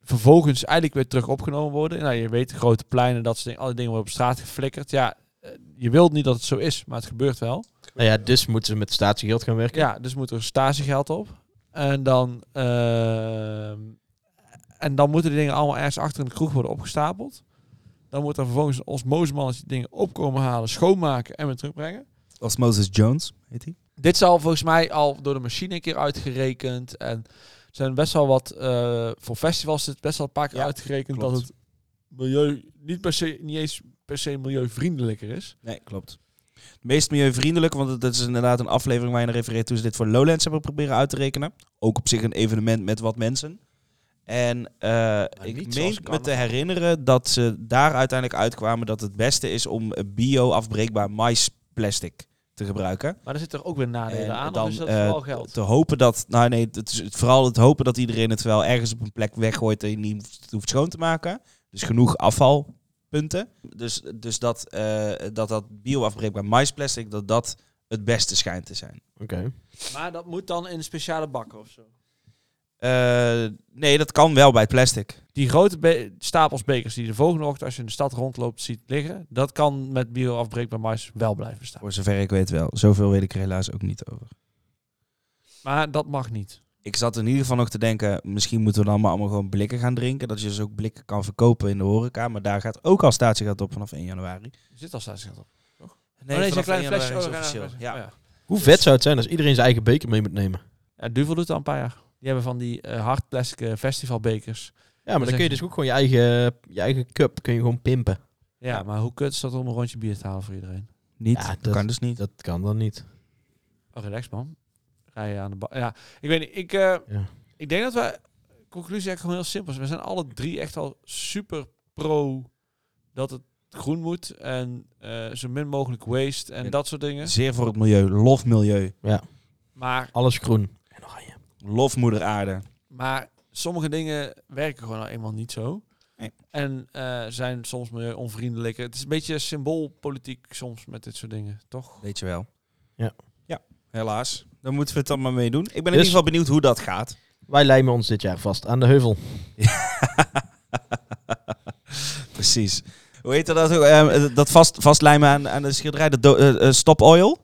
[SPEAKER 4] vervolgens eigenlijk weer terug opgenomen worden. Nou, je weet, grote pleinen, dat soort dingen, alle dingen worden op straat geflikkerd. Ja, eh, je wilt niet dat het zo is, maar het gebeurt wel.
[SPEAKER 2] Nou ja, dus moeten ze met statiegeld gaan werken.
[SPEAKER 4] Ja, dus moet er stagegeld op. En dan, ehm, en dan moeten die dingen allemaal ergens achter in de kroeg worden opgestapeld. Dan moet er vervolgens een osmosemannetje die dingen opkomen halen, schoonmaken en weer terugbrengen.
[SPEAKER 3] Als Moses Jones, heet hij?
[SPEAKER 4] Dit zal volgens mij al door de machine een keer uitgerekend. En er zijn best wel wat, eh, voor festivals is het best wel een paar keer
[SPEAKER 3] Ja,
[SPEAKER 4] uitgerekend
[SPEAKER 3] klopt.
[SPEAKER 4] dat het milieu niet, per se, niet eens per se milieuvriendelijker is.
[SPEAKER 3] Nee, klopt. Het meest milieuvriendelijk, want het- dat is inderdaad een aflevering waar je naar refereert toen ze dit voor Lowlands hebben proberen uit te rekenen. Ook op zich een evenement met wat mensen. En eh, ik
[SPEAKER 4] niet
[SPEAKER 3] meen
[SPEAKER 4] zoals
[SPEAKER 3] me te
[SPEAKER 4] carnaval.
[SPEAKER 3] herinneren dat ze daar uiteindelijk uitkwamen dat het beste is om bio-afbreekbaar maisplastic te gebruiken.
[SPEAKER 4] Maar er zitten er ook weer nadelen
[SPEAKER 3] En
[SPEAKER 4] aan, of
[SPEAKER 3] dan,
[SPEAKER 4] is dat
[SPEAKER 3] eh,
[SPEAKER 4] vooral geld?
[SPEAKER 3] Te hopen dat, nou nee, het is vooral het hopen dat iedereen het wel ergens op een plek weggooit en je niet hoeft- hoeft schoon te maken. Dus genoeg afvalpunten. Dus, dus dat, eh dat dat bioafbreekbaar maisplastic, dat dat het beste schijnt te zijn.
[SPEAKER 2] Oké.
[SPEAKER 4] Maar dat moet dan in een speciale bakken of zo?
[SPEAKER 3] Eh, nee, dat kan wel bij plastic.
[SPEAKER 4] die grote be- stapels bekers die je de volgende ochtend als je in de stad rondloopt ziet liggen, dat kan met bioafbreekbaar mais wel blijven staan.
[SPEAKER 3] Voor zover ik weet wel. Zoveel weet ik er helaas ook niet over.
[SPEAKER 4] Maar dat mag niet.
[SPEAKER 3] Ik zat in ieder geval nog te denken, misschien moeten we dan maar allemaal gewoon blikken gaan drinken. Dat je dus ook blikken kan verkopen in de horeca. Maar daar gaat ook al statiegeld op vanaf 1 januari.
[SPEAKER 4] Er zit al staatsgeld op.
[SPEAKER 3] Nee,
[SPEAKER 4] oh, nee,
[SPEAKER 3] vanaf
[SPEAKER 4] zijn
[SPEAKER 3] 1
[SPEAKER 4] kleine
[SPEAKER 3] januari
[SPEAKER 4] flesjes.
[SPEAKER 3] is
[SPEAKER 4] oh,
[SPEAKER 3] het officieel.
[SPEAKER 4] ja.
[SPEAKER 3] Ja.
[SPEAKER 4] ja.
[SPEAKER 2] Hoe vet zou het zijn als iedereen zijn eigen beker mee moet nemen?
[SPEAKER 4] Ja, Duvel doet al een paar jaar. Die hebben van die eh, hard plastic eh, festivalbekers.
[SPEAKER 2] Ja, maar dan kun je dus ook gewoon je eigen, je eigen cup kun je gewoon pimpen.
[SPEAKER 4] Ja, maar hoe kut is dat om een rondje bier te halen voor iedereen?
[SPEAKER 3] Niet,
[SPEAKER 2] Ja, dat-
[SPEAKER 3] dat kan dus niet.
[SPEAKER 2] Dat kan dan niet.
[SPEAKER 4] Oh, relax man. Ga je aan de bal. Ja, ik weet niet. Ik, eh,
[SPEAKER 2] Ja.
[SPEAKER 4] ik denk dat we... Conclusie eigenlijk gewoon heel simpel is. We zijn alle drie echt al super pro dat het groen moet. En eh, zo min mogelijk waste en
[SPEAKER 3] En-
[SPEAKER 4] dat soort dingen.
[SPEAKER 3] Zeer voor het milieu. Lof milieu.
[SPEAKER 4] Maar,
[SPEAKER 2] Alles groen. En oranje.
[SPEAKER 3] Lof moeder aarde.
[SPEAKER 4] maar sommige dingen werken gewoon nou eenmaal niet zo.
[SPEAKER 3] Nee.
[SPEAKER 4] En eh, zijn soms milieu-onvriendelijk. Het is een beetje symboolpolitiek soms met dit soort dingen, toch?
[SPEAKER 3] Weet je wel.
[SPEAKER 2] Ja.
[SPEAKER 3] Ja, helaas. Dan moeten we het dan maar mee doen. Ik ben in
[SPEAKER 2] Dus-
[SPEAKER 3] ieder geval benieuwd hoe dat gaat.
[SPEAKER 2] Wij lijmen ons dit jaar vast aan de heuvel.
[SPEAKER 3] Precies. Hoe heet dat ook? Eh, dat vast, vastlijmen aan, aan de schilderij. Dat do- eh, eh, stop oil.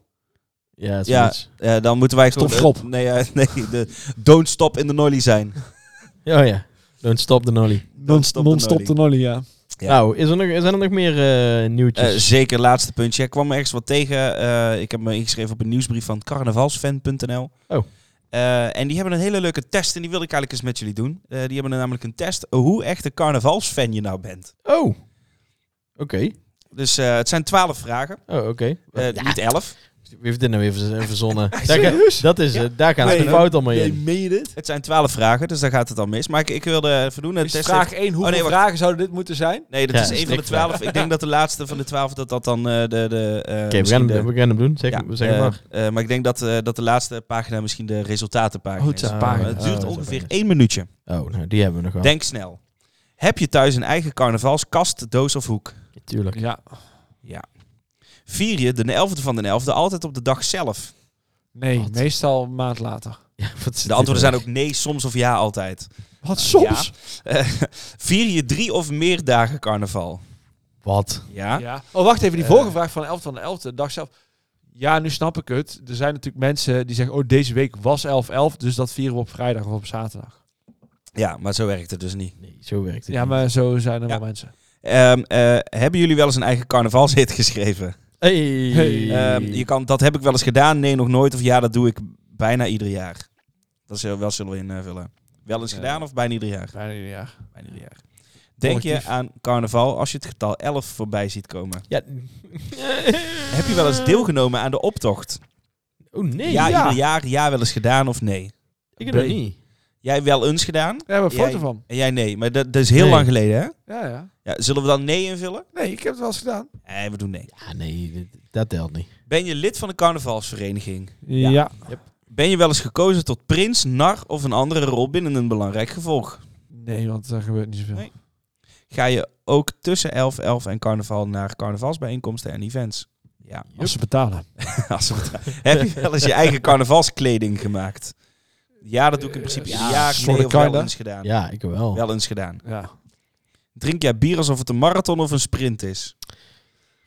[SPEAKER 2] Ja, het is
[SPEAKER 3] Ja.
[SPEAKER 2] iets.
[SPEAKER 3] Eh, dan moeten wij gewoon...
[SPEAKER 4] Stop schop.
[SPEAKER 3] eh, nee, eh, nee de don't stop in de nolly zijn.
[SPEAKER 2] Oh ja. Don't stop the nolly.
[SPEAKER 3] Non-stop de non-stop nollie. de
[SPEAKER 4] nollie, ja.
[SPEAKER 3] Ja.
[SPEAKER 2] Nou, is er nog, zijn er nog meer eh,
[SPEAKER 3] Eh,
[SPEAKER 2] nieuwtjes?
[SPEAKER 3] zeker, laatste puntje. Ik kwam ergens wat tegen. Eh, ik heb me ingeschreven op een nieuwsbrief van carnavalsfan.nl.
[SPEAKER 2] Oh.
[SPEAKER 3] Eh, en die hebben een hele leuke test en die wil ik eigenlijk eens met jullie doen. Eh, die hebben namelijk een test hoe echt een carnavalsfan je nou bent.
[SPEAKER 2] oh. Oké.
[SPEAKER 3] Dus eh, het zijn twaalf vragen,
[SPEAKER 2] Oh, oké.
[SPEAKER 3] eh,
[SPEAKER 2] Eh,
[SPEAKER 3] niet elf.
[SPEAKER 2] Wie heeft dit nou weer verz- verzonnen? Daar ga- dat is het. Daar gaan ze de
[SPEAKER 3] Nee.
[SPEAKER 2] fout allemaal in.
[SPEAKER 4] meen je dit?
[SPEAKER 3] Het zijn twaalf vragen, dus daar gaat het dan mis. Maar ik, ik wilde even doen. Het
[SPEAKER 4] Is
[SPEAKER 3] test
[SPEAKER 4] vraag
[SPEAKER 3] heeft-
[SPEAKER 4] 1, hoeveel
[SPEAKER 3] nee, wacht.
[SPEAKER 4] vragen zouden dit moeten zijn?
[SPEAKER 3] Nee, dat
[SPEAKER 2] Ja,
[SPEAKER 3] is één van de
[SPEAKER 2] strikvraag.
[SPEAKER 3] twaalf. ik denk dat de laatste van de twaalf dat dat dan eh, de... de eh,
[SPEAKER 2] Oké, we,
[SPEAKER 3] misschien
[SPEAKER 2] gaan
[SPEAKER 3] de-
[SPEAKER 2] hem- we gaan hem doen. Zeg,
[SPEAKER 3] Ja,
[SPEAKER 2] zeg
[SPEAKER 3] eh,
[SPEAKER 2] maar.
[SPEAKER 3] eh, maar ik denk dat, eh, dat de laatste pagina misschien de resultatenpagina
[SPEAKER 4] Oh, het is
[SPEAKER 3] is.
[SPEAKER 4] een
[SPEAKER 3] Maar
[SPEAKER 4] pagina.
[SPEAKER 3] Eh, het
[SPEAKER 2] Oh,
[SPEAKER 3] duurt
[SPEAKER 2] dat is
[SPEAKER 3] ongeveer
[SPEAKER 2] oké.
[SPEAKER 3] één minuutje.
[SPEAKER 2] Oh, nou, die hebben we nog wel.
[SPEAKER 3] Denk snel. Heb je thuis een eigen carnavalskast, doos of hoek?
[SPEAKER 2] Tuurlijk.
[SPEAKER 4] Ja.
[SPEAKER 3] Vier je de 11e van de 11e altijd op de dag zelf?
[SPEAKER 4] Nee,
[SPEAKER 2] Wat?
[SPEAKER 4] meestal een maand later.
[SPEAKER 2] Ja, wat is
[SPEAKER 3] De
[SPEAKER 2] dit
[SPEAKER 3] antwoorden
[SPEAKER 2] weer?
[SPEAKER 3] zijn ook nee, soms of ja altijd.
[SPEAKER 4] Wat
[SPEAKER 3] Ja. Vier je drie of meer dagen carnaval?
[SPEAKER 2] Wat?
[SPEAKER 3] Ja. Eh.
[SPEAKER 4] Ja. Oh, wacht even. Die vorige vraag van 11 van de 11 dag zelf. Ja, nu snap ik het. Er zijn natuurlijk mensen die zeggen, oh, deze week was 11-11, dus dat vieren we op vrijdag of op zaterdag.
[SPEAKER 3] ja, maar zo werkt het dus niet.
[SPEAKER 2] Nee, zo werkt het
[SPEAKER 4] Ja,
[SPEAKER 2] niet.
[SPEAKER 4] maar zo zijn er
[SPEAKER 3] Ja.
[SPEAKER 4] wel mensen.
[SPEAKER 3] Ehm, eh, hebben jullie wel eens een eigen carnavalshit geschreven?
[SPEAKER 2] Hey.
[SPEAKER 4] Hey.
[SPEAKER 3] Ehm, je kan, dat heb ik wel eens gedaan. Nee, nog nooit. Of ja, dat doe ik bijna ieder jaar. Dat zullen we wel zullen we invullen. Wel eens gedaan of bijna ieder jaar?
[SPEAKER 4] Bijna ieder jaar.
[SPEAKER 3] Bijna ieder jaar. Denk je
[SPEAKER 4] Collectief.
[SPEAKER 3] aan carnaval als je het getal 11 voorbij ziet komen?
[SPEAKER 2] Ja.
[SPEAKER 3] Heb je wel eens deelgenomen aan de optocht?
[SPEAKER 2] Oh nee,
[SPEAKER 3] ja,
[SPEAKER 2] ja,
[SPEAKER 3] ieder jaar. Ja, wel eens gedaan of nee?
[SPEAKER 2] ik heb dat
[SPEAKER 4] B.
[SPEAKER 2] niet.
[SPEAKER 3] Jij wel eens gedaan
[SPEAKER 4] Daar hebben we een
[SPEAKER 3] Jij-
[SPEAKER 4] foto van.
[SPEAKER 3] en jij nee. Maar dat, dat is heel
[SPEAKER 2] Nee.
[SPEAKER 3] lang geleden, hè?
[SPEAKER 4] Ja, ja.
[SPEAKER 3] Ja, zullen we dan nee invullen?
[SPEAKER 4] Nee, ik heb het wel eens gedaan.
[SPEAKER 3] Nee, we doen nee.
[SPEAKER 2] Ja, nee, dit- dat telt niet.
[SPEAKER 3] Ben je lid van een carnavalsvereniging?
[SPEAKER 4] Ja.
[SPEAKER 3] Ben je wel eens gekozen tot prins, nar of een andere rol binnen een belangrijk gevolg?
[SPEAKER 4] Nee, want er gebeurt niet zoveel.
[SPEAKER 3] Nee. Ga je ook tussen 11, 11 en carnaval naar carnavalsbijeenkomsten en events? Ja.
[SPEAKER 4] Als ze betalen.
[SPEAKER 3] Als het ware. Heb je wel eens je eigen carnavalskleding gemaakt? Ja, dat doe ik
[SPEAKER 2] Eh,
[SPEAKER 3] in principe ieder jaar.
[SPEAKER 4] soort
[SPEAKER 3] Nee, of wel
[SPEAKER 4] kinda.
[SPEAKER 3] eens gedaan.
[SPEAKER 2] Ja, ik wel.
[SPEAKER 3] Wel eens gedaan.
[SPEAKER 4] Ja.
[SPEAKER 3] Drink jij bier alsof het een marathon of een sprint is?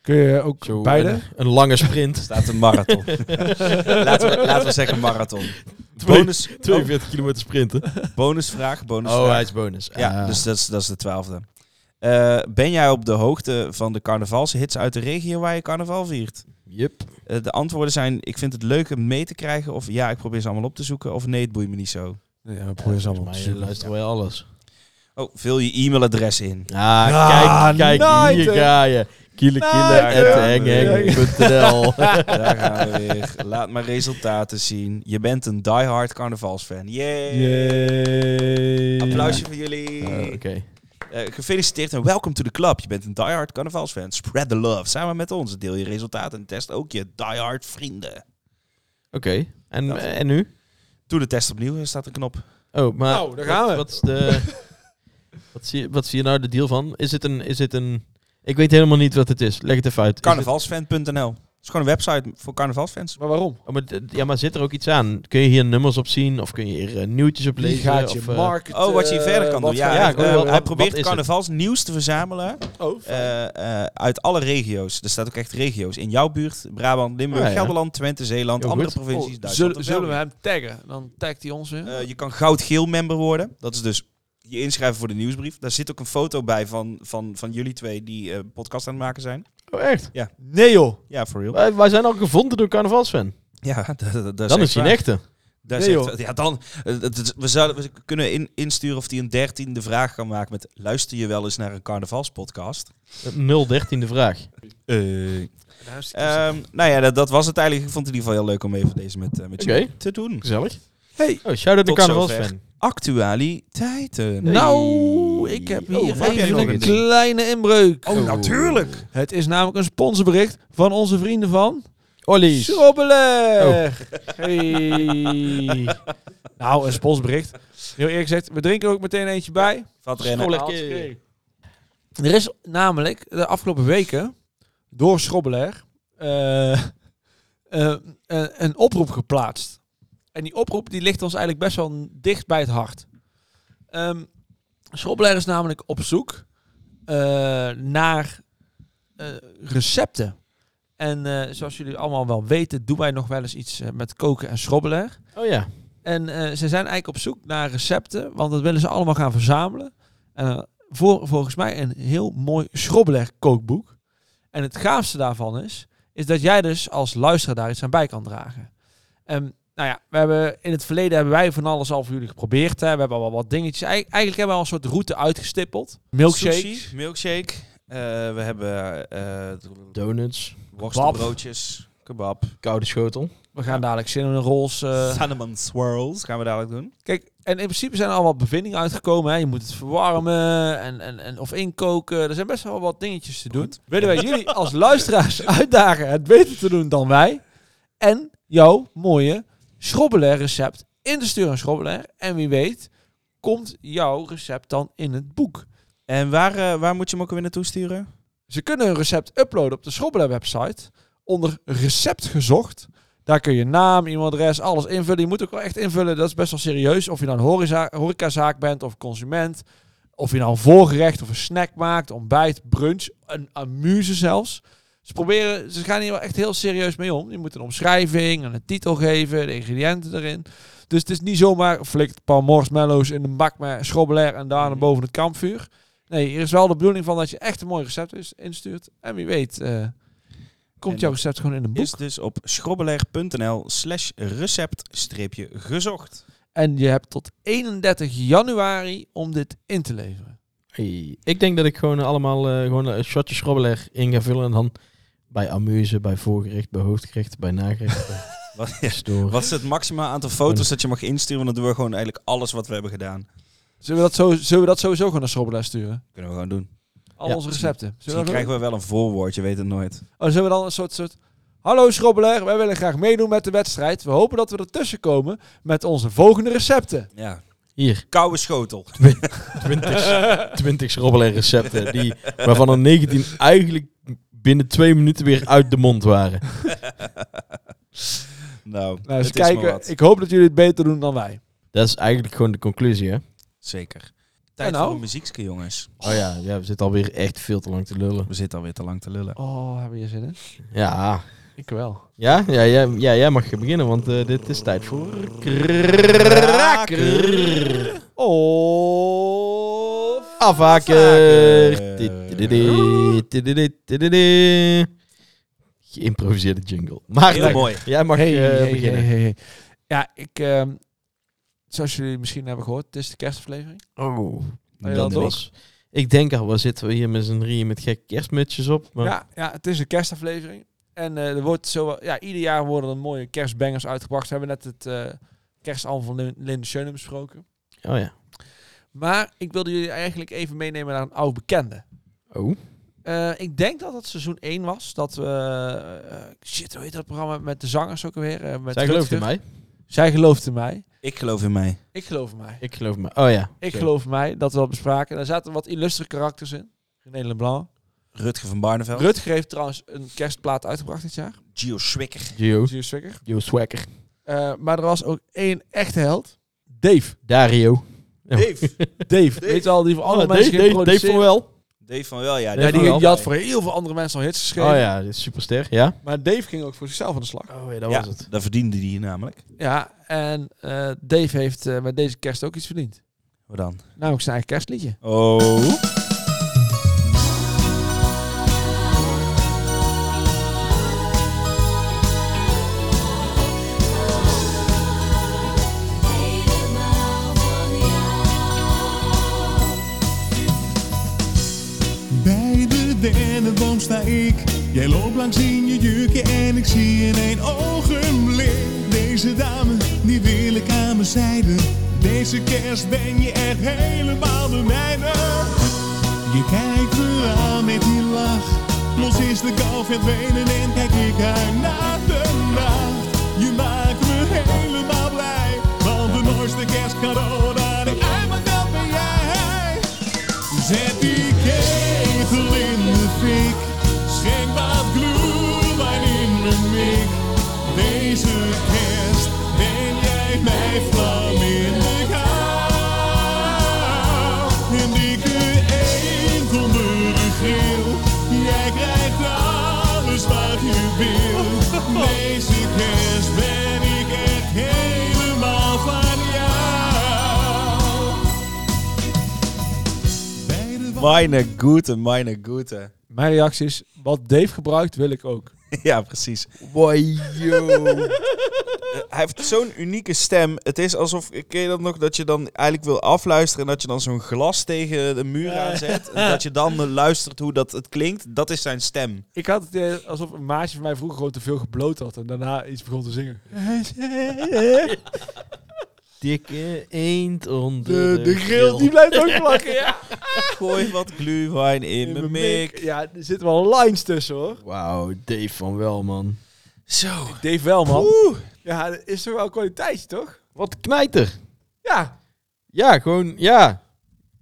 [SPEAKER 4] Kun je ook
[SPEAKER 2] Zo,
[SPEAKER 4] beide?
[SPEAKER 2] Een, een lange sprint.
[SPEAKER 3] Staat een marathon. laten, we, laten we zeggen marathon.
[SPEAKER 2] Twee-
[SPEAKER 3] Bonus, oh,
[SPEAKER 2] 42 kilometer sprinten.
[SPEAKER 3] bonusvraag, bonusvraag.
[SPEAKER 2] Oh, hij is bonus.
[SPEAKER 3] Ja,
[SPEAKER 2] Ah.
[SPEAKER 3] dus dat is, dat is de twaalfde. Eh, ben jij op de hoogte van de carnavalshits uit de regio waar je carnaval viert?
[SPEAKER 2] Yep.
[SPEAKER 3] Eh, de antwoorden zijn, ik vind het leuk om mee te krijgen. Of ja, ik probeer ze allemaal op te zoeken. Of nee, het boeit me niet zo.
[SPEAKER 4] Ja, we proberen ze allemaal op
[SPEAKER 2] Maar
[SPEAKER 4] te
[SPEAKER 2] je
[SPEAKER 4] zoeken.
[SPEAKER 2] luistert wel eh, alles.
[SPEAKER 3] Oh, vul je e-mailadres in.
[SPEAKER 2] Ah,
[SPEAKER 4] Ja,
[SPEAKER 2] kijk, kijk,
[SPEAKER 4] night,
[SPEAKER 2] hier
[SPEAKER 4] hè.
[SPEAKER 2] ga je. Kiele, kiele,
[SPEAKER 3] Night,
[SPEAKER 2] at
[SPEAKER 3] ja.
[SPEAKER 2] hengheng.nl.
[SPEAKER 3] Daar gaan we weer. Laat maar resultaten zien. Je bent een diehard carnavalsfan. Yay!
[SPEAKER 4] Eh, Yay.
[SPEAKER 3] Applausje voor jullie.
[SPEAKER 2] Oh, Oké.
[SPEAKER 3] Eh, gefeliciteerd en welkom to the club. Je bent een diehard carnavalsfan. Spread the love. Samen met ons. Deel je resultaten en test ook je diehard vrienden.
[SPEAKER 2] Oké. En, eh,
[SPEAKER 3] Dat.
[SPEAKER 2] en nu?
[SPEAKER 3] Doe de test opnieuw. Er staat een knop.
[SPEAKER 2] Oh, maar
[SPEAKER 4] Nou, daar gaan
[SPEAKER 2] wat,
[SPEAKER 4] we.
[SPEAKER 2] wat is de... wat, zie je, wat zie je nou de deal van? Is het een... Is het een ik weet helemaal niet wat het is. Leg het even uit. Is
[SPEAKER 3] Carnavalsfan.nl. Het is gewoon een website voor carnavalsfans.
[SPEAKER 4] Maar waarom?
[SPEAKER 2] het- oh, maar, d- ja, maar zit er ook iets aan? Kun je hier nummers op zien? Of kun je hier eh, nieuwtjes op
[SPEAKER 4] Die
[SPEAKER 2] lezen?
[SPEAKER 4] gaat je
[SPEAKER 2] of, eh,
[SPEAKER 4] marketen,
[SPEAKER 3] Oh, wat je verder kan
[SPEAKER 4] wat
[SPEAKER 3] doen. Ja,
[SPEAKER 4] ga-
[SPEAKER 2] ja,
[SPEAKER 3] eh,
[SPEAKER 2] ik wil wel-
[SPEAKER 3] hij
[SPEAKER 2] wat-
[SPEAKER 3] probeert
[SPEAKER 2] wat is
[SPEAKER 3] carnavalsnieuws te verzamelen
[SPEAKER 4] Oh, fijn.
[SPEAKER 3] eh, eh, uit alle regio's. Er staat ook echt regio's. In jouw buurt, Brabant, Limburg,
[SPEAKER 2] Ah, ja.
[SPEAKER 3] Gelderland, Twente, Zeeland,
[SPEAKER 2] Heel
[SPEAKER 3] andere
[SPEAKER 2] goed.
[SPEAKER 3] provincies,
[SPEAKER 4] Oh,
[SPEAKER 3] Duitsland.
[SPEAKER 4] zullen,
[SPEAKER 3] of
[SPEAKER 4] zullen we
[SPEAKER 3] België.
[SPEAKER 4] hem taggen? Dan tagt hij ons weer.
[SPEAKER 3] Eh, je kan goudgeel member worden. Dat is dus je inschrijven voor de nieuwsbrief. Daar zit ook een foto bij van, van, van jullie twee die eh, podcast aan het maken zijn.
[SPEAKER 2] Oh, echt?
[SPEAKER 4] nee joh.
[SPEAKER 3] Ja, for real.
[SPEAKER 2] Wij, wij zijn al gevonden door carnavalsfan.
[SPEAKER 3] Ja, dat- dat- dat
[SPEAKER 2] Dan is
[SPEAKER 3] echt
[SPEAKER 2] hij een
[SPEAKER 3] waar.
[SPEAKER 2] echte.
[SPEAKER 3] Daar
[SPEAKER 4] Nee,
[SPEAKER 3] zegt-
[SPEAKER 4] joh.
[SPEAKER 3] ja, dan, eh, dat- dat- we, zouden, we kunnen in, insturen of die een dertiende vraag kan maken met... Luister je wel eens naar een carnavalspodcast?
[SPEAKER 2] 013e vraag.
[SPEAKER 4] Eh,
[SPEAKER 3] Ehm, nou ja, dat, dat was het eigenlijk. Ik vond het in ieder geval heel leuk om even deze met, eh, met
[SPEAKER 2] Oké.
[SPEAKER 3] jullie te doen.
[SPEAKER 2] Gezellig.
[SPEAKER 3] Hey,
[SPEAKER 2] Oh, shout-out de
[SPEAKER 3] Tot
[SPEAKER 2] carnavalsfan.
[SPEAKER 3] actualiteiten.
[SPEAKER 4] Nou, ik heb
[SPEAKER 3] Oh,
[SPEAKER 4] hier
[SPEAKER 3] heb jij
[SPEAKER 4] even
[SPEAKER 3] nog
[SPEAKER 4] een,
[SPEAKER 3] een ding?
[SPEAKER 4] kleine inbreuk.
[SPEAKER 3] Oh, natuurlijk.
[SPEAKER 4] Het is namelijk een sponsorbericht van onze vrienden van...
[SPEAKER 2] Ollies.
[SPEAKER 3] Oh.
[SPEAKER 4] Schrobbeler! Hey. nou, een sponsorbericht. Heel eerlijk gezegd, we drinken er ook meteen eentje bij.
[SPEAKER 3] Van het rennen.
[SPEAKER 2] Lekker.
[SPEAKER 4] Hartstikke. eh, Er is namelijk de afgelopen weken door Schrobbeler eh, eh, een, een oproep geplaatst. En die oproep die ligt ons eigenlijk best wel dicht bij het hart. Ehm Schrobbeler is namelijk op zoek eh, naar eh, recepten. En eh, zoals jullie allemaal wel weten, doen wij nog wel eens iets eh, met koken en Schrobbeler.
[SPEAKER 2] Oh ja.
[SPEAKER 4] En eh, ze zijn eigenlijk op zoek naar recepten, want dat willen ze allemaal gaan verzamelen. En eh, voor, volgens mij een heel mooi schrobbeler kookboek. En het gaafste daarvan is, is dat jij dus als luisteraar daar iets aan bij kan dragen. En nou ja, we hebben, in het verleden hebben wij van alles al voor jullie geprobeerd. Hè. We hebben al wel wat dingetjes. Eigen- eigenlijk hebben we al een soort route uitgestippeld. Milkshakes.
[SPEAKER 3] Sushi, milkshake. Eh, we hebben eh
[SPEAKER 2] Donuts.
[SPEAKER 3] worstenbroodjes, kebab.
[SPEAKER 2] Koude schotel.
[SPEAKER 4] We gaan dadelijk cinnamon rolls. eh,
[SPEAKER 3] Cinnamon swirls gaan we dadelijk doen.
[SPEAKER 4] Kijk, en in principe zijn er al wat bevindingen uitgekomen. Hè. Je moet het verwarmen en, en, en, of inkoken. Er zijn best wel wat dingetjes te doen. Willen wij jullie als luisteraars uitdagen het beter te doen dan wij. En jouw mooie schrobbeler recept in te sturen aan schrobbeler. En wie weet komt jouw recept dan in het boek.
[SPEAKER 3] En waar, eh, waar moet je hem ook weer naartoe sturen?
[SPEAKER 4] Ze kunnen hun recept uploaden op de Schrobbeler website. Onder recept gezocht. Daar kun je naam, e-mailadres, alles invullen. Je moet ook wel echt invullen. Dat is best wel serieus. Of je nou een horeca- horecazaak bent of consument. Of je nou een voorgerecht of een snack maakt, ontbijt, brunch, een amuse zelfs. Ze proberen, ze gaan hier wel echt heel serieus mee om. Je moet een omschrijving en een titel geven, de ingrediënten erin. Dus het is niet zomaar flikt een paar marshmallows in een bak met schrobbeler en daarna boven het kampvuur. Nee, er is wel de bedoeling van dat je echt een mooi recept is- instuurt. En wie weet, eh, komt
[SPEAKER 3] En
[SPEAKER 4] jouw recept gewoon in een boek.
[SPEAKER 3] Is dus op schrobbeler.nl slash recept-gezocht.
[SPEAKER 4] En je hebt tot 31 januari om dit in te leveren.
[SPEAKER 2] Hey, ik denk dat ik gewoon allemaal eh, gewoon een shotje schrobbeler in ga vullen. En dan bij amuse, bij voorgerecht, bij hoofdgerecht, bij nagerecht. bij
[SPEAKER 3] Wat,
[SPEAKER 2] pastoor.
[SPEAKER 3] wat is het maximaal aantal foto's dat je mag insturen? Want dan doen we gewoon eigenlijk alles wat we hebben gedaan.
[SPEAKER 4] Zullen we dat, zo, zullen we dat sowieso gewoon naar Schrobbelaar sturen?
[SPEAKER 3] Kunnen we gewoon doen.
[SPEAKER 4] Al
[SPEAKER 2] Ja.
[SPEAKER 4] onze recepten. Zullen
[SPEAKER 3] Misschien
[SPEAKER 4] we, dat
[SPEAKER 3] krijgen we wel een voorwoord, je weet het nooit.
[SPEAKER 4] doen? Oh, zullen we dan een soort... soort Hallo Schrobbelaar, wij willen graag meedoen met de wedstrijd. We hopen dat we ertussen komen met onze volgende recepten.
[SPEAKER 3] Ja.
[SPEAKER 2] Hier,
[SPEAKER 3] Koude schotel.
[SPEAKER 2] 20, 20 schrobbeler recepten. Die, waarvan er 19 eigenlijk binnen twee minuten weer uit de mond waren.
[SPEAKER 3] Nou,
[SPEAKER 4] Nou, eens
[SPEAKER 3] het is maar
[SPEAKER 4] kijken.
[SPEAKER 3] wat.
[SPEAKER 4] Ik hoop dat jullie het beter doen dan wij.
[SPEAKER 2] Dat is eigenlijk gewoon de conclusie, hè?
[SPEAKER 3] Zeker. Tijd
[SPEAKER 4] En nou?
[SPEAKER 3] voor een muziekske, jongens.
[SPEAKER 2] Oh ja, ja, we zitten alweer echt veel te lang te lullen.
[SPEAKER 3] We zitten alweer te lang te lullen.
[SPEAKER 4] Oh, hebben we hier zin in?
[SPEAKER 2] Ja,
[SPEAKER 4] Ik wel.
[SPEAKER 2] ja, ja, ja, ja jij mag beginnen, want eh, dit is tijd voor... Kraker.
[SPEAKER 4] Of...
[SPEAKER 2] Afhaker. Tididi, tididi, tididi. Geïmproviseerde jingle. Maar
[SPEAKER 3] Heel
[SPEAKER 2] dan-
[SPEAKER 3] mooi.
[SPEAKER 2] Jij mag
[SPEAKER 4] Hey,
[SPEAKER 2] eh,
[SPEAKER 4] hey, hey,
[SPEAKER 2] beginnen.
[SPEAKER 4] hey, hey. Ja, ik... ehm, zoals jullie misschien hebben gehoord, het is de kerstaflevering.
[SPEAKER 2] Oh,
[SPEAKER 4] Ben je
[SPEAKER 2] dat
[SPEAKER 4] dan
[SPEAKER 2] was. Ik denk al, waar zitten we hier met z'n drieën met gekke kerstmutsjes op? Maar
[SPEAKER 4] Ja, ja, het is een kerstaflevering. En eh, er wordt zo, wel- ja, ieder jaar worden er mooie kerstbangers uitgebracht. We hebben net het eh kerstalbum van Lin- Linde Schöne besproken.
[SPEAKER 2] Oh ja.
[SPEAKER 4] Maar ik wilde jullie eigenlijk even meenemen naar een oud bekende.
[SPEAKER 2] Oh.
[SPEAKER 4] Eh, ik denk dat het seizoen 1 was. Dat we... eh, shit, hoe heet dat programma met de zangers ook alweer? eh, met
[SPEAKER 2] Zij gelooft in
[SPEAKER 4] Rutger.
[SPEAKER 2] mij.
[SPEAKER 4] Zij gelooft in mij.
[SPEAKER 3] Ik geloof in mij.
[SPEAKER 4] Ik geloof in mij.
[SPEAKER 2] Ik geloof in mij. Oh ja.
[SPEAKER 4] Ik
[SPEAKER 2] Zo.
[SPEAKER 4] geloof in mij dat we dat bespraken. Daar zaten wat illustre karakters in. René Leblanc.
[SPEAKER 3] Rutger van Barneveld.
[SPEAKER 4] Rutger heeft trouwens een kerstplaat uitgebracht dit jaar.
[SPEAKER 3] Gio Swikker.
[SPEAKER 2] Gio.
[SPEAKER 4] Zeer zeker.
[SPEAKER 2] Gio Swacker.
[SPEAKER 4] Eh, maar er was ook één echte held. Dave.
[SPEAKER 2] Dario.
[SPEAKER 3] Dave.
[SPEAKER 4] Dave. Weet je al, die voor andere
[SPEAKER 2] Oh,
[SPEAKER 4] mensen
[SPEAKER 2] Dave, Dave, Dave
[SPEAKER 4] geproduceerd.
[SPEAKER 2] van wel.
[SPEAKER 3] Dave van wel, ja.
[SPEAKER 4] Ja,
[SPEAKER 2] Dave
[SPEAKER 3] die-
[SPEAKER 2] van
[SPEAKER 4] die,
[SPEAKER 2] wel.
[SPEAKER 4] die had voor heel veel andere mensen al hits geschreven.
[SPEAKER 2] Oh ja, dit is superster. Ja.
[SPEAKER 4] Maar Dave ging ook voor zichzelf aan de slag.
[SPEAKER 2] Oh ja, dat
[SPEAKER 3] ja, dat verdiende hij namelijk.
[SPEAKER 4] Ja, en eh, Dave heeft eh, met deze kerst ook iets verdiend.
[SPEAKER 3] Hoe dan?
[SPEAKER 4] Namelijk zijn eigen kerstliedje.
[SPEAKER 3] Oh.
[SPEAKER 9] Bij de dennenboom sta ik. Jij loopt langs in je jurkje en ik zie in één ogenblik. Deze dame, die wil ik aan mijn zijde. Deze kerst ben je echt helemaal de mijne. Je kijkt me aan met die lach. Los is de kou verdwenen en kijk ik uit naar de nacht. Je maakt me helemaal blij. Want de mooiste kerstcadeau dat ik uit mijn dak ben jij. Zet die ketel in de fik. Schenk wat glühwein in mijn mik. Deze kerst ben jij mijn vlam in de kou. Een dikke eend onder de grill. Jij krijgt alles wat je wil. Deze kerst ben ik echt helemaal van jou. Bij de
[SPEAKER 3] Meine Gute, meine Gute.
[SPEAKER 4] Mijn reactie is, wat Dave gebruikt, wil ik ook.
[SPEAKER 3] Ja, precies.
[SPEAKER 2] joh.
[SPEAKER 3] Eh, Hij heeft zo'n unieke stem. Het is alsof, ken je dat nog, dat je dan eigenlijk wil afluisteren... en dat je dan zo'n glas tegen de muur aanzet. En dat je dan eh, luistert hoe dat het klinkt. Dat is zijn stem.
[SPEAKER 4] Ik had het idee alsof een maatje van mij vroeger gewoon te veel gebloot had. En daarna iets begon te zingen.
[SPEAKER 2] Dikke eend onder de,
[SPEAKER 4] Grill, die blijft ook plakken, ja.
[SPEAKER 3] Gooi wat glühwein in mijn mik.
[SPEAKER 4] Ja, er zitten wel lines tussen, hoor.
[SPEAKER 2] Wauw, Dave van wel, man.
[SPEAKER 3] Zo.
[SPEAKER 4] Dave wel, man. Ja, dat is toch wel kwaliteitje, toch?
[SPEAKER 2] Wat knijter.
[SPEAKER 4] Ja.
[SPEAKER 2] Ja, gewoon, ja.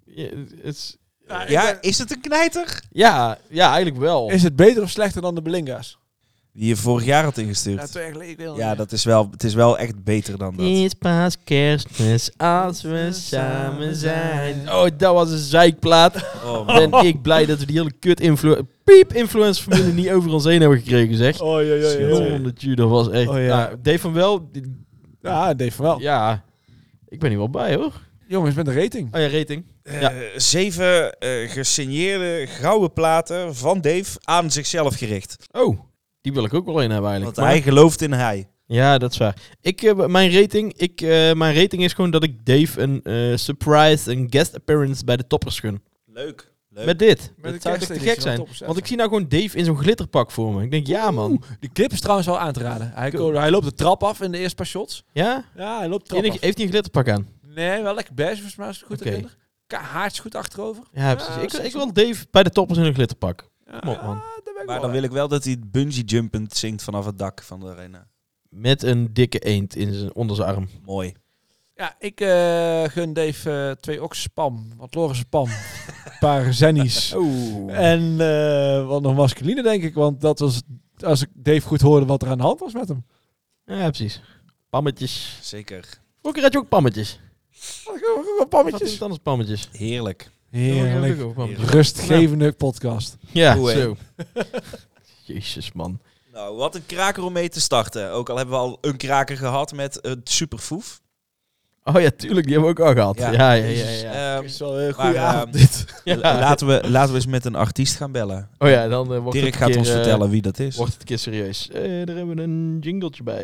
[SPEAKER 2] Ja, het is-
[SPEAKER 4] ik
[SPEAKER 3] Ja,
[SPEAKER 4] ben-
[SPEAKER 3] is het een knijter?
[SPEAKER 2] ja, ja, eigenlijk wel.
[SPEAKER 4] Is het beter of slechter dan de Belinga's?
[SPEAKER 3] Die je vorig jaar had
[SPEAKER 4] Ja,
[SPEAKER 3] ingestuurd.
[SPEAKER 4] twee jaar geleden. ik weet het
[SPEAKER 3] Ja,
[SPEAKER 4] niet.
[SPEAKER 3] dat is wel, het is wel echt beter dan dat.
[SPEAKER 2] is pas kerstmis als we samen zijn. Oh, dat was een zeikplaat.
[SPEAKER 3] Oh, man.
[SPEAKER 2] Ben ik blij dat we die hele kut influ piep influencer familie niet over ons heen hebben gekregen, zeg.
[SPEAKER 4] Oh, ja, ja, ja, ja.
[SPEAKER 2] Jonnetje, dat was echt...
[SPEAKER 4] Oh, ja.
[SPEAKER 2] Nou, Dave van Wel, die-
[SPEAKER 4] Ja, Dave van wel.
[SPEAKER 2] ja... Ik ben hier wel bij, hoor.
[SPEAKER 4] Jongens, met de rating.
[SPEAKER 2] Oh ja, rating. Ja.
[SPEAKER 3] Eh, zeven eh, gesigneerde gouden platen van Dave aan zichzelf gericht.
[SPEAKER 2] Oh, die wil ik ook wel in hebben eigenlijk.
[SPEAKER 3] Want
[SPEAKER 2] Maar-
[SPEAKER 3] hij gelooft in hij.
[SPEAKER 2] Ja, dat is waar. Ik, eh, mijn, rating, ik, eh, mijn rating is gewoon dat ik Dave een eh, surprise, een guest appearance bij de toppers gun.
[SPEAKER 3] Leuk. Leuk.
[SPEAKER 2] Met dit.
[SPEAKER 4] Met
[SPEAKER 2] dat
[SPEAKER 4] een
[SPEAKER 2] zou toch te
[SPEAKER 4] kersteditie
[SPEAKER 2] gek
[SPEAKER 4] van
[SPEAKER 2] zijn.
[SPEAKER 4] Toppers, ja.
[SPEAKER 2] Want ik zie nou gewoon Dave in zo'n glitterpak voor me. Ik denk, ja man.
[SPEAKER 4] Die clip is trouwens wel aan te raden. Hij, ko- hij loopt de trap af in de eerste paar shots.
[SPEAKER 2] Ja?
[SPEAKER 4] Ja, hij loopt de trap
[SPEAKER 2] Enig-
[SPEAKER 4] af.
[SPEAKER 2] heeft hij een glitterpak aan?
[SPEAKER 4] Nee, wel lekker beige, volgens mij, als ik het goed
[SPEAKER 2] Oké.
[SPEAKER 4] herinner. Ka- Haartje goed achterover.
[SPEAKER 2] Ja,
[SPEAKER 4] dat
[SPEAKER 2] precies. Ik,
[SPEAKER 4] is
[SPEAKER 2] ik wil Dave bij de toppers in een glitterpak.
[SPEAKER 4] Ja,
[SPEAKER 2] Kom op man.
[SPEAKER 4] daar ben ik
[SPEAKER 3] Maar
[SPEAKER 4] wel
[SPEAKER 3] dan
[SPEAKER 4] bij.
[SPEAKER 3] wil ik wel dat hij bungee jumpend zingt vanaf het dak van de arena.
[SPEAKER 2] Met een dikke eend in zijn, onder zijn arm.
[SPEAKER 3] Mooi.
[SPEAKER 4] Ja, ik eh, gun Dave eh, twee oks spam. Wat Loris spam. Oh. Een paar zennies.
[SPEAKER 2] Oeh.
[SPEAKER 4] En eh, wat nog masculine, denk ik. Want dat was, als ik Dave goed hoorde, wat er aan de hand was met hem.
[SPEAKER 2] Ja, precies. Pammetjes.
[SPEAKER 3] Zeker.
[SPEAKER 2] Vorige keer had je ook pammetjes.
[SPEAKER 4] Gewoon
[SPEAKER 2] Wat is
[SPEAKER 4] Pammetjes.
[SPEAKER 2] het anders pammetjes?
[SPEAKER 3] Heerlijk.
[SPEAKER 4] Heerlijk.
[SPEAKER 2] Ook pammetjes.
[SPEAKER 4] Rustgevende podcast.
[SPEAKER 2] Ja,
[SPEAKER 3] Oeh, hè.
[SPEAKER 2] zo. Jezus, man.
[SPEAKER 3] Nou, wat een kraker om mee te starten. Ook al hebben we al een kraker gehad met een superfoef.
[SPEAKER 2] Oh ja, tuurlijk, die hebben we ook al gehad. Ja,
[SPEAKER 3] Ja.
[SPEAKER 2] ja, ja. ja,
[SPEAKER 3] Ehm,
[SPEAKER 4] wel een
[SPEAKER 3] goede avond,
[SPEAKER 4] dit.
[SPEAKER 2] Ja.
[SPEAKER 3] eh, laten, we, laten we eens met een artiest gaan bellen.
[SPEAKER 2] Oh ja, dan eh, wordt het
[SPEAKER 3] Dirk
[SPEAKER 2] een
[SPEAKER 3] gaat
[SPEAKER 2] keer,
[SPEAKER 3] ons
[SPEAKER 2] eh,
[SPEAKER 3] vertellen wie dat is.
[SPEAKER 2] Wordt het een keer serieus. Eh daar hebben we een jingletje bij.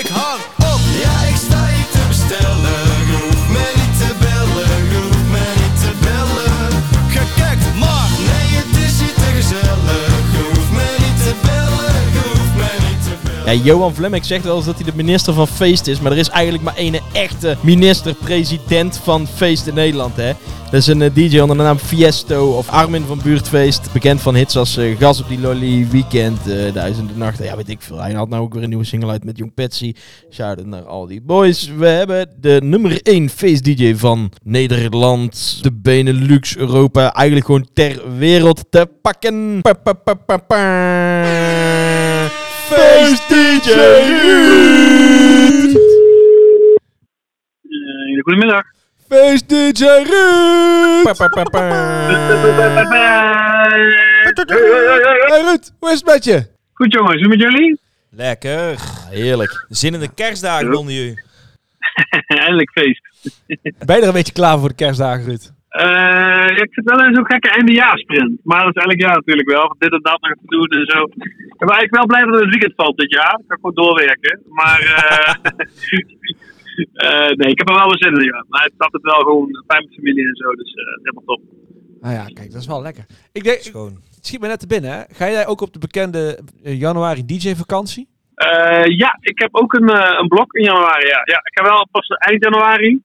[SPEAKER 9] Ik hang op, ja ik sta hier te bestellen. Je hoeft mij niet te bellen, je hoeft mij niet te bellen. Gekekt, maar nee het is hier te gezellig. Je hoeft mij niet te bellen, je hoeft mij niet te bellen.
[SPEAKER 2] Ja, Johan Vlemmik zegt wel eens dat hij de minister van feest is. Maar er is eigenlijk maar ene echte minister-president van feest in Nederland, hè. Dat is een eh, DJ onder de naam Fiesto of Armin van Buurtfeest. Bekend van hits als eh, Gas op die Lolly, Weekend, eh Duizenden Nachten. Ja, weet ik veel. Hij had nou ook weer een nieuwe single uit met Jong Patsy. Shout-out naar al die boys. We hebben de nummer 1 feest-dj van Nederland, de Benelux, Europa. Eigenlijk gewoon ter wereld te pakken. Pa, pa, pa, pa, pa. Feest-dj Ruud!
[SPEAKER 10] Eh, goedemiddag.
[SPEAKER 4] Feest DJ Ruud!
[SPEAKER 2] Pa, pa, pa, pa.
[SPEAKER 4] Hey Ruud, hoe is het met je?
[SPEAKER 10] Goed jongens, hoe met jullie?
[SPEAKER 3] Lekker.
[SPEAKER 2] Ah, Heerlijk.
[SPEAKER 3] Zin in de kerstdagen onder jullie.
[SPEAKER 10] Eindelijk feest.
[SPEAKER 4] Ben je er een beetje klaar voor de kerstdagen, Ruud?
[SPEAKER 10] Eh, ik zit wel in zo'n gekke eindejaarsprint. Maar dat is elk jaar natuurlijk wel. Van dit en dat nog te doen en zo. Ik ben eigenlijk wel blij dat het het weekend valt dit jaar. Ik kan gewoon doorwerken. Maar eh, eh, nee, ik heb er wel wel zin in. Ja. Maar het staat het wel gewoon fijn met familie en zo. Dus eh, helemaal top.
[SPEAKER 4] Nou ja, kijk, dat is wel lekker. Ik denk, ik
[SPEAKER 3] Schoon.
[SPEAKER 4] schiet me net te binnen, hè. Ga jij ook op de bekende eh, januari DJ-vakantie?
[SPEAKER 10] Eh, ja, ik heb ook een, eh, een blok in januari. Ja. ja, ik ga wel pas eind januari.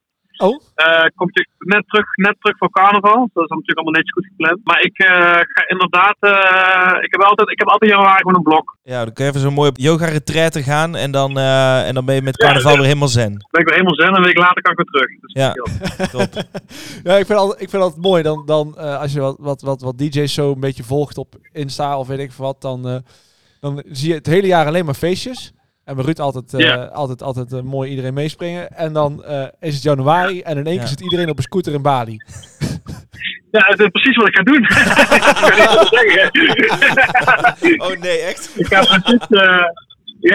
[SPEAKER 4] Oh?
[SPEAKER 10] Eh, kom ik net terug, net terug voor carnaval. Dat is natuurlijk allemaal netjes goed gepland. Maar ik eh, ga inderdaad. eh, ik, heb altijd, ik heb altijd in januari gewoon een blok.
[SPEAKER 3] Ja, dan kun je even zo mooi op yoga-retraite gaan en dan, eh, en dan ben je met carnaval weer helemaal zen.
[SPEAKER 10] ben ik weer helemaal zen en een week later kan ik weer terug. Dus
[SPEAKER 3] Ja.
[SPEAKER 10] chill.
[SPEAKER 3] Top.
[SPEAKER 4] Ja, ik vind altijd, ik vind altijd mooi. Dan, dan eh, als je wat, wat, wat, wat DJ's zo een beetje volgt op Insta of weet ik veel wat, dan, eh, dan zie je het hele jaar alleen maar feestjes. En bij Ruud altijd, eh,
[SPEAKER 10] Ja.
[SPEAKER 4] altijd, altijd eh, mooi iedereen meespringen. En dan eh, is het januari en in één
[SPEAKER 3] Ja.
[SPEAKER 4] keer zit iedereen op een scooter in Bali.
[SPEAKER 10] ja, dat is precies wat ik ga doen. ik kan niet anders zeggen.
[SPEAKER 3] Oh nee, echt?
[SPEAKER 10] ik ga precies. eh,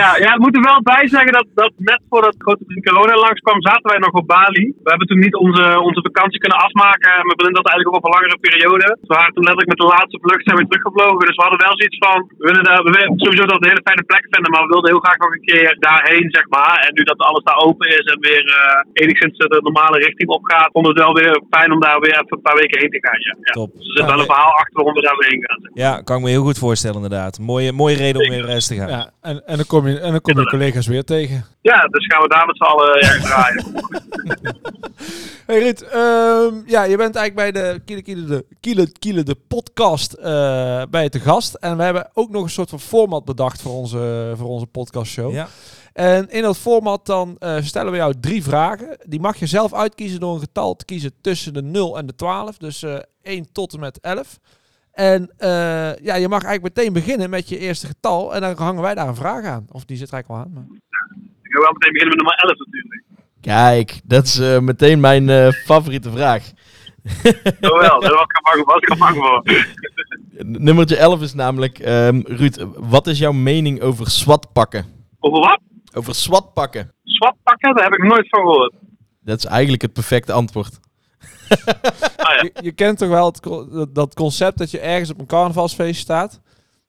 [SPEAKER 10] ja, ja, ik moet er wel bij zeggen dat, dat net voordat grote drie corona langskwam, zaten wij nog op Bali. We hebben toen niet onze, onze vakantie kunnen afmaken. En we bedoelen dat eigenlijk over een langere periode. We waren toen letterlijk met de laatste vlucht zijn we teruggevlogen. Dus we hadden wel zoiets van, we willen daar, we willen sowieso dat we een hele fijne plek vinden. Maar we wilden heel graag nog een keer daarheen, zeg maar. En nu dat alles daar open is en weer eh, enigszins de normale richting opgaat, vond het wel weer fijn om daar weer even een paar weken heen te gaan. Ja. Ja.
[SPEAKER 3] Top.
[SPEAKER 10] Dus er zit wel een verhaal achter waarom we daar weer heen gaan.
[SPEAKER 3] Ja, kan ik me heel goed voorstellen inderdaad. Mooie, mooie reden om weer eh, eens te gaan.
[SPEAKER 4] Ja, en, en dan kom je, en dan kom je collega's weer tegen.
[SPEAKER 10] Ja, dus gaan we daar met z'n allen erg draaien.
[SPEAKER 4] Hey Ruud, ehm, ja, je bent eigenlijk bij de Kiele Kiele de, Kiele, Kiele de podcast eh, bij te gast. En we hebben ook nog een soort van format bedacht voor onze, voor onze podcastshow.
[SPEAKER 3] Ja.
[SPEAKER 4] En in dat format dan eh, stellen we jou drie vragen. Die mag je zelf uitkiezen door een getal te kiezen tussen de 0 en de 12. Dus eh 1 tot en met 11. En eh, ja, je mag eigenlijk meteen beginnen met je eerste getal. En dan hangen wij daar een vraag aan. Of die zit er eigenlijk al aan. Maar...
[SPEAKER 10] Ik ga wel meteen beginnen met nummer 11 natuurlijk.
[SPEAKER 2] Kijk, dat is eh, meteen mijn eh, favoriete vraag.
[SPEAKER 10] Jawel, daar was ik aan bang- was ik aan bang voor.
[SPEAKER 2] Nummertje 11 is namelijk, ehm, Ruud, wat is jouw mening over SWAT pakken?
[SPEAKER 10] Over wat?
[SPEAKER 2] Over SWAT pakken.
[SPEAKER 10] Swap pakken, daar heb ik nooit van gehoord.
[SPEAKER 2] Dat is eigenlijk het perfecte antwoord.
[SPEAKER 4] Je, je kent toch wel het, co- dat- dat concept dat je ergens op een carnavalsfeest staat.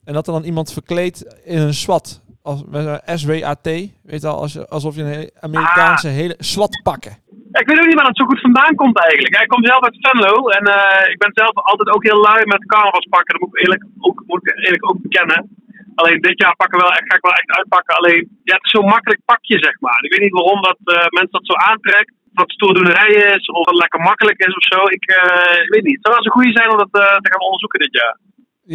[SPEAKER 4] En dat er dan iemand verkleed in een SWAT. Als, met een SWAT. Weet je al, als, je- alsof je een hele Amerikaanse
[SPEAKER 10] Ah.
[SPEAKER 4] hele SWAT pakken.
[SPEAKER 10] Ik weet ook niet waar dat zo goed vandaan komt eigenlijk. Ik kom zelf uit Venlo en eh, ik ben zelf altijd ook heel lui met carnavalspakken. Dat moet ik eerlijk ook, moet ik eerlijk ook bekennen. Alleen dit jaar pakken wel, echt- ga ik wel echt uitpakken. Alleen, ja, het is zo'n makkelijk pakje, zeg maar. Ik weet niet waarom dat eh, mensen dat zo aantrekt. Of dat stoerdoenerij is, of dat lekker makkelijk is of zo. Ik eh, ik weet niet. Het zou wel eens een goede zijn om dat eh, te gaan onderzoeken dit jaar.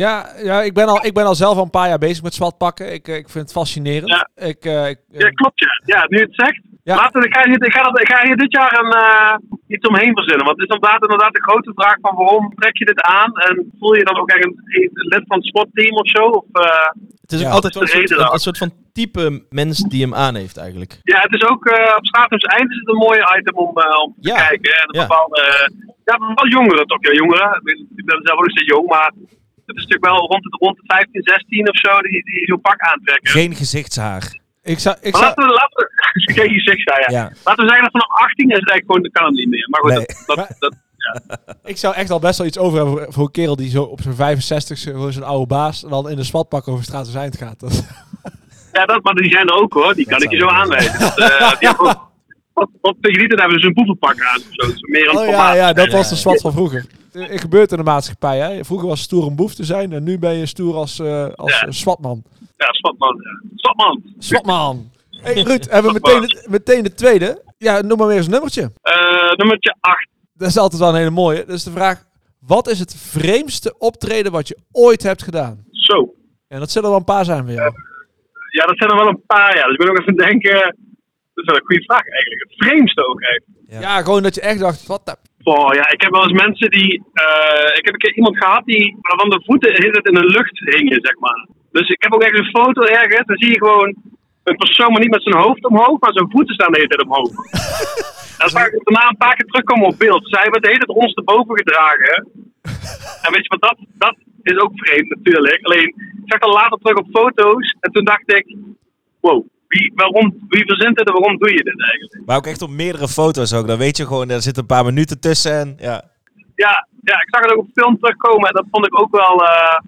[SPEAKER 4] Ja, ja ik, ben al, ik ben al zelf al een paar jaar bezig met SWAT pakken. Ik, eh, ik vind het fascinerend. Ik, eh, ik,
[SPEAKER 10] Ja, klopt ja. Ja, nu het zegt. Laten we, ik, ga hier, ik, ga dat, ik ga hier dit jaar een, eh, iets omheen verzinnen. Want het is inderdaad, inderdaad de grote vraag van waarom trek je dit aan? En voel je dan ook echt een, een lid van het sportteam of zo? Of, eh,
[SPEAKER 2] Het is ook
[SPEAKER 10] wat
[SPEAKER 2] altijd
[SPEAKER 10] de
[SPEAKER 2] een soort,
[SPEAKER 10] reden
[SPEAKER 2] een,
[SPEAKER 10] dan?
[SPEAKER 2] een soort van type mens die hem aan heeft eigenlijk.
[SPEAKER 10] Ja, het is ook eh, op Stratum's Eind is het een mooie item om, eh, om te kijken. hè. De bepaalde, eh, ja, wel jongeren toch? Ja, jongeren. Ik ben- Ik ben zelf ook niet zo jong, maar het is natuurlijk wel rond de, rond de 15, 16 of zo die, die zo'n pak aantrekken.
[SPEAKER 3] Geen gezichtshaar.
[SPEAKER 4] Ik zou,
[SPEAKER 10] maar laten we, laten we, geen gezicht daar, ja.
[SPEAKER 3] Ja.
[SPEAKER 10] Laten we zeggen dat vanaf 18 is het eigenlijk gewoon, dat kan het niet meer. Maar goed,
[SPEAKER 4] Nee.
[SPEAKER 10] dat, dat, dat, ja.
[SPEAKER 4] Ik zou echt al best wel iets over hebben voor- voor een kerel die zo op zijn 65 gewoon zo'n oude baas dan in een SWAT-pak over straat zijn eind gaat. Dat,
[SPEAKER 10] Ja, dat, maar die zijn er ook hoor. Die kan ik je zo aanwijzen. Dat, eh, die hebben ook- Wat wat tegen die tijd hebben ze een boevenpak aan. Of zo. Dat is meer een
[SPEAKER 4] oh ja,
[SPEAKER 10] formaat.
[SPEAKER 4] ja, dat was de SWAT van vroeger. Het eh, gebeurt in de maatschappij. Hè? Vroeger was stoer om boef te zijn en nu ben je stoer als, eh als eh, SWAT-man.
[SPEAKER 10] Ja, Swatman. ja. Swatman.
[SPEAKER 4] SWAT-man! Hey Ruud, hebben we meteen, de- meteen de tweede. Ja, noem maar weer eens een nummertje.
[SPEAKER 10] Eh, nummertje 8.
[SPEAKER 4] Dat is altijd wel een hele mooie. Dus de vraag, wat is het vreemdste optreden wat je ooit hebt gedaan?
[SPEAKER 10] Zo.
[SPEAKER 4] En dat zullen er wel een paar zijn weer.
[SPEAKER 10] Ja, dat zijn er wel een paar jaar. Dus ik ben ook even aan het denken. Dat is wel een goede vraag eigenlijk. Het vreemdste ook eigenlijk.
[SPEAKER 4] Ja. gewoon dat je echt dacht, wat de...
[SPEAKER 10] Oh ja, ik heb wel eens mensen die. eh, ik heb een keer iemand gehad die. waarvan de voeten de hele tijd in de lucht hingen, zeg maar. Dus ik heb ook echt een foto ergens. Dan zie je gewoon een persoon, maar niet met zijn hoofd omhoog, maar zijn voeten staan de hele tijd omhoog. dat is waar ik daarna een paar keer terugkwam op beeld. Zij werd de hele tijd ons erboven gedragen. En weet je wat, dat, dat is ook vreemd natuurlijk. Alleen, ik zag dat later terug op foto's. En toen dacht ik: wow, wie, waarom, wie verzint dit en waarom doe je dit eigenlijk?
[SPEAKER 3] Maar ook echt op meerdere foto's ook. Dan weet je gewoon, daar zitten een paar minuten tussen. En, ja.
[SPEAKER 10] ja, ja, ik zag het ook op film terugkomen en dat vond ik ook wel eh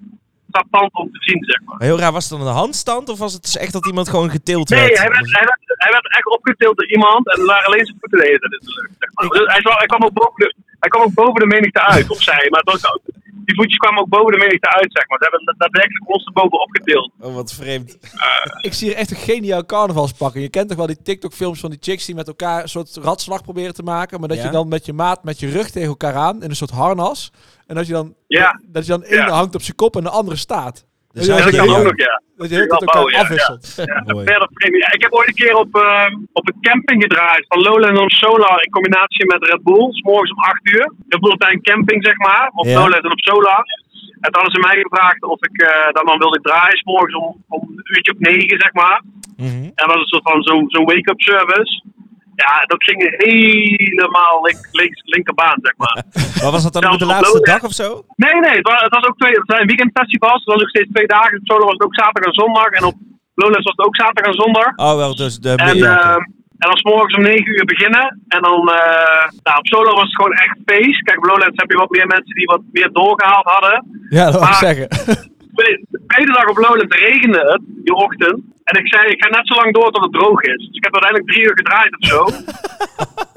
[SPEAKER 10] frappant om te zien, zeg maar.
[SPEAKER 3] Maar heel raar, was het dan een handstand of was het dus echt dat iemand gewoon getild werd?
[SPEAKER 10] Nee, hij werd, hij, werd, hij werd echt opgetild door iemand en daar alleen zijn voeten deden. Dat is leuk, zeg maar. Dus hij, is wel- hij, kwam ook boven de, hij kwam ook boven de menigte uit, of zij. Maar dat, die voetjes kwamen ook boven de menigte uit, zeg maar. Ze hebben daadwerkelijk ons erboven opgetild.
[SPEAKER 3] Oh, wat vreemd.
[SPEAKER 4] Ik zie hier echt een geniaal carnavalspak. En Je kent toch wel die TikTok-films van die chicks die met elkaar een soort ratslag proberen te maken. Maar dat
[SPEAKER 3] Ja.
[SPEAKER 4] je dan met je maat met je rug tegen elkaar aan in een soort harnas. En dat je dan,
[SPEAKER 10] Ja.
[SPEAKER 4] dat je dan één
[SPEAKER 10] Ja.
[SPEAKER 4] hangt op zijn kop en de andere staat.
[SPEAKER 10] Dus ja, dat kan ook nog, ja.
[SPEAKER 4] Dat je de hele
[SPEAKER 10] Wel
[SPEAKER 4] tijd elkaar
[SPEAKER 10] bouwen, ja,
[SPEAKER 4] afwisselt.
[SPEAKER 10] ja. Ja, verder vreemd. Ja, Ik heb ooit een keer op, eh, op een camping gedraaid van Lowland Solar in combinatie met Red Bull. 's morgens om 8 uur. Red Bull bij een camping, zeg maar. Op
[SPEAKER 3] Ja.
[SPEAKER 10] Lowland en op Solar. En toen hadden ze mij gevraagd of ik eh, dan, dan wilde draaien. 's morgens om, om een uurtje op 9, zeg maar. En dat was een soort van zo'n zo'n wake-up service. Ja, dat ging helemaal link, links, linkerbaan, zeg maar.
[SPEAKER 3] Maar was dat dan ook
[SPEAKER 10] Zelfs
[SPEAKER 3] de
[SPEAKER 10] op
[SPEAKER 3] laatste
[SPEAKER 10] Lowland.
[SPEAKER 3] dag of zo?
[SPEAKER 10] Nee, nee, het was, het was ook twee, het zijn weekendfestivals. Het was ook steeds twee dagen. Op Solar was het ook zaterdag en zondag. En op Lowlands was het ook zaterdag en zondag.
[SPEAKER 3] Oh, wel, dus de
[SPEAKER 10] En,
[SPEAKER 3] middag.
[SPEAKER 10] ehm, en dan 's morgens om 9 uur beginnen. En dan, eh, nou, op Solo was het gewoon echt feest. Kijk, op Lowlands heb je wat meer mensen die wat meer doorgehaald hadden.
[SPEAKER 4] Ja, dat
[SPEAKER 10] Maar
[SPEAKER 4] mag ik zeggen.
[SPEAKER 10] de tweede dag op Lowlands regende het, die ochtend. En ik zei, ik ga net zo lang door tot het droog is. Dus ik heb uiteindelijk drie uur gedraaid of zo.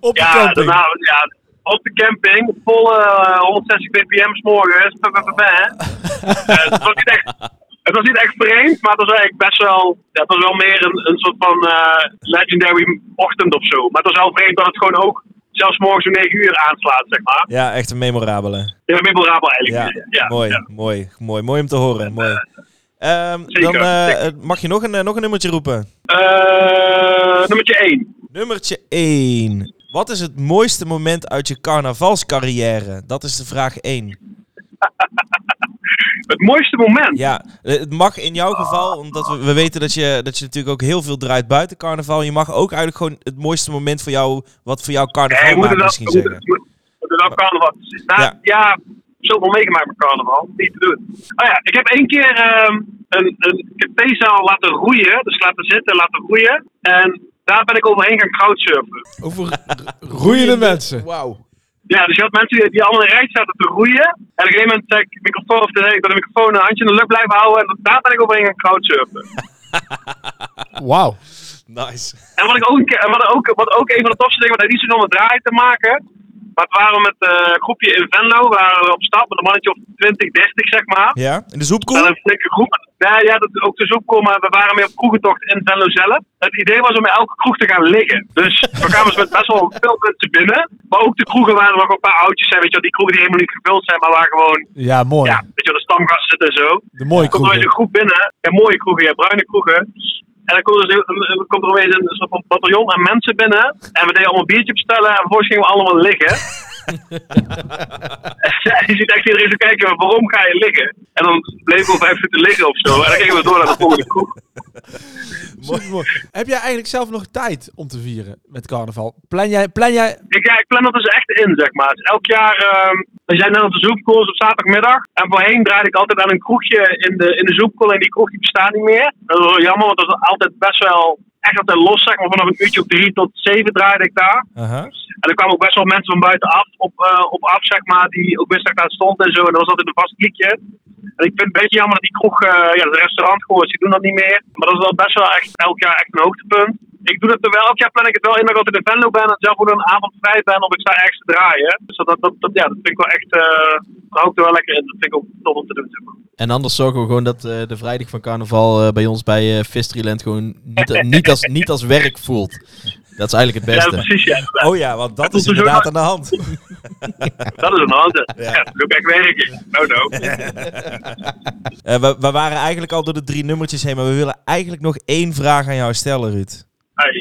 [SPEAKER 4] op
[SPEAKER 10] ja,
[SPEAKER 4] camping.
[SPEAKER 10] Daarna, ja, op de camping. Vol eh, 160 ppm 's morgens. Pa, pa, pa, pa. Eh, het, was niet echt, het was niet echt vreemd, maar het was eigenlijk best wel... ja, het was wel meer een, een soort van eh, legendary ochtend of zo. Maar het was wel vreemd dat het gewoon ook zelfs 's morgens om 9 uur aanslaat, zeg maar.
[SPEAKER 3] Ja, echt een memorabele.
[SPEAKER 10] Ja, memorabel
[SPEAKER 3] Ja,
[SPEAKER 10] eigenlijk. ja,
[SPEAKER 3] mooi,
[SPEAKER 10] ja.
[SPEAKER 3] mooi, mooi. Mooi om te horen. Mooi. Ehm,
[SPEAKER 10] zeker,
[SPEAKER 3] dan eh,
[SPEAKER 10] zeker.
[SPEAKER 3] mag je nog een, eh, nog een nummertje roepen.
[SPEAKER 10] Eh, nummertje 1.
[SPEAKER 3] Nummertje 1. Wat is het mooiste moment uit je carnavalscarrière? Dat is de vraag 1.
[SPEAKER 10] het mooiste moment.
[SPEAKER 3] Ja, eh, het mag in jouw geval, omdat we, we weten dat je, dat je natuurlijk ook heel veel draait buiten carnaval. Je mag ook eigenlijk gewoon het mooiste moment voor jou, wat voor jou carnaval
[SPEAKER 10] Nee, we
[SPEAKER 3] maakt
[SPEAKER 10] moeten
[SPEAKER 3] misschien
[SPEAKER 10] dat, we
[SPEAKER 3] zeggen.
[SPEAKER 10] moeten- we moeten dat carnaval. Na
[SPEAKER 3] Ja.
[SPEAKER 10] ja. jaar zoveel meegemaakt met carnaval. Niet te doen. Oh ja, ik heb één keer ehm, een, een ik heb theezaal laten roeien. Dus laten zitten, laten roeien. En daar ben ik overheen gaan crowdsurfen.
[SPEAKER 4] Over roeiende mensen.
[SPEAKER 2] Wauw.
[SPEAKER 10] Ja, dus je had mensen die, die allemaal in een rij zaten te roeien. En op een gegeven moment zei ik de microfoon of de, ik wil de microfoon een handje in de lucht blijven houden. En daar ben ik overheen gaan crowdsurfen.
[SPEAKER 4] Wauw.
[SPEAKER 3] Nice.
[SPEAKER 10] En wat, ik ook, een keer- en wat, ook, wat ook een van de tofste dingen, wat niet zoveel met draaien te maken. Maar we waren we met eh, een groepje in Venlo, we waren op stap met een mannetje of 20, 30 zeg maar.
[SPEAKER 3] Ja, in de
[SPEAKER 10] Wel
[SPEAKER 3] zoepkoel?
[SPEAKER 10] een flinke groep. Ja, ja dat ook dus ook komen. We waren mee op kroegentocht in Venlo zelf. Het idee was om in elke kroeg te gaan liggen. Dus we kwamen dus met best wel veel mensen binnen. Maar ook de kroegen waren nog een paar oudjes zijn, weet je wel. Die kroegen die helemaal niet gevuld zijn, maar waar gewoon,
[SPEAKER 4] Ja, mooi.
[SPEAKER 10] ja, weet je wel, de stamgasten en zo.
[SPEAKER 4] De mooie
[SPEAKER 10] Dan komt er
[SPEAKER 4] kroegen.
[SPEAKER 10] opeens een groep binnen. Ja, mooie kroegen, ja, bruine kroegen. En dan komt er, zo- een- een- komt er opeens een soort van bataljon aan mensen binnen. En we deden allemaal een biertje bestellen. En vervolgens gingen we allemaal liggen. en je ziet echt iedereen zo kijken, "Maar waarom ga je liggen? En dan bleven we vijf minuten liggen of zo. En dan gingen we door naar de volgende kroeg.
[SPEAKER 4] Supermooi. Heb jij eigenlijk zelf nog tijd om te vieren met carnaval? Plan jij, plan jij
[SPEAKER 10] Ik, ja, ik plan dat dus echt in, zeg maar. Dus elk jaar, ehm we zijn net op de zoepkools op zaterdagmiddag. En voorheen draaide ik altijd aan een kroegje in de, in de zoepkool en die kroegje bestaat niet meer. Dat is wel jammer, want dat is altijd best wel echt altijd los, zeg maar. Vanaf een uurtje op drie tot zeven draaide ik daar.
[SPEAKER 3] Aha.
[SPEAKER 10] En er kwamen ook best wel mensen van buitenaf op, eh, op af, zeg maar, die ook wisten dat ik daar stond en zo. En dat was altijd een vast kliekje. En ik vind het een beetje jammer dat die kroeg, eh ja, de restaurant gewoon, die doen dat niet meer. Maar dat is wel best wel echt elk jaar echt een hoogtepunt. Ik doe dat er wel, elk jaar plan ik het wel in dat ik altijd in Venlo ben en zelf ook een avond vrij ben of ik sta ergens te draaien. Dus dat, dat, dat, dat- ja, dat vind ik wel echt, eh daar hou ik er wel lekker in. Dat vind ik ook tof om te doen, zeg maar.
[SPEAKER 2] En anders zorgen we gewoon dat eh, de vrijdag van carnaval eh, bij ons bij eh Fistryland gewoon niet, eh, niet, als, niet als werk voelt. Dat is eigenlijk het
[SPEAKER 10] Ja,
[SPEAKER 2] beste.
[SPEAKER 10] precies, ja. inderdaad.
[SPEAKER 3] Oh ja, want dat
[SPEAKER 10] Dat
[SPEAKER 3] is
[SPEAKER 10] is dus
[SPEAKER 3] inderdaad
[SPEAKER 10] ook-
[SPEAKER 3] aan de hand.
[SPEAKER 10] Dat is een handen. Ja, dat doe ik echt werken. No, no.
[SPEAKER 3] Eh, we, we waren eigenlijk al door de drie nummertjes heen, maar we willen eigenlijk nog één vraag aan jou stellen, Ruud.
[SPEAKER 10] Hey,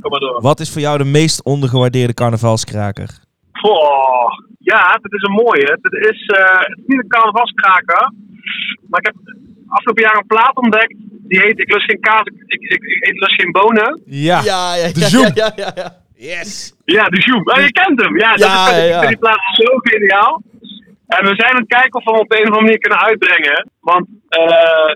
[SPEAKER 10] kom maar door.
[SPEAKER 3] Wat is voor jou de meest ondergewaardeerde carnavalskraker?
[SPEAKER 10] Goh, ja, dit is een mooie. Dit is, eh, het is niet een carnavalskraker, maar ik heb afgelopen jaar een plaat ontdekt. Die heet Ik lust geen kaas, ik, ik, ik, ik eet lust geen bonen.
[SPEAKER 3] Ja.
[SPEAKER 2] Ja, ja,
[SPEAKER 3] De Zoom.
[SPEAKER 2] ja, ja, ja.
[SPEAKER 10] Ja, de Zoom. Oh, je kent hem. Ja, dat
[SPEAKER 2] Ja,
[SPEAKER 10] is, ik
[SPEAKER 2] ja.
[SPEAKER 10] vind die plaat zo geniaal. En we zijn aan het kijken of we hem op de een of andere manier kunnen uitbrengen. Want eh,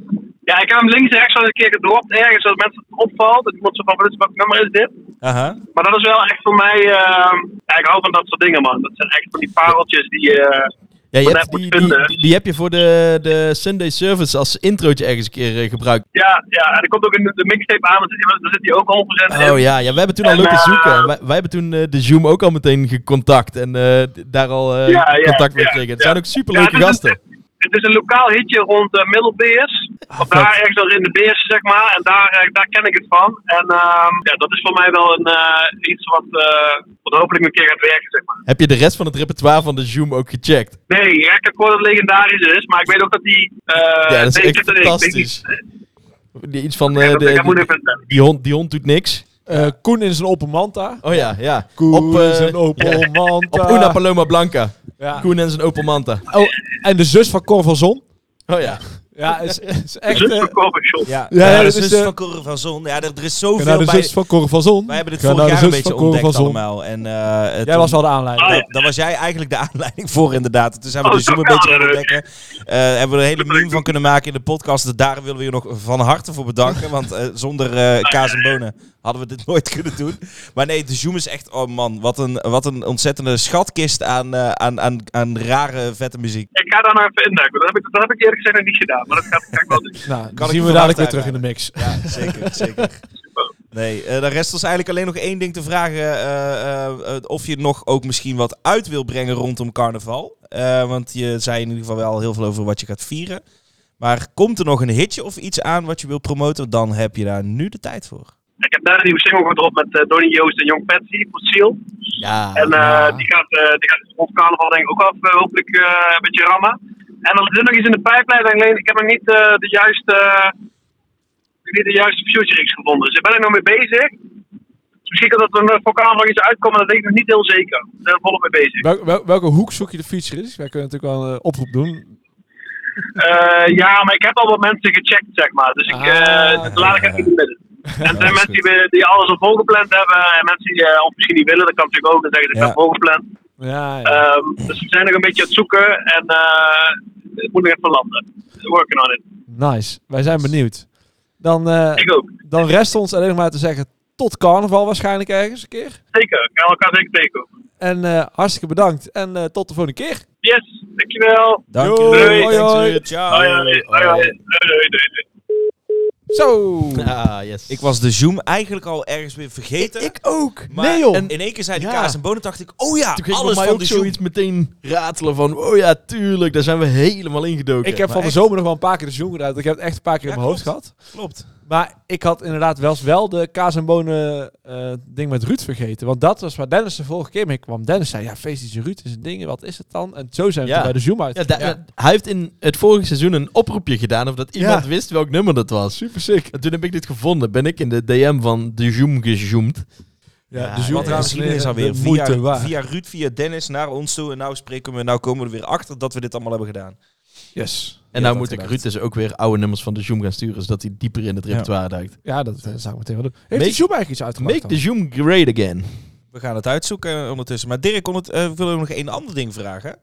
[SPEAKER 10] ja, ik heb hem links en rechts al een keer gedropt ergens, zodat mensen het opvalt. Dat iemand zo van, wat is- wat nummer is dit?
[SPEAKER 3] Aha.
[SPEAKER 10] Maar dat is wel echt voor mij, eh, ja, ik hou van dat soort dingen man. Dat zijn echt van die pareltjes die... eh,
[SPEAKER 2] Ja, je
[SPEAKER 10] Wat
[SPEAKER 2] hebt,
[SPEAKER 10] heb
[SPEAKER 2] die,
[SPEAKER 10] ik
[SPEAKER 2] die,
[SPEAKER 10] vinden?
[SPEAKER 2] die heb je voor de, de Sunday Service als introotje ergens een keer eh, gebruikt.
[SPEAKER 10] Ja, ja, en er komt ook in de, de mixtape aan, daar zit die- daar zit hij ook al procent in.
[SPEAKER 2] Oh ja, ja, wij hebben toen al
[SPEAKER 10] En,
[SPEAKER 2] lopen
[SPEAKER 10] eh,
[SPEAKER 2] zoeken. En wij, wij hebben toen eh, de Zoom ook al meteen gecontact en eh, d- daar al eh,
[SPEAKER 10] Ja, ja,
[SPEAKER 2] contact mee
[SPEAKER 10] ja,
[SPEAKER 2] gekregen. Het
[SPEAKER 10] ja.
[SPEAKER 2] zijn ook superleuke
[SPEAKER 10] Ja, het is een-
[SPEAKER 2] gasten. Ah,
[SPEAKER 10] Het is een lokaal hitje rond eh, Middelbeers. Of daar ergens wel in de Beers, zeg maar. En daar, eh, daar ken ik het van. En ehm, ja, dat is voor mij wel een, eh, iets wat, eh, wat hopelijk een keer gaat werken, zeg maar.
[SPEAKER 2] Heb je de rest van het repertoire van de Zoom ook gecheckt?
[SPEAKER 10] Nee, ja, ik heb gehoord dat het legendarisch is, maar ik weet ook dat die... eh,
[SPEAKER 2] Ja, dat is
[SPEAKER 10] nee, ik
[SPEAKER 2] echt
[SPEAKER 10] zit erin. Ik weet
[SPEAKER 2] fantastisch.
[SPEAKER 10] niet,
[SPEAKER 2] Die, iets van...
[SPEAKER 10] eh,
[SPEAKER 2] eh,
[SPEAKER 10] dat
[SPEAKER 2] de,
[SPEAKER 10] ik hem moet
[SPEAKER 2] die,
[SPEAKER 10] even vertellen.
[SPEAKER 2] die hond, die hond doet niks.
[SPEAKER 4] eh, Koen in zijn open manta?
[SPEAKER 2] Oh ja, ja.
[SPEAKER 4] Koen
[SPEAKER 2] op,
[SPEAKER 4] in
[SPEAKER 2] eh
[SPEAKER 4] zijn open manta.
[SPEAKER 2] op Una Paloma Blanca.
[SPEAKER 4] Ja.
[SPEAKER 2] Koen en zijn Opel Manta.
[SPEAKER 4] Oh, en de zus van Cor van Zon?
[SPEAKER 2] Oh ja.
[SPEAKER 4] Ja, is, is echt...
[SPEAKER 10] Zus
[SPEAKER 4] eh,
[SPEAKER 10] van Kobbenschot.
[SPEAKER 3] Ja,
[SPEAKER 4] Ja,
[SPEAKER 3] ja,
[SPEAKER 4] ja,
[SPEAKER 3] de
[SPEAKER 4] dus,
[SPEAKER 3] zus
[SPEAKER 4] eh,
[SPEAKER 3] van Corre van Zon. Ja, er, er is
[SPEAKER 4] ga
[SPEAKER 3] zoveel
[SPEAKER 4] naar de
[SPEAKER 3] bij.
[SPEAKER 4] zus van Cor van Zon.
[SPEAKER 3] Wij hebben het
[SPEAKER 4] Ga naar
[SPEAKER 3] vorig
[SPEAKER 4] de
[SPEAKER 3] jaar een
[SPEAKER 4] zus
[SPEAKER 3] beetje
[SPEAKER 4] van Cor van
[SPEAKER 3] ontdekt
[SPEAKER 4] Zon.
[SPEAKER 3] allemaal. En, eh, eh,
[SPEAKER 4] Jij
[SPEAKER 3] toen-
[SPEAKER 4] was wel de aanleiding.
[SPEAKER 10] Ah,
[SPEAKER 3] daar, daar was jij eigenlijk de aanleiding voor inderdaad. En Toen zijn we
[SPEAKER 10] Oh,
[SPEAKER 3] de Zoom
[SPEAKER 10] zo
[SPEAKER 3] een beetje
[SPEAKER 10] kan
[SPEAKER 3] gaan
[SPEAKER 10] het.
[SPEAKER 3] ontdekken. Eh, hebben we er een hele meme van kunnen maken in de podcast. En Daar willen we je nog van harte voor bedanken. Want eh, zonder eh, kaas en bonen hadden we dit nooit kunnen doen. Maar nee, de Zoom is echt... Oh man, wat een, wat een ontzettende schatkist aan, eh, aan, aan, aan rare vette muziek.
[SPEAKER 10] Ik ga daar nog even induiken. Dat heb ik, dat heb ik eerlijk gezegd nog niet gedaan, maar dat ga ik- ga ik wel doen.
[SPEAKER 4] Nou,
[SPEAKER 3] Kan
[SPEAKER 4] dan
[SPEAKER 3] ik
[SPEAKER 4] zien
[SPEAKER 3] je
[SPEAKER 4] we
[SPEAKER 3] vandaag
[SPEAKER 4] dadelijk weer terug in de mix.
[SPEAKER 3] Ja, zeker, zeker. Nee, eh dan rest ons eigenlijk alleen nog één ding te vragen. eh, eh, eh, of je nog ook misschien wat uit wil brengen rondom carnaval. Eh, want je zei in ieder geval wel heel veel over wat je gaat vieren. Maar komt er nog een hitje of iets aan wat je wil promoten? Dan heb je daar nu de tijd voor.
[SPEAKER 10] Ik heb daar een nieuwe single gedropt met eh, Donnie Joost en Jong Patsy, Fossiel.
[SPEAKER 2] Ja.
[SPEAKER 10] En eh, die gaat, eh die gaat op carnaval denk ik ook af, eh, hopelijk eh, een beetje rammen. En er zit nog iets in de pijplijn, alleen ik heb nog niet eh, de juiste, eh, niet de juiste future X gevonden. Dus daar ben ik nog mee bezig. Dus misschien kan dat er nog voor carnaval iets uitkomt, maar dat weet ik nog niet heel zeker. Daar ben ik volop mee bezig.
[SPEAKER 4] Welke, welke hoek zoek je de feature in? Wij kunnen natuurlijk wel een eh, oproep doen.
[SPEAKER 10] Eh, ja, maar ik heb al wat mensen gecheckt, zeg maar. Dus ik, eh, dat laat ik even in het midden. En er zijn mensen die, we- die alles al volgepland hebben. En mensen die eh, of misschien niet willen, dat kan natuurlijk ook. Dan zeggen ze, ik heb volgepland.
[SPEAKER 4] Ja,
[SPEAKER 3] Eh.
[SPEAKER 10] Ehm, dus we zijn nog een beetje aan het zoeken. En eh het moet nog even landen. Working on it.
[SPEAKER 4] Nice. Wij zijn benieuwd. Dan, eh, dan rest ons alleen nog maar te zeggen tot carnaval waarschijnlijk ergens een keer.
[SPEAKER 10] Zeker, gaan we elkaar zeker tegenkomen.
[SPEAKER 4] En eh, hartstikke bedankt. En eh, tot de volgende keer.
[SPEAKER 10] Yes, dankjewel.
[SPEAKER 4] Dank je.
[SPEAKER 10] Doei.
[SPEAKER 4] Hoi, hoi.
[SPEAKER 10] Ciao. Hoi, hoi. Hoi, hoi. Doei, doei, doei.
[SPEAKER 4] Zo.
[SPEAKER 2] Ah, yes.
[SPEAKER 3] Ik was de Zoom eigenlijk al ergens weer vergeten. Ik,
[SPEAKER 2] ook.
[SPEAKER 3] Maar
[SPEAKER 2] nee, joh.
[SPEAKER 3] En in één keer zei die
[SPEAKER 2] Ja.
[SPEAKER 3] kaas en bonen, dacht ik, oh ja,
[SPEAKER 2] Toen ging
[SPEAKER 3] alles
[SPEAKER 2] alles mij
[SPEAKER 3] van
[SPEAKER 2] ook
[SPEAKER 3] de Zoom.
[SPEAKER 2] zoiets meteen ratelen van... Oh ja, tuurlijk, daar zijn we helemaal ingedoken.
[SPEAKER 4] Ik heb van de zomer nog wel een paar keer de zoen gedaan. Ik heb het echt een paar keer in mijn hoofd gehad.
[SPEAKER 3] Klopt.
[SPEAKER 4] Maar ik had inderdaad wel, wel de kaas en bonen eh, ding met Ruud vergeten. Want dat was waar Dennis de vorige keer mee kwam. Dennis zei, ja, feestje Ruud is een ding. Wat is het dan? En zo zijn we
[SPEAKER 2] Ja.
[SPEAKER 4] toen bij de Zoom uit.
[SPEAKER 2] Ja, da- Hij heeft in het vorige seizoen een oproepje gedaan of dat iemand
[SPEAKER 4] Ja.
[SPEAKER 2] wist welk nummer dat was.
[SPEAKER 4] Super sick.
[SPEAKER 2] En toen heb ik dit gevonden. Ben ik in de DM van de Zoom gezoomd.
[SPEAKER 4] Ja,
[SPEAKER 3] Dus wat
[SPEAKER 2] ja.
[SPEAKER 3] trouwens hier is alweer
[SPEAKER 4] de moeite
[SPEAKER 3] via,
[SPEAKER 4] waard.
[SPEAKER 3] via Ruud, via Dennis naar ons toe. En nou spreken we, nou komen we er weer achter dat we dit allemaal hebben gedaan.
[SPEAKER 4] Yes.
[SPEAKER 2] En
[SPEAKER 3] had
[SPEAKER 2] nou
[SPEAKER 3] dat
[SPEAKER 2] moet ik
[SPEAKER 3] gedacht.
[SPEAKER 2] Ruud dus ook weer oude nummers van de Zoom gaan sturen, zodat hij dieper in het repertoire duikt.
[SPEAKER 4] Ja, dat eh, zou ik meteen wel doen. Heeft
[SPEAKER 2] Make-
[SPEAKER 4] de Zoom eigenlijk iets uitgemaakt
[SPEAKER 2] Make
[SPEAKER 4] dan?
[SPEAKER 2] the Zoom great again.
[SPEAKER 3] We gaan het uitzoeken eh, ondertussen. Maar Dirk, ondert- eh, ik wil ook nog één ander ding vragen.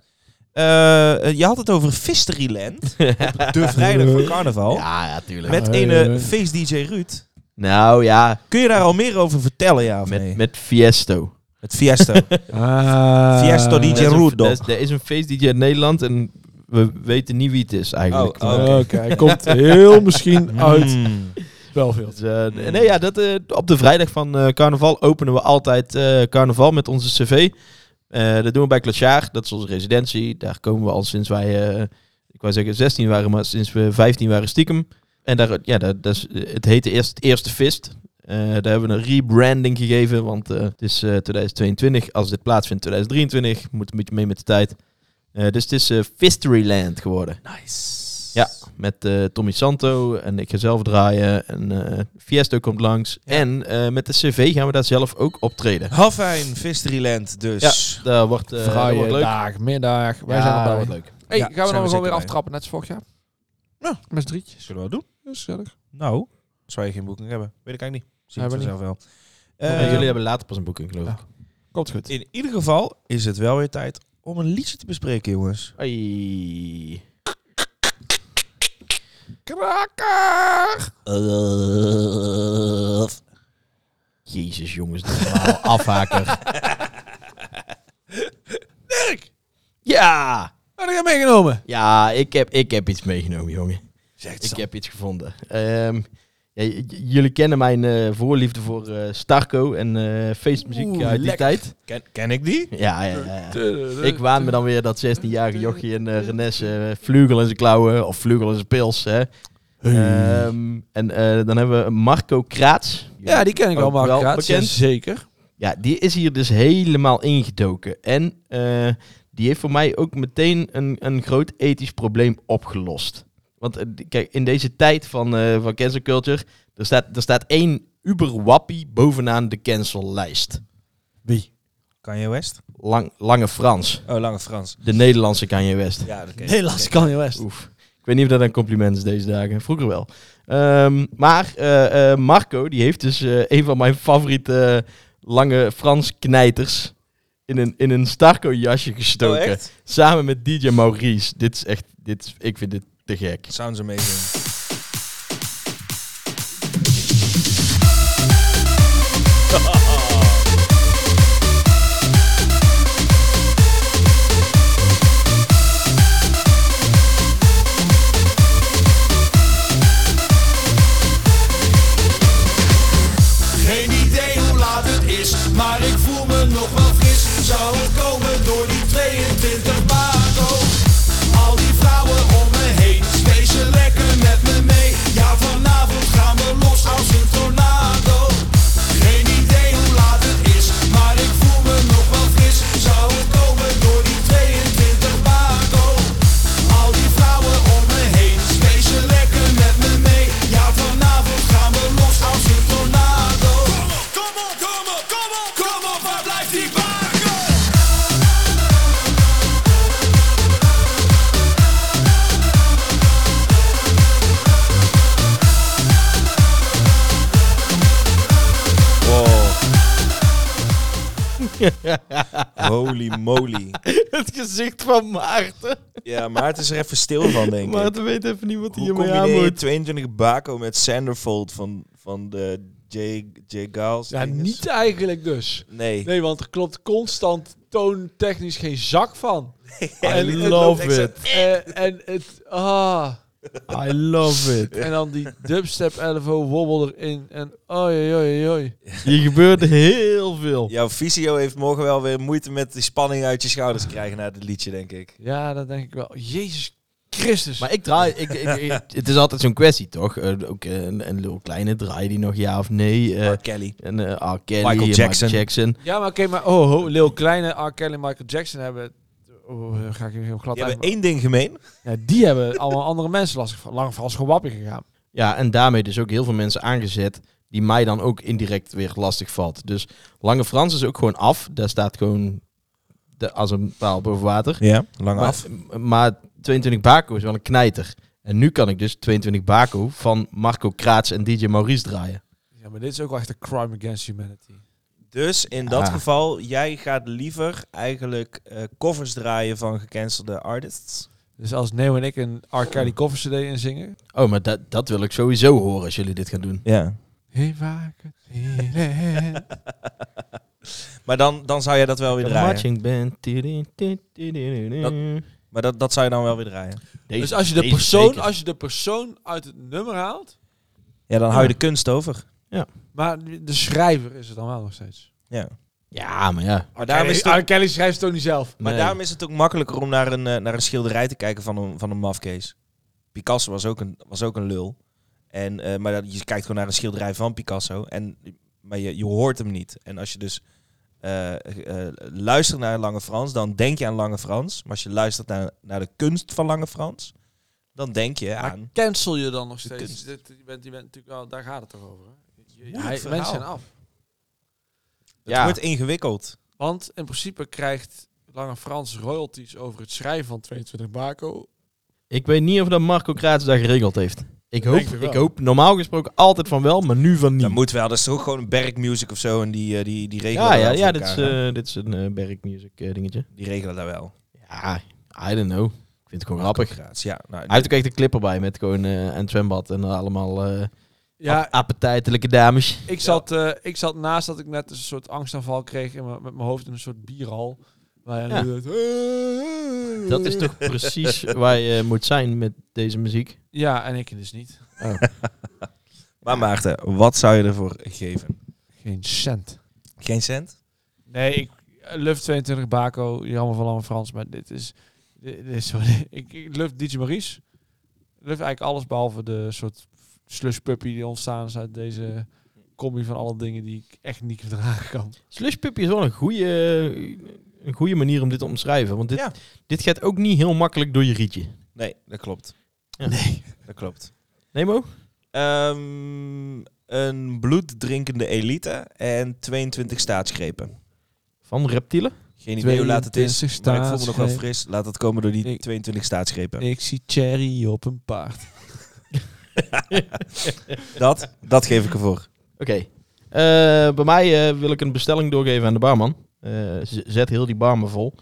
[SPEAKER 3] Eh, eh, je had het over Fisteryland. op de vrijdag van carnaval.
[SPEAKER 2] Ja, ja, tuurlijk.
[SPEAKER 3] Oh. Met een eh, feest-dj Ruud.
[SPEAKER 2] nou ja,
[SPEAKER 3] Kun je daar al meer over vertellen, ja of
[SPEAKER 2] met,
[SPEAKER 3] nee?
[SPEAKER 2] met Fiesto.
[SPEAKER 3] Het Fiesto.
[SPEAKER 4] Ah.
[SPEAKER 3] Fiesto DJ
[SPEAKER 2] Er is een-
[SPEAKER 3] Ruud.
[SPEAKER 2] Er is, er is een feest DJ in Nederland en we weten niet wie het is eigenlijk.
[SPEAKER 3] Oh, oh.
[SPEAKER 4] Oké, hij komt heel misschien uit
[SPEAKER 3] Mm.
[SPEAKER 4] Belfield.
[SPEAKER 2] Dus, eh, nee, ja, dat, eh, op de vrijdag van eh, carnaval openen we altijd eh, carnaval met onze cv. Eh, dat doen we bij Clasjaar, dat is onze residentie. Daar komen we al sinds wij, eh, ik wou zeggen 16 waren, maar sinds we 15 waren stiekem. En daar, ja, dat, dat is, eh, het heette eerst het eerste Fist. Eh, daar hebben we een rebranding gegeven, want eh, het is eh, 2022. Als dit plaatsvindt 2023, moet een beetje mee met de tijd. Eh, dus het is eh Fisteryland geworden.
[SPEAKER 3] Nice.
[SPEAKER 2] Ja, met eh, Tommy Santo en ik ga zelf draaien. En eh, Fiesto komt langs. En eh, met de CV gaan we daar zelf ook optreden.
[SPEAKER 3] Hafijn, Fisteryland dus.
[SPEAKER 2] Daar wordt, eh, dat wordt leuk.
[SPEAKER 4] dag, middag. Wij
[SPEAKER 2] Ja,
[SPEAKER 4] zijn
[SPEAKER 2] dat
[SPEAKER 4] allemaal
[SPEAKER 2] wordt
[SPEAKER 4] leuk.
[SPEAKER 2] leuk.
[SPEAKER 4] Hey,
[SPEAKER 3] Ja,
[SPEAKER 4] gaan we
[SPEAKER 3] zijn
[SPEAKER 4] dan
[SPEAKER 3] we
[SPEAKER 4] gewoon weer
[SPEAKER 3] zeker bij.
[SPEAKER 4] aftrappen, net als vorig jaar?
[SPEAKER 3] Ja.
[SPEAKER 4] Met z'n drietjes.
[SPEAKER 3] Zullen we dat doen?
[SPEAKER 4] Gezellig.
[SPEAKER 3] Nou, zou je geen boeking hebben? Weet ik eigenlijk niet. Zie ik
[SPEAKER 4] Hebben we
[SPEAKER 3] vanzelf wel.
[SPEAKER 2] En
[SPEAKER 3] Eh,
[SPEAKER 2] jullie hebben later pas een boeking, geloof ik.
[SPEAKER 4] Komt goed.
[SPEAKER 3] In ieder geval is het wel weer tijd om een liedje te bespreken, jongens.
[SPEAKER 2] Ai.
[SPEAKER 4] Kraker!
[SPEAKER 2] Jezus, jongens. dit is allemaal afhaker.
[SPEAKER 4] Dirk,
[SPEAKER 2] Ja!
[SPEAKER 4] wat heb je meegenomen?
[SPEAKER 2] Ja, ik heb, ik heb iets meegenomen, jongen.
[SPEAKER 3] Zegt
[SPEAKER 2] Ik heb iets gevonden. Ehm, ja, j- j- jullie kennen mijn eh, voorliefde voor eh, Starco en eh, feestmuziek
[SPEAKER 4] Oeh,
[SPEAKER 2] uit die
[SPEAKER 4] lekker.
[SPEAKER 2] tijd.
[SPEAKER 3] Ken, ken ik die?
[SPEAKER 2] Ja, ja, ja, ja. Ik waan me dan weer dat 16-jarige jochie en eh Renesse eh, vleugel in zijn klauwen of vleugel in zijn pils. Hè. Ehm, en eh, dan hebben we Marco Kraats.
[SPEAKER 4] Ja, die ken ik Oh, wel,
[SPEAKER 2] Ook
[SPEAKER 4] Mark
[SPEAKER 2] wel
[SPEAKER 4] Kraats.
[SPEAKER 2] bekend.
[SPEAKER 4] Zeker.
[SPEAKER 2] Ja, die is hier dus helemaal ingedoken. En eh, die heeft voor mij ook meteen een, een groot ethisch probleem opgelost. Want eh, d- kijk, in deze tijd van, eh van cancel culture, er staat, er staat één uberwappie bovenaan de cancellijst.
[SPEAKER 4] Wie?
[SPEAKER 3] Kanye West?
[SPEAKER 2] Lang, Lange Frans,
[SPEAKER 3] Oh, Lange Frans.
[SPEAKER 2] de Nederlandse Kanye West.
[SPEAKER 3] Ja, dat ken ik.
[SPEAKER 4] Helaas, kan je best.
[SPEAKER 2] Oef. Ik weet niet of dat een compliment is deze dagen. Vroeger wel. Ehm, maar eh, eh, Marco, die heeft dus eh, een van mijn favoriete eh, lange Frans knijters in een, in een Starco jasje
[SPEAKER 3] Oh,
[SPEAKER 2] gestoken.
[SPEAKER 3] echt?
[SPEAKER 2] samen met DJ Maurice. Dit is echt, dit, is- ik vind dit te gek.
[SPEAKER 3] Sounds amazing.
[SPEAKER 9] Geen idee hoe laat het is, maar ik voel me nog wel fris. Zou het komen door die 22 bako? Al die vrouwen om me heen, wees ze lekker met
[SPEAKER 3] Holy moly.
[SPEAKER 2] Het gezicht van Maarten.
[SPEAKER 3] Ja, Maarten is er even stil van, denk ik.
[SPEAKER 2] Maarten weet even niet wat hij
[SPEAKER 3] Hoe
[SPEAKER 2] hiermee aan
[SPEAKER 3] combineer je
[SPEAKER 2] moet.
[SPEAKER 3] 22 bako met Sanderfold van, van de J, J Giles?
[SPEAKER 4] Ja,
[SPEAKER 3] dinges?
[SPEAKER 4] niet eigenlijk dus.
[SPEAKER 3] Nee.
[SPEAKER 4] Nee, want er klopt constant toontechnisch geen zak van.
[SPEAKER 2] I love it.
[SPEAKER 4] Eh, en het... Ah.
[SPEAKER 2] I love it.
[SPEAKER 4] En dan die dubstep 11 wobbel erin. En oi, oi, oi.
[SPEAKER 2] Hier gebeurde heel veel.
[SPEAKER 3] Jouw visio heeft morgen wel weer moeite met die spanning uit je schouders krijgen na dit liedje, denk ik.
[SPEAKER 4] Ja, dat denk ik wel. Jezus Christus.
[SPEAKER 2] Maar ik draai, ik, ik- ik- het is altijd zo'n kwestie toch? Eh, ook eh, een, een little kleine draai die nog ja of nee. eh,
[SPEAKER 3] R. Kelly.
[SPEAKER 2] en eh, R. Kelly,
[SPEAKER 3] Michael
[SPEAKER 2] Michael Jackson.
[SPEAKER 3] Jackson.
[SPEAKER 2] Jackson.
[SPEAKER 4] ja, maar oké, maar oh, ho, Lil Kleine, R. Kelly en Michael Jackson hebben... Oh, eh, ga ik hier heel glad
[SPEAKER 3] Die hebben
[SPEAKER 4] uit.
[SPEAKER 3] één ding gemeen.
[SPEAKER 4] Ja, die hebben allemaal andere mensen lastig van. Lang vast gewappie gegaan.
[SPEAKER 2] Ja, en daarmee dus ook heel veel mensen aangezet die mij dan ook indirect weer lastig valt. Dus Lange Frans is ook gewoon af. Daar staat gewoon de, als een paal boven water.
[SPEAKER 3] Ja, lang
[SPEAKER 2] maar, m- Maar 22 Baco is wel een knijter. En nu kan ik dus 22 Baco van Marco Kraats en DJ Maurice draaien.
[SPEAKER 4] Ja, maar dit is ook wel echt een crime against humanity.
[SPEAKER 3] Dus in dat
[SPEAKER 2] Ah.
[SPEAKER 3] geval, jij gaat liever eigenlijk eh, covers draaien van gecancelde artists.
[SPEAKER 4] Dus als Neo en ik een R. Kelly cover CD inzingen...
[SPEAKER 2] Oh, maar dat, dat wil ik sowieso horen als jullie dit gaan doen.
[SPEAKER 3] Ja.
[SPEAKER 4] Hey, waar ik het in-
[SPEAKER 3] Maar dan, dan zou jij dat wel weer draaien.
[SPEAKER 2] Marching band. Tiri, tiri, tiri, tiri.
[SPEAKER 3] Maar dat, dat zou je dan wel weer draaien.
[SPEAKER 2] Deze-
[SPEAKER 4] dus als je, de
[SPEAKER 2] deze
[SPEAKER 4] persoon,
[SPEAKER 2] zeker.
[SPEAKER 4] als je de persoon uit het nummer haalt,
[SPEAKER 3] Ja, dan hou je de kunst over.
[SPEAKER 4] maar de schrijver is het dan wel nog steeds.
[SPEAKER 3] Ja.
[SPEAKER 2] Ja, maar ja.
[SPEAKER 3] Maar daarom is het ook,
[SPEAKER 4] Kelly schrijft het ook niet zelf.
[SPEAKER 3] maar
[SPEAKER 2] Nee.
[SPEAKER 3] daarom is het ook makkelijker om naar een, eh, naar een schilderij te kijken van een, van een mafkees. Picasso was ook een, was ook een lul. En, eh, maar dat, je kijkt gewoon naar een schilderij van Picasso. En, maar je, je hoort hem niet. En als je dus eh, eh, luistert naar Lange Frans, dan denk je aan Lange Frans. Maar als je luistert naar, naar de kunst van Lange Frans, dan denk je
[SPEAKER 4] Maar
[SPEAKER 3] aan...
[SPEAKER 4] cancel je dan nog steeds?
[SPEAKER 3] kunst.
[SPEAKER 4] Dit, je bent, je bent natuurlijk wel, daar gaat het toch over. hè? Je-
[SPEAKER 3] Moeilijk
[SPEAKER 4] hij-
[SPEAKER 3] verhaal.
[SPEAKER 4] mensen zijn af.
[SPEAKER 3] Het wordt ingewikkeld.
[SPEAKER 4] Want in principe krijgt Lange Frans royalties over het schrijven van 22 Baco.
[SPEAKER 2] Ik weet niet of dat Marco Kraats dat geregeld heeft. Ik hoop,
[SPEAKER 4] denk het wel.
[SPEAKER 2] ik hoop normaal gesproken altijd van wel, maar nu van
[SPEAKER 3] Dat
[SPEAKER 2] niet.
[SPEAKER 3] moet wel. Dat is toch ook gewoon een Berkmusic of zo. En die, eh, die, die regelen
[SPEAKER 2] Hmm. Ja,
[SPEAKER 3] dat
[SPEAKER 2] ja,
[SPEAKER 3] wel
[SPEAKER 2] ja
[SPEAKER 3] voor
[SPEAKER 2] dit, is,
[SPEAKER 3] elkaar, hè?
[SPEAKER 2] eh, dit is een eh, Berkmusic eh, dingetje.
[SPEAKER 3] Die regelen dat wel.
[SPEAKER 2] Ja, I don't know. Ik vind het gewoon grappig.
[SPEAKER 3] Gratis. Ja, nou,
[SPEAKER 2] Hij heeft ook echt een clip erbij met gewoon eh, en het zwembad en allemaal eh
[SPEAKER 4] Ja,
[SPEAKER 2] appetijtelijke dames.
[SPEAKER 4] ik zat, eh, ik zat naast dat ik net een soort angstaanval kreeg in mijn- met mijn hoofd in een soort bierhal. Waar
[SPEAKER 2] Ja.
[SPEAKER 3] eh,
[SPEAKER 4] je
[SPEAKER 2] Dat is toch precies waar je moet zijn met deze muziek.
[SPEAKER 4] ja, en ik dus niet.
[SPEAKER 3] Maar Maarten, wat zou je ervoor geven?
[SPEAKER 4] Geen cent.
[SPEAKER 3] Geen cent?
[SPEAKER 4] Nee, ik eh, luf 22 Baco, jammer van Lange Frans, maar dit is, dit, dit is wat- ik, ik luf DJ Maurice. Luf eigenlijk alles behalve de soort slush puppy die ontstaan is uit deze combi van alle dingen die ik echt niet verdragen kan.
[SPEAKER 2] Slush Puppy is wel een goede, een goede manier om dit te omschrijven. Want dit,
[SPEAKER 3] Ja.
[SPEAKER 2] dit gaat ook niet heel makkelijk door je rietje.
[SPEAKER 3] Nee, dat klopt.
[SPEAKER 2] Ja.
[SPEAKER 3] Nee. Dat klopt.
[SPEAKER 2] Nemo?
[SPEAKER 3] Ehm, een bloeddrinkende elite en 22 staatsgrepen.
[SPEAKER 2] Van reptielen?
[SPEAKER 3] Geen idee hoe laat het is,
[SPEAKER 4] 22
[SPEAKER 3] maar ik voel me nog wel
[SPEAKER 4] staatsgrepen.
[SPEAKER 3] fris. Laat dat komen door die
[SPEAKER 4] Ik-
[SPEAKER 3] 22 staatsgrepen.
[SPEAKER 4] Ik zie Cherry op een paard.
[SPEAKER 3] Dat, dat geef ik ervoor.
[SPEAKER 2] Oké. Eh, bij mij eh, wil ik een bestelling doorgeven aan de barman. Eh, z- zet heel die bar maar vol.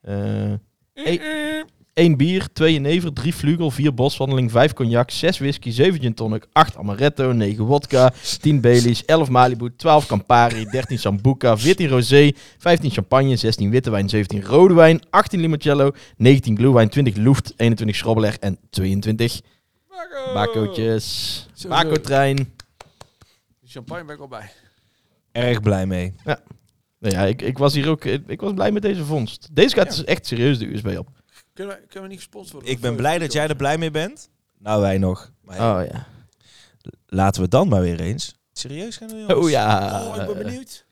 [SPEAKER 2] Eh e- één bier, twee jenever, drie vlugel, vier boswandeling, vijf cognac, zes whisky, zeven gin tonic, acht amaretto, negen wodka, tien Baileys, elf Malibu, twaalf Campari, dertien Sambuca, veertien rosé, vijftien champagne, zestien witte wijn, zeventien rode wijn, achttien limoncello, negentien glühwein, twintig luft, 21 schrobbeler en 22 bakootjes.
[SPEAKER 4] Zo, zo.
[SPEAKER 2] Bakotrein.
[SPEAKER 4] Champagne ben ik al bij.
[SPEAKER 3] Erg blij mee.
[SPEAKER 2] Nou ja, ik, ik was hier ook. Ik, ik was blij met deze vondst. Deze gaat dus echt serieus de USB op.
[SPEAKER 4] Kunnen we, kunnen we niet gesponsord worden?
[SPEAKER 3] Ik ben blij dat jij er blij mee bent. Nou, wij nog. Maar ja,
[SPEAKER 2] Oh ja.
[SPEAKER 3] laten we het dan maar weer eens. Serieus gaan doen, jongens?
[SPEAKER 2] Oh ja.
[SPEAKER 3] Oh, ik ben benieuwd.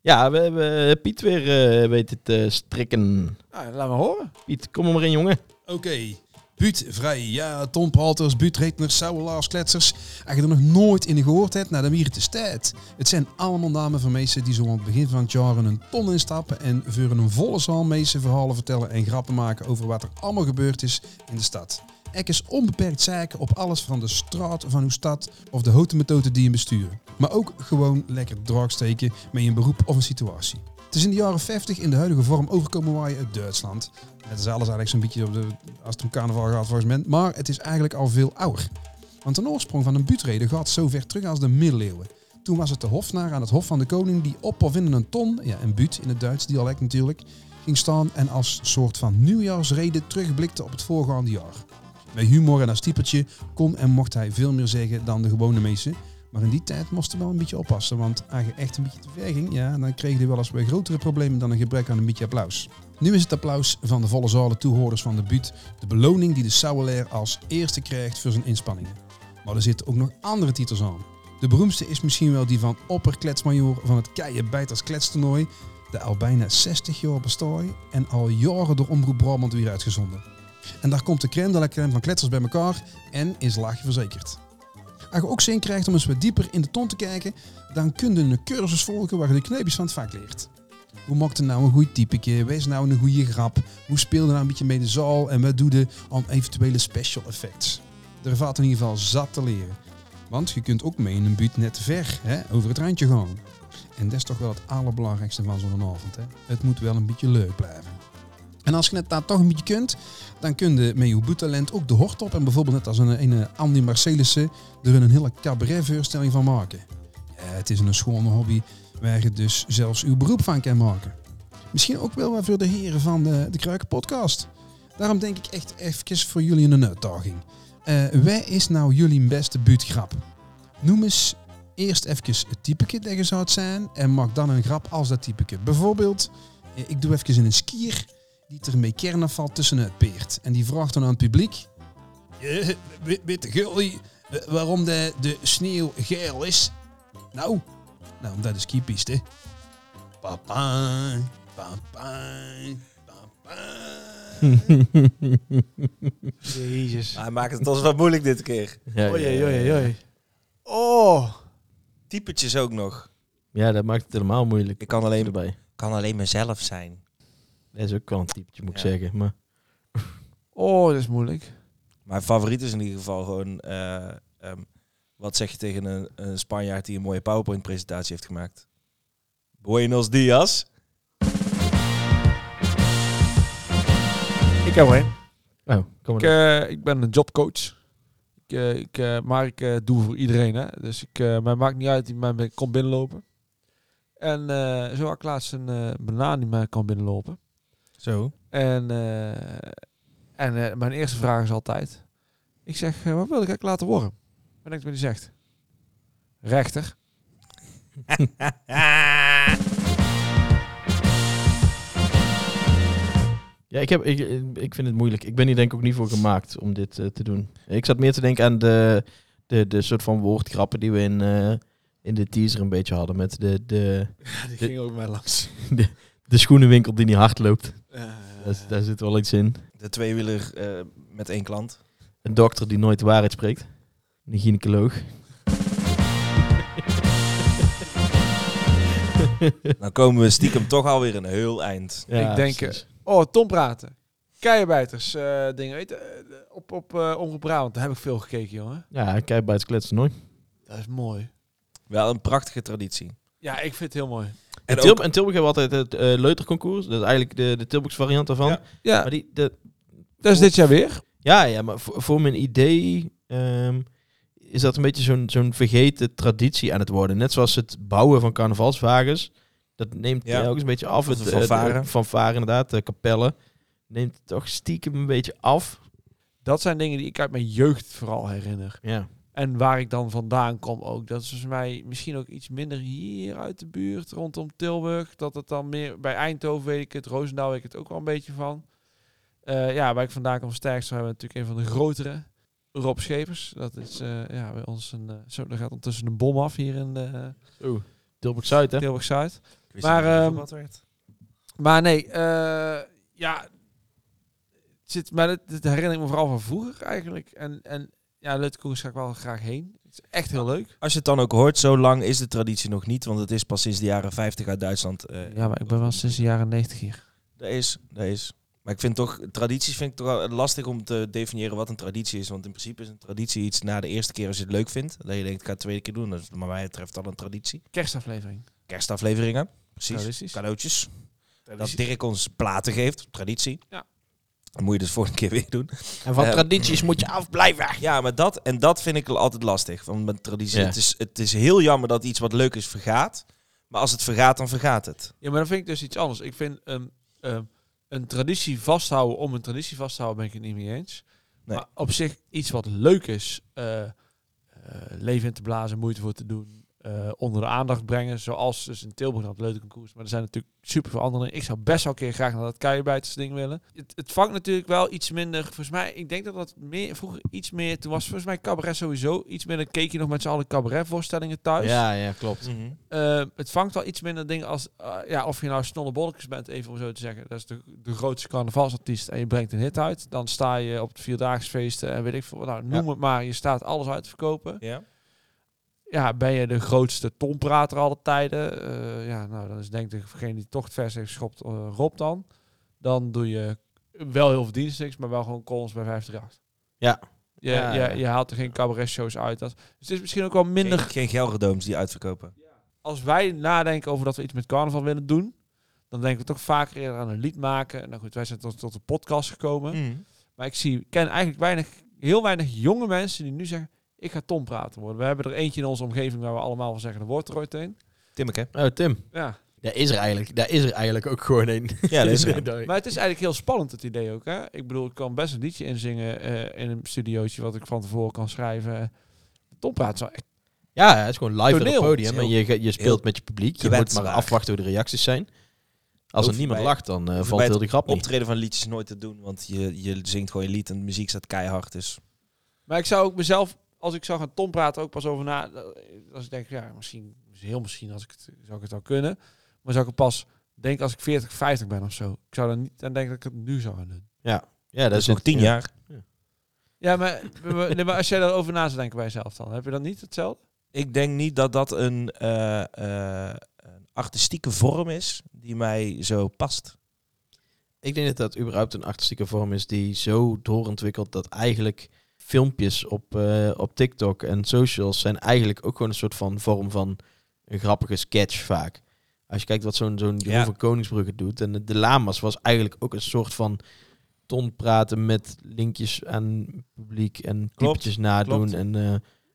[SPEAKER 2] Ja, we hebben Piet weer eh, weten te strikken.
[SPEAKER 4] Ah, laat me horen.
[SPEAKER 2] Piet, kom er maar in, jongen.
[SPEAKER 9] Oké. Buut vrij, ja, tonpralters, buutrekeners, sauwelaars, kletsers. Als je er nog nooit in gehoord hebt, nou dan hier het is tijd. Het zijn allemaal namen van mensen die zo aan het begin van het jaar een ton instappen en voor een volle zaal mensen verhalen vertellen en grappen maken over wat er allemaal gebeurd is in de stad. Ek is onbeperkt zeiken op alles van de straat van uw stad of de houten methode die je besturen. Maar ook gewoon lekker draagsteken met een beroep of een situatie.
[SPEAKER 11] Het is in de jaren 50 in de huidige vorm overkomen waaien uit Duitsland. Het is alles eigenlijk zo'n beetje op de, als het om carnaval gaat volgens mij. Maar het is eigenlijk al veel ouder. Want de oorsprong van een buutrede gaat zo ver terug als de middeleeuwen. Toen was het de hofnaar aan het hof van de koning die op of in een ton, ja een buut in het Duits dialect natuurlijk, ging staan en als soort van nieuwjaarsrede terugblikte op het voorgaande jaar. Met humor en als typetje kon en mocht hij veel meer zeggen dan de gewone mensen. Maar in die tijd moest hij wel een beetje oppassen, want als je echt een beetje te ver ging, ja, dan kreeg je wel eens weer grotere problemen dan een gebrek aan een beetje applaus. Nu is het applaus van de volle zalen toehoorders van de buurt de beloning die de Sauerleer als eerste krijgt voor zijn inspanningen. Maar er zitten ook nog andere titels aan. De beroemdste is misschien wel die van opperkletsmajor van het Keienbijters Kletstoernooi, de al bijna 60 jaar bestaat en al jaren door Omroep Brabant weer uitgezonden. En daar komt de crème de la crème van kletsers bij elkaar en is laagje verzekerd. Als je ook zin krijgt om eens wat dieper in de ton te kijken, dan kun je een cursus volgen waar je de kneepjes van het vak leert. Hoe maakt er nou een goed typeke? Wees nou een goede grap? Hoe speel je nou een beetje mee de zaal? En wat doe je aan eventuele special effects? Er valt in ieder geval zat te leren. Want je kunt ook mee in een buurt net te ver, hè? over het randje gewoon. En dat is toch wel het allerbelangrijkste van zo'n avond. Hè? Het moet wel een beetje leuk blijven. En als je het daar toch een beetje kunt, dan kun je met je boetalent ook de hort op. En bijvoorbeeld net als een, een Andy Marcelissen er een hele cabaretvoorstelling van maken. Ja, het is een schone hobby waar je dus zelfs uw beroep van kan maken. Misschien ook wel wat voor de heren van de, de Kruiken podcast. Daarom denk ik echt even voor jullie een uitdaging. Eh wij is nou jullie beste buurtgrap? Noem eens eerst even het typeke dat je zou het zijn en maak dan een grap als dat typeke. Bijvoorbeeld, eh, ik doe even een skier die er met kernafval tussenuit peert. En die vraagt dan aan het publiek... "Eh, weet- Weet de jullie eh, waarom de, de sneeuw geel is? Nou, nou omdat de skipiste... Papa, papa,
[SPEAKER 4] Jezus.
[SPEAKER 12] Hij maakt het ons wat moeilijk dit keer.
[SPEAKER 2] Ja, Oei, ja, ja, oei, ja. oei.
[SPEAKER 12] Oh. Typetjes ook nog.
[SPEAKER 2] Ja, dat maakt het helemaal moeilijk. Ik
[SPEAKER 12] kan alleen,
[SPEAKER 2] erbij.
[SPEAKER 12] kan alleen mezelf zijn.
[SPEAKER 2] Dat is ook wel een typetje, moet ik zeggen. Maar
[SPEAKER 4] Oh, dat is moeilijk.
[SPEAKER 3] Mijn favoriet is in ieder geval gewoon... eh, ehm, wat zeg je tegen een, een Spanjaard die een mooie PowerPoint-presentatie heeft gemaakt? Buenos dias.
[SPEAKER 4] Ik heb er een.
[SPEAKER 2] Oh, kom
[SPEAKER 4] ik, eh, ik ben een jobcoach. Ik, eh, ik, eh, maar ik eh, doe voor iedereen. Hè. Dus ik, eh, mij maakt niet uit, die mij bij- komt binnenlopen. En eh, zo had ik laatst een eh, banaan die mij kan binnenlopen.
[SPEAKER 3] Zo.
[SPEAKER 4] En, eh, en eh, mijn eerste vraag is altijd... Ik zeg, eh, wat wil ik eigenlijk laten worden? Wat denk je wat hij zegt? Rechter.
[SPEAKER 2] Ja, ik, heb, ik, ik vind het moeilijk. Ik ben hier denk ik ook niet voor gemaakt om dit eh, te doen. Ik zat meer te denken aan de, de, de soort van woordgrappen die we in, eh, in de teaser een beetje hadden. Met de, de,
[SPEAKER 4] die
[SPEAKER 2] de-
[SPEAKER 4] ging ook mij langs.
[SPEAKER 2] De, de schoenenwinkel die niet hard loopt. daar, z- daar zit wel iets in.
[SPEAKER 3] De tweewieler eh, met één klant.
[SPEAKER 2] Een dokter die nooit de waarheid spreekt. Een gynaecoloog.
[SPEAKER 3] Dan komen we stiekem toch alweer een heel eind.
[SPEAKER 4] ik denk, eh, oh, Tom praten. Keienbijters, eh dingen. Weet, je, eh, op op eh Omroep Brabant, daar heb ik veel gekeken, jongen.
[SPEAKER 2] Ja, kijk bij het kletsen nooit.
[SPEAKER 4] Dat is mooi.
[SPEAKER 3] Wel een prachtige traditie.
[SPEAKER 4] Ja, ik vind het heel mooi.
[SPEAKER 2] En, Tilb en Tilburg hebben altijd het eh, Leuterconcours. Dat is eigenlijk de, de Tilburgse variant daarvan. Ja.
[SPEAKER 4] Ja.
[SPEAKER 2] Maar die, de,
[SPEAKER 4] Dat is dit jaar weer.
[SPEAKER 2] Ja, ja maar voor, voor mijn idee ehm, is dat een beetje zo'n zo'n vergeten traditie aan het worden. Net zoals het bouwen van carnavalswagens. Dat neemt
[SPEAKER 3] Ja.
[SPEAKER 2] telkens een beetje af.
[SPEAKER 3] Of
[SPEAKER 2] Het,
[SPEAKER 3] de
[SPEAKER 2] eh, de-
[SPEAKER 3] fanfare.
[SPEAKER 2] fanfare inderdaad, de kapellen. Neemt toch stiekem een beetje af.
[SPEAKER 4] Dat zijn dingen die ik uit mijn jeugd vooral herinner.
[SPEAKER 2] Ja.
[SPEAKER 4] En waar ik dan vandaan kom ook. Dat is volgens mij misschien ook iets minder hier uit de buurt, rondom Tilburg. Dat het dan meer bij Eindhoven weet ik het, Roosendaal weet ik het ook wel een beetje van. Eh, ja, waar ik vandaan kom sterkst, hebben we natuurlijk een van de grotere. Rob Schepers, dat is eh, ja, bij ons een... eh, zo, er gaat ondertussen een bom af hier in de...
[SPEAKER 2] Oeh, Tilburg-Zuid, hè?
[SPEAKER 4] Tilburg-Zuid.
[SPEAKER 3] wist
[SPEAKER 4] Maar,
[SPEAKER 3] niet dat het
[SPEAKER 4] ehm,
[SPEAKER 3] voetbal werd.
[SPEAKER 4] maar nee, eh, ja, het zit, maar dat, dat herinner ik me vooral van vroeger eigenlijk. En, en ja, Lutkoers ga ik wel graag heen. Het is echt heel leuk.
[SPEAKER 3] Als je het dan ook hoort, zo lang is de traditie nog niet, want het is pas sinds de jaren 50 uit Duitsland. eh,
[SPEAKER 4] Ja, maar ik ben wel sinds de jaren 90 hier.
[SPEAKER 3] Dat is, dat is. Maar ik vind toch, tradities vind ik toch wel lastig om te definiëren wat een traditie is. Want in principe is een traditie iets na de eerste keer als je het Dus leuk vindt. Dat je denkt, ik ga het tweede keer doen. Dat is, maar mij betreft dan een traditie.
[SPEAKER 4] Kerstaflevering.
[SPEAKER 3] Kerstafleveringen. Precies. Cadeautjes.
[SPEAKER 12] Traditie.
[SPEAKER 3] Dat Dirk ons platen geeft. Traditie.
[SPEAKER 4] Ja.
[SPEAKER 3] Dat moet je dus volgende keer weer doen.
[SPEAKER 2] En van
[SPEAKER 3] Eh,
[SPEAKER 2] tradities moet je afblijven.
[SPEAKER 3] Ja, maar dat, en dat vind ik altijd lastig. Want met traditie,
[SPEAKER 2] Ja.
[SPEAKER 3] het, is, het is heel jammer dat iets wat leuk is vergaat. Maar als het vergaat, dan vergaat het.
[SPEAKER 4] Ja, maar dan vind ik dus iets anders. Ik vind een, ehm, een traditie vasthouden om een traditie vast te houden, ben ik het niet mee eens.
[SPEAKER 3] Nee.
[SPEAKER 4] Maar op zich iets wat leuk is, eh, eh, leven in te blazen, moeite voor te doen, eh, onder de aandacht brengen, zoals dus in Tilburg dat leuke koers. Maar er zijn natuurlijk super veel andere. Ik zou best wel een keer graag naar dat kuienbijters ding willen. Het, het vangt natuurlijk wel iets minder, volgens mij, ik denk dat dat meer, vroeger iets meer, toen was volgens mij cabaret sowieso, iets minder keek je nog met z'n allen cabaretvoorstellingen thuis.
[SPEAKER 2] Ja, ja, klopt.
[SPEAKER 3] Mhm.
[SPEAKER 4] Eh, het vangt wel iets minder dingen als, eh, ja, of je nou snollebollekes bent, even om zo te zeggen. Dat is de, de grootste carnavalsartiest en je brengt een hit uit. Dan sta je op het vierdaagsfeesten en weet ik veel, nou noem het maar. Je staat alles uit te verkopen.
[SPEAKER 3] Ja.
[SPEAKER 4] Ja, ben je de grootste tonprater alle tijden? Eh, ja, nou, dan is denk ik degene die toch het vers heeft geschopt, eh, Rob dan. Dan doe je wel heel verdienstelijks, maar wel gewoon columns bij 538.
[SPEAKER 2] Ja.
[SPEAKER 4] Je,
[SPEAKER 2] Ja, ja.
[SPEAKER 4] je, je haalt er geen cabaret shows uit. Dat, dus het is misschien ook wel minder
[SPEAKER 3] Geen, geen Gelredooms die uitverkopen.
[SPEAKER 4] als wij nadenken over dat we iets met carnaval willen doen, dan denken we toch vaker eerder aan een lied maken. Nou goed, wij zijn tot, tot de podcast gekomen.
[SPEAKER 3] Mhm.
[SPEAKER 4] Maar ik zie, ik ken eigenlijk weinig, heel weinig jonge mensen die nu zeggen, ik ga Tom praten worden. We hebben er eentje in onze omgeving waar we allemaal van zeggen, er wordt er ooit een.
[SPEAKER 3] Timmeke.
[SPEAKER 2] Oh, Tim.
[SPEAKER 4] Ja.
[SPEAKER 2] Daar is er eigenlijk, daar is er eigenlijk ook gewoon een.
[SPEAKER 3] Ja, dat is er.
[SPEAKER 2] Nee.
[SPEAKER 4] Maar het is eigenlijk heel spannend, het idee ook. Hè? Ik bedoel, ik kan best een liedje inzingen eh, in een studiootje wat ik van tevoren kan schrijven. Tom praten zou echt
[SPEAKER 2] Ja, het is gewoon live op
[SPEAKER 4] Toneel.
[SPEAKER 2] het podium.
[SPEAKER 4] Heel-
[SPEAKER 2] En je, ge- je speelt
[SPEAKER 4] heel
[SPEAKER 2] met je publiek. Je moet
[SPEAKER 3] kwetsbaar.
[SPEAKER 2] maar afwachten hoe de reacties zijn. Als
[SPEAKER 3] Hoef
[SPEAKER 2] er
[SPEAKER 3] je
[SPEAKER 2] niemand
[SPEAKER 3] bij-
[SPEAKER 2] lacht, dan eh,
[SPEAKER 3] hoef je
[SPEAKER 2] valt
[SPEAKER 3] bij
[SPEAKER 2] heel
[SPEAKER 3] het
[SPEAKER 2] de grap niet.
[SPEAKER 3] optreden van liedjes nooit te doen. Want je, je zingt gewoon je lied en de muziek staat keihard. Dus
[SPEAKER 4] Maar ik zou ook mezelf, als ik zou gaan Tom praten, ook pas over na. eh, Als ik denk, ja, misschien, heel misschien als ik het, zou ik het wel kunnen. Maar zou ik het pas denken als ik 40, 50 ben of zo. Ik zou dan niet aan denken dat ik het nu zou gaan doen.
[SPEAKER 2] Ja, ja dat,
[SPEAKER 3] is nog
[SPEAKER 2] het.
[SPEAKER 3] tien
[SPEAKER 2] Ja.
[SPEAKER 3] jaar.
[SPEAKER 4] Ja, maar, maar- nee, maar als jij daarover na zou denken bij jezelf dan, heb je dan niet hetzelfde?
[SPEAKER 3] ik denk niet dat dat een, eh, eh, een artistieke vorm is die mij zo past.
[SPEAKER 2] Ik denk dat dat überhaupt een artistieke vorm is die zo doorontwikkeld dat eigenlijk filmpjes op, eh, op TikTok en socials zijn eigenlijk ook gewoon een soort van vorm van een grappige sketch vaak. Als je kijkt wat zo'n zo'n Jeroen
[SPEAKER 3] Ja.
[SPEAKER 2] van Koningsbrugge doet. En de, de Lamas was eigenlijk ook een soort van ton praten met linkjes aan publiek en typetjes nadoen
[SPEAKER 3] klopt.
[SPEAKER 2] en, eh,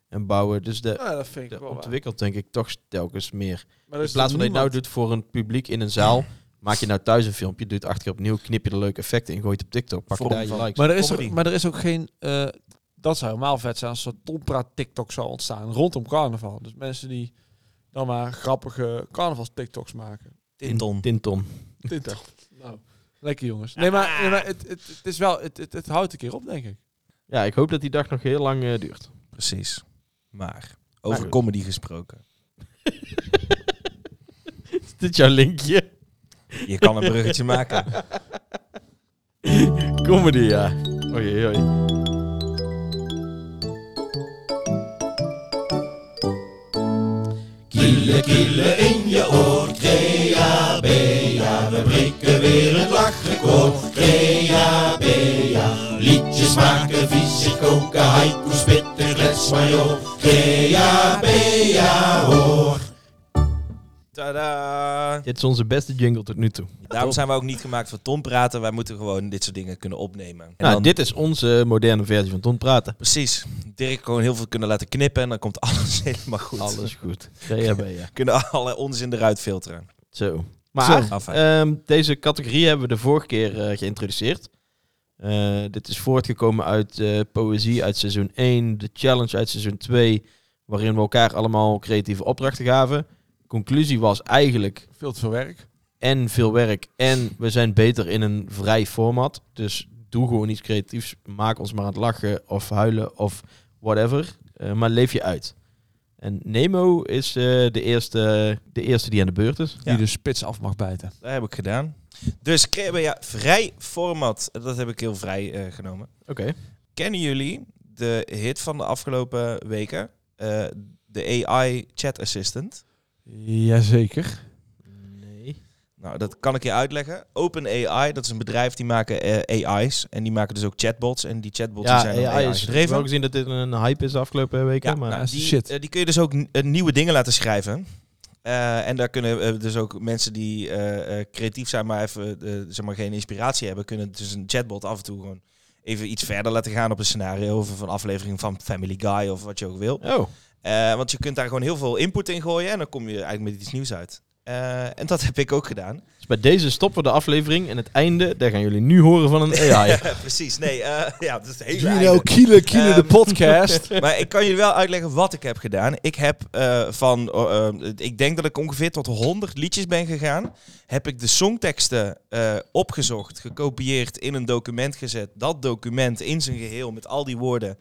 [SPEAKER 2] en bouwen. Dus de,
[SPEAKER 4] Ja, dat vind ik
[SPEAKER 2] de
[SPEAKER 4] wel waar.
[SPEAKER 2] ontwikkelt denk ik toch telkens meer.
[SPEAKER 4] Maar er
[SPEAKER 2] in
[SPEAKER 4] is
[SPEAKER 2] plaats van
[SPEAKER 4] toch
[SPEAKER 2] dat je nou
[SPEAKER 4] niemand-
[SPEAKER 2] doet voor een publiek in een zaal, maak je nou thuis een filmpje, doe het acht keer opnieuw, knip je er leuke effecten in, gooi het op TikTok, pak je
[SPEAKER 3] Vorm
[SPEAKER 2] daar je
[SPEAKER 3] van-
[SPEAKER 2] likes.
[SPEAKER 4] Maar er, is
[SPEAKER 3] Comedy.
[SPEAKER 4] ook, maar er is ook geen. eh, dat zou helemaal vet zijn als zo'n Tompraat-TikTok zou ontstaan rondom carnaval. Dus mensen die dan maar grappige carnavals-TikToks maken.
[SPEAKER 3] Tinton.
[SPEAKER 2] Tinton.
[SPEAKER 4] Tintig. Nou, lekker jongens. Nee, maar, nee, maar het, het, het is wel, het, het, het houdt een keer op, denk ik.
[SPEAKER 2] Ja, ik hoop dat die dag nog heel lang eh, duurt.
[SPEAKER 3] Precies. Maar over
[SPEAKER 2] goed.
[SPEAKER 3] comedy gesproken.
[SPEAKER 2] Is dit jouw linkje?
[SPEAKER 3] Je kan een bruggetje maken.
[SPEAKER 2] Comedy, ja. Oei, oei, oei.
[SPEAKER 9] Kiele, kiele in je oor, crea, bea, we breken weer het lachrecord. Crea, bea, liedjes maken, visie koken, haiku spitten, klets maar joh. Crea, bea, hoor.
[SPEAKER 3] Tadaa.
[SPEAKER 2] Dit is onze beste jingle tot nu toe.
[SPEAKER 3] Daarom zijn we ook niet gemaakt voor Tom praten. Wij moeten gewoon dit soort dingen kunnen opnemen. En
[SPEAKER 2] nou,
[SPEAKER 3] dan-
[SPEAKER 2] dit is onze moderne versie van Ton Praten.
[SPEAKER 3] Precies. Dirk gewoon heel veel kunnen laten knippen en dan komt alles helemaal goed.
[SPEAKER 2] Alles goed. Ja, ben je.
[SPEAKER 3] Kunnen alle onzin eruit filteren.
[SPEAKER 2] Zo.
[SPEAKER 3] Zo.
[SPEAKER 2] Maar
[SPEAKER 3] Enfin.
[SPEAKER 2] ehm, deze categorie hebben we de vorige keer eh, geïntroduceerd. Eh, dit is voortgekomen uit eh, poëzie uit seizoen 1, de challenge uit seizoen 2, waarin we elkaar allemaal creatieve opdrachten gaven. Conclusie was eigenlijk
[SPEAKER 4] Veel te veel werk.
[SPEAKER 2] en veel werk en we zijn beter in een vrij format. Dus doe gewoon iets creatiefs. Maak ons maar aan het lachen of huilen of whatever. Eh, maar leef je uit. En Nemo is eh, de, eerste, de eerste die aan de beurt is.
[SPEAKER 4] Die de spits af mag bijten.
[SPEAKER 3] Dat heb ik gedaan. Dus Crebea, vrij format. Dat heb ik heel vrij eh, genomen.
[SPEAKER 2] Oké.
[SPEAKER 3] Kennen jullie de hit van de afgelopen weken? Eh, de AI Chat Assistant.
[SPEAKER 4] Jazeker.
[SPEAKER 2] Nee.
[SPEAKER 3] Nou, dat kan ik je uitleggen. OpenAI, dat is een bedrijf die maken eh, AI's. En die maken dus ook chatbots. En die chatbots die
[SPEAKER 2] Ja,
[SPEAKER 3] zijn door
[SPEAKER 2] AI is
[SPEAKER 3] gedreven.
[SPEAKER 2] gedreven. wel gezien dat dit een hype is de afgelopen weken.
[SPEAKER 3] Ja,
[SPEAKER 2] maar
[SPEAKER 3] nou, die,
[SPEAKER 4] shit.
[SPEAKER 3] eh, die kun je dus ook n- eh, nieuwe dingen laten schrijven. Eh, en daar kunnen eh, dus ook mensen die eh, eh, creatief zijn, maar even eh, zeg maar geen inspiratie hebben, kunnen dus een chatbot af en toe gewoon even iets verder laten gaan op een scenario of een aflevering van Family Guy of wat je ook wil.
[SPEAKER 2] Oh.
[SPEAKER 3] Eh, want je kunt daar gewoon heel veel input in gooien en dan kom je eigenlijk met iets nieuws uit. Eh, en dat heb ik ook gedaan.
[SPEAKER 2] Dus bij deze stoppen we de aflevering en het einde, daar gaan jullie nu horen van een AI.
[SPEAKER 3] Precies, nee. eh, ja, dat is het hele
[SPEAKER 2] Jullie
[SPEAKER 3] einde.
[SPEAKER 2] nou kielen, kielen de
[SPEAKER 3] Ehm,
[SPEAKER 2] podcast.
[SPEAKER 3] maar ik kan jullie wel uitleggen wat ik heb gedaan. Ik heb eh, van, eh, eh, ik denk dat ik ongeveer tot 100 liedjes ben gegaan. Heb ik de songteksten eh, opgezocht, gekopieerd, in een document gezet. Dat document in zijn geheel met al die woorden